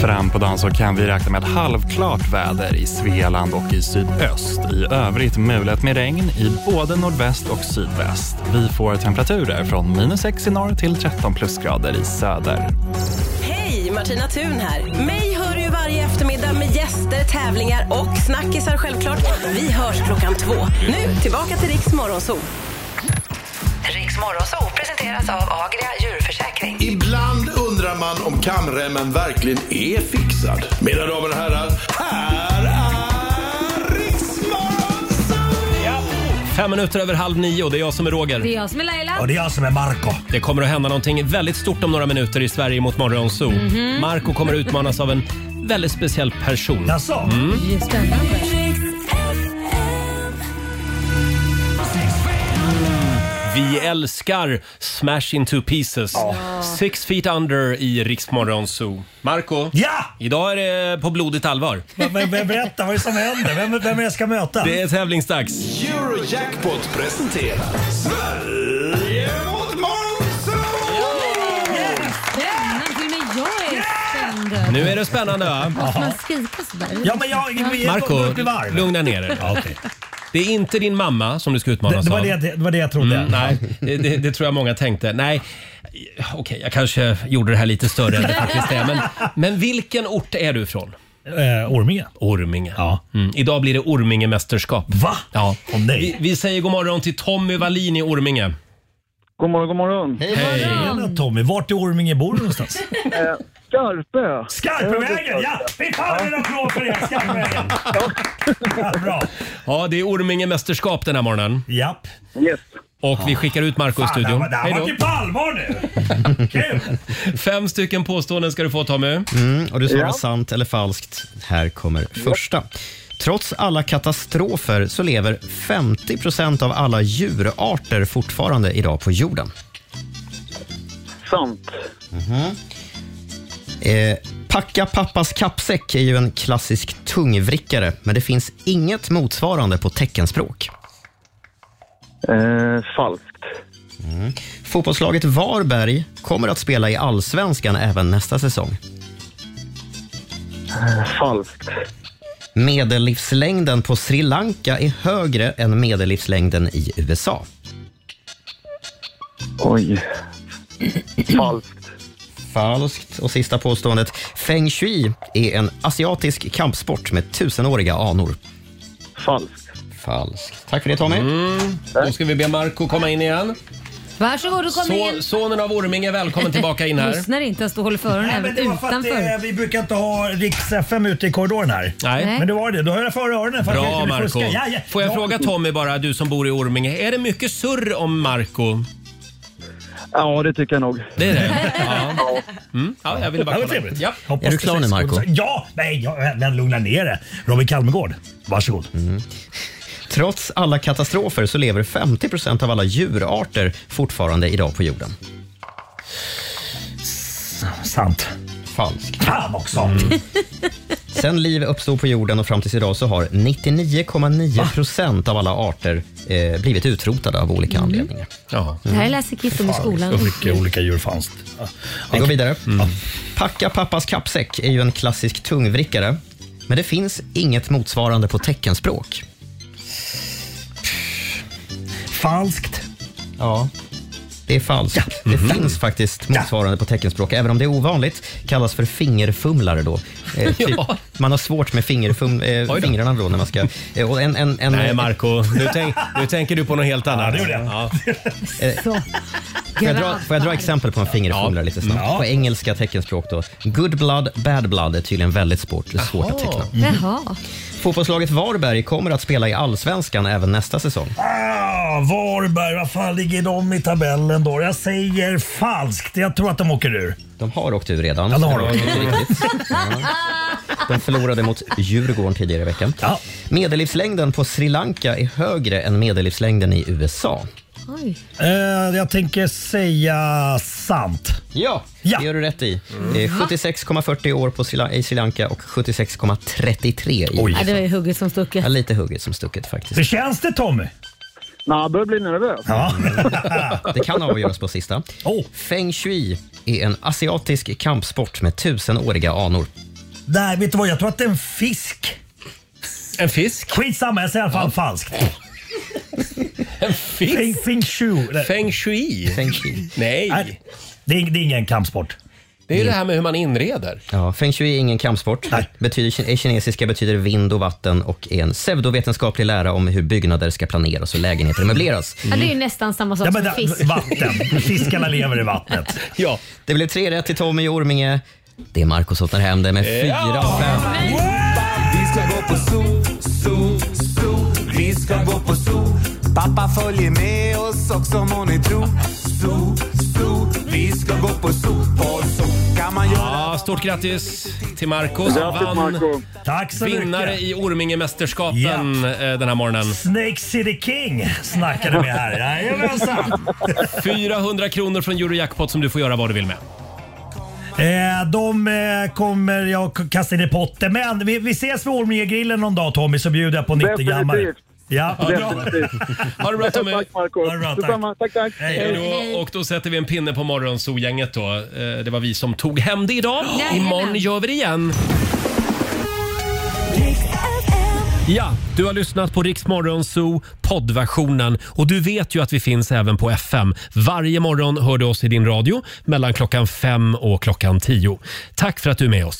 Speaker 22: Fram på dagen så kan vi räkna med halvklart väder i Svealand och i sydöst. I övrigt mulet med regn i både nordväst och sydväst. Vi får temperaturer från minus 6 i norr till 13 plusgrader i söder.
Speaker 23: Hej, Martina Thun här. Mig hör du ju varje eftermiddag med gäster, tävlingar och snackisar självklart. Vi hörs klockan två. Nu tillbaka till Riks Morgonzoo.
Speaker 24: Riks Morgonzoo presenteras av Agria djurförsäkring.
Speaker 16: Ibland undrar man om kamremmen verkligen är fixad. Mina damer och herrar,
Speaker 1: Fem minuter över halv nio och det är jag som är Roger.
Speaker 2: Det är jag som är Laila.
Speaker 1: Och det är jag som är Marco. Det kommer att hända någonting väldigt stort om några minuter i Sverige mot Morgonzoo.
Speaker 2: Mhm.
Speaker 1: Marco kommer att utmanas av en väldigt speciell person. Jaså? Mm.
Speaker 2: Det är spännande.
Speaker 1: Vi älskar Smash Into Pieces. Six feet under i Rix Morgonzoo. Marco,
Speaker 5: Ja!
Speaker 1: idag är det på blodigt allvar.
Speaker 5: Men, men, men, berätta, vad är det som händer? Vem, vem är det jag ska möta?
Speaker 1: Det är tävlingsdags.
Speaker 16: Eurojackpot presenterar Sverige mot
Speaker 2: Spännande, till och med jag är spänd.
Speaker 1: Nu är det spännande va?
Speaker 2: Måste man skrika sådär?
Speaker 5: Ja, men jag- jag- jag-
Speaker 1: Marco,
Speaker 5: går upp i varv.
Speaker 1: lugna ner dig. Det är inte din mamma som du ska utmanas
Speaker 5: Det, det, var
Speaker 1: av.
Speaker 5: det, det var det jag trodde.
Speaker 1: Mm, nej, det, det, det tror jag många tänkte. Nej, okej, jag kanske gjorde det här lite större än det faktiskt är. Men, men vilken ort är du ifrån?
Speaker 5: Eh, Orminge.
Speaker 1: Orminge. Ja. Mm. Idag blir det Orminge-mästerskap. Va? Ja. nej. Vi, vi säger god morgon till Tommy Wallin i Orminge.
Speaker 25: God morgon, god morgon.
Speaker 1: Hej.
Speaker 5: Tjena Tommy, vart i Orminge bor du någonstans?
Speaker 25: Skarpö.
Speaker 5: Skarpevägen! Ja, fy fan vad en applåd för det! Skarpevägen!
Speaker 1: Ja, det är Orminge-mästerskap den här morgonen.
Speaker 5: Japp.
Speaker 25: Yes.
Speaker 1: Och vi skickar ut Marco ur
Speaker 5: Fan,
Speaker 1: studion.
Speaker 5: det här var- det här
Speaker 1: Hej
Speaker 5: var typ-
Speaker 1: då.
Speaker 5: ju på allvar nu!
Speaker 1: Fem stycken påståenden ska du få Tommy.
Speaker 3: Mm, och du svarar
Speaker 1: Ja.
Speaker 3: sant eller falskt. Här kommer första. Trots alla katastrofer så lever 50 procent av alla djurarter fortfarande idag på jorden.
Speaker 25: Sant.
Speaker 3: Mhm. Eh, packa pappas kappsäck är ju en klassisk tungvrickare, men det finns inget motsvarande på teckenspråk.
Speaker 25: Eh, falskt.
Speaker 3: Mm. Fotbollslaget Varberg kommer att spela i allsvenskan även nästa säsong.
Speaker 25: Falskt.
Speaker 3: Medellivslängden på Sri Lanka är högre än medellivslängden i USA.
Speaker 25: Oj. Falskt.
Speaker 3: Falskt. Och sista påståendet. Feng shui är en asiatisk kampsport med tusenåriga anor.
Speaker 25: Falskt.
Speaker 3: Falskt. Tack för det Tommy.
Speaker 1: Mm. Då ska vi be Marco komma in igen.
Speaker 2: Varsågod och kom
Speaker 1: Så,
Speaker 2: in.
Speaker 1: sonen av Orminge, välkommen tillbaka in här.
Speaker 2: Lyssnar inte, jag står och håller för öronen
Speaker 5: Nej, men
Speaker 2: även
Speaker 5: det var för att
Speaker 2: utanför.
Speaker 5: eh, vi brukar inte ha riks FM ute i korridoren här.
Speaker 1: Nej.
Speaker 5: Men det var det. Då höll jag för öronen för att jag
Speaker 1: Bra
Speaker 5: inte bli
Speaker 1: Marco.
Speaker 5: fuskad. Ja, ja.
Speaker 1: Får jag
Speaker 5: Ja.
Speaker 1: fråga Tommy bara, du som bor i Orminge. Är det mycket surr om Marco?
Speaker 25: Ja, det tycker jag nog.
Speaker 1: Det är det? Ja. Mm. ja jag ville bara
Speaker 5: Ja, vad
Speaker 1: kolla.
Speaker 5: trevligt.
Speaker 1: Ja.
Speaker 5: Hoppas det ses. Ja! Nej, jag, men lugna ner dig.
Speaker 3: Robin Kalmegård, varsågod. Mm. Trots alla katastrofer så lever 50 procent av alla djurarter fortfarande idag på jorden. Sant. Falskt. Fan också! Mm. Sen liv uppstod på jorden och fram tills idag så har 99,9 procent av alla arter eh, blivit utrotade av olika anledningar. Ja.
Speaker 2: Mm. Det här läser Kit om i skolan.
Speaker 3: olika djur fanns. Mm. Vi går vidare. Packa pappas kappsäck är ju en klassisk tungvrickare. Men det finns inget motsvarande på teckenspråk. Falskt. Ja, det är falskt. Mhm. Det finns faktiskt motsvarande på teckenspråk. Även om det är ovanligt, kallas för fingerfumlare då. Eh, typ,
Speaker 1: Ja.
Speaker 3: Man har svårt med fingerfum, eh,
Speaker 1: Oj då.
Speaker 3: fingrarna då när man ska... Eh, och en, en, en,
Speaker 1: Nej, Marco, nu tänk- nu tänker du på något helt annat.
Speaker 3: Eh, Får jag, dra, får jag dra exempel på en fingerfumlare lite snabbt? På engelska teckenspråk då. Good blood, bad blood är tydligen väldigt svårt, svårt att teckna. Mm.
Speaker 2: Jaha.
Speaker 3: Fotbollslaget Varberg kommer att spela i Allsvenskan även nästa säsong.
Speaker 5: Ah, Varberg, vad fan ligger de i tabellen då? Jag säger falskt. Jag tror att de åker ur.
Speaker 3: De har åkt ur redan.
Speaker 5: Ja, de har åkt
Speaker 3: Det
Speaker 5: ur.
Speaker 3: är riktigt. Ja. De förlorade mot Djurgården tidigare i veckan. Medellivslängden på Sri Lanka är högre än medellivslängden i USA.
Speaker 5: Eh, jag tänker säga sant.
Speaker 3: Ja, det gör du rätt i.
Speaker 5: Mm.
Speaker 3: Eh, 76,40 år på Sri, i Sri Lanka och 76,33 i
Speaker 2: Ja, det var ju hugget som stucket.
Speaker 3: Ja, lite hugget som stucket faktiskt.
Speaker 5: Hur känns det Tommy?
Speaker 25: Nej, jag börjar bli nervös.
Speaker 5: Ja. Oh.
Speaker 3: Det kan avgöras på sista. Feng shui är en asiatisk kampsport med tusenåriga anor.
Speaker 5: Nej, vet du vad? Jag tror att det är en fisk.
Speaker 1: En fisk?
Speaker 5: Skitsamma, jag säger i alla fall falskt.
Speaker 1: en fisk?
Speaker 5: Feng, feng shui. Nej.
Speaker 1: Feng shui?
Speaker 3: Feng shui.
Speaker 1: Nej.
Speaker 5: Det är, det är ingen kampsport.
Speaker 1: Det är ju det här med hur man inreder.
Speaker 3: Ja, feng shui är ingen kampsport. Betyder, i kinesiska betyder vind och vatten och är en pseudovetenskaplig lära om hur byggnader ska planeras och lägenheter möbleras.
Speaker 2: Ja, det är ju nästan samma sak som fisk.
Speaker 5: Mm. Fiskarna lever i vattnet.
Speaker 1: Ja.
Speaker 3: Det blev tre rätt till Tommy i Orminge. Det är Marco som tar hem det med fyra av fem.
Speaker 10: Vi ska gå på zoo, zoo, zoo. Vi ska gå på zoo. Pappa följer med oss också må ni tro. Zoo, zoo. Vi ska gå på zoo. På zoo kan man göra
Speaker 1: Ja, stort grattis till Marco som
Speaker 5: Grattis,
Speaker 1: vann
Speaker 5: Marco. Tack så mycket.
Speaker 1: vinnare i Ormingemästerskapen eh, den här morgonen.
Speaker 5: Snake City King snackade vi här. Jajamensan.
Speaker 1: 400 kronor från Eurojackpot som du får göra vad du vill med.
Speaker 5: Eh, de eh, kommer jag k- kasta in i potten. Men vi, vi ses vid Ormegrillen någon dag Tommy så bjuder jag på 90 grammare.
Speaker 1: Definitivt.
Speaker 5: Ja, bra.
Speaker 1: Ha det bra Tommy! Tack
Speaker 25: Marco!
Speaker 5: Ha det bra, tack.
Speaker 25: Detsamma. Tack, tack.
Speaker 1: Hej då. Och då sätter vi en pinne på morgonzoo-gänget då. Eh, Det var vi som tog hem det idag.
Speaker 10: Jajamän.
Speaker 1: Imorgon gör vi det igen. Ja, du har lyssnat på Rix Morgonzoo poddversionen och du vet ju att vi finns även på FM. Varje morgon hör du oss i din radio mellan klockan fem och klockan tio. Tack för att du är med oss.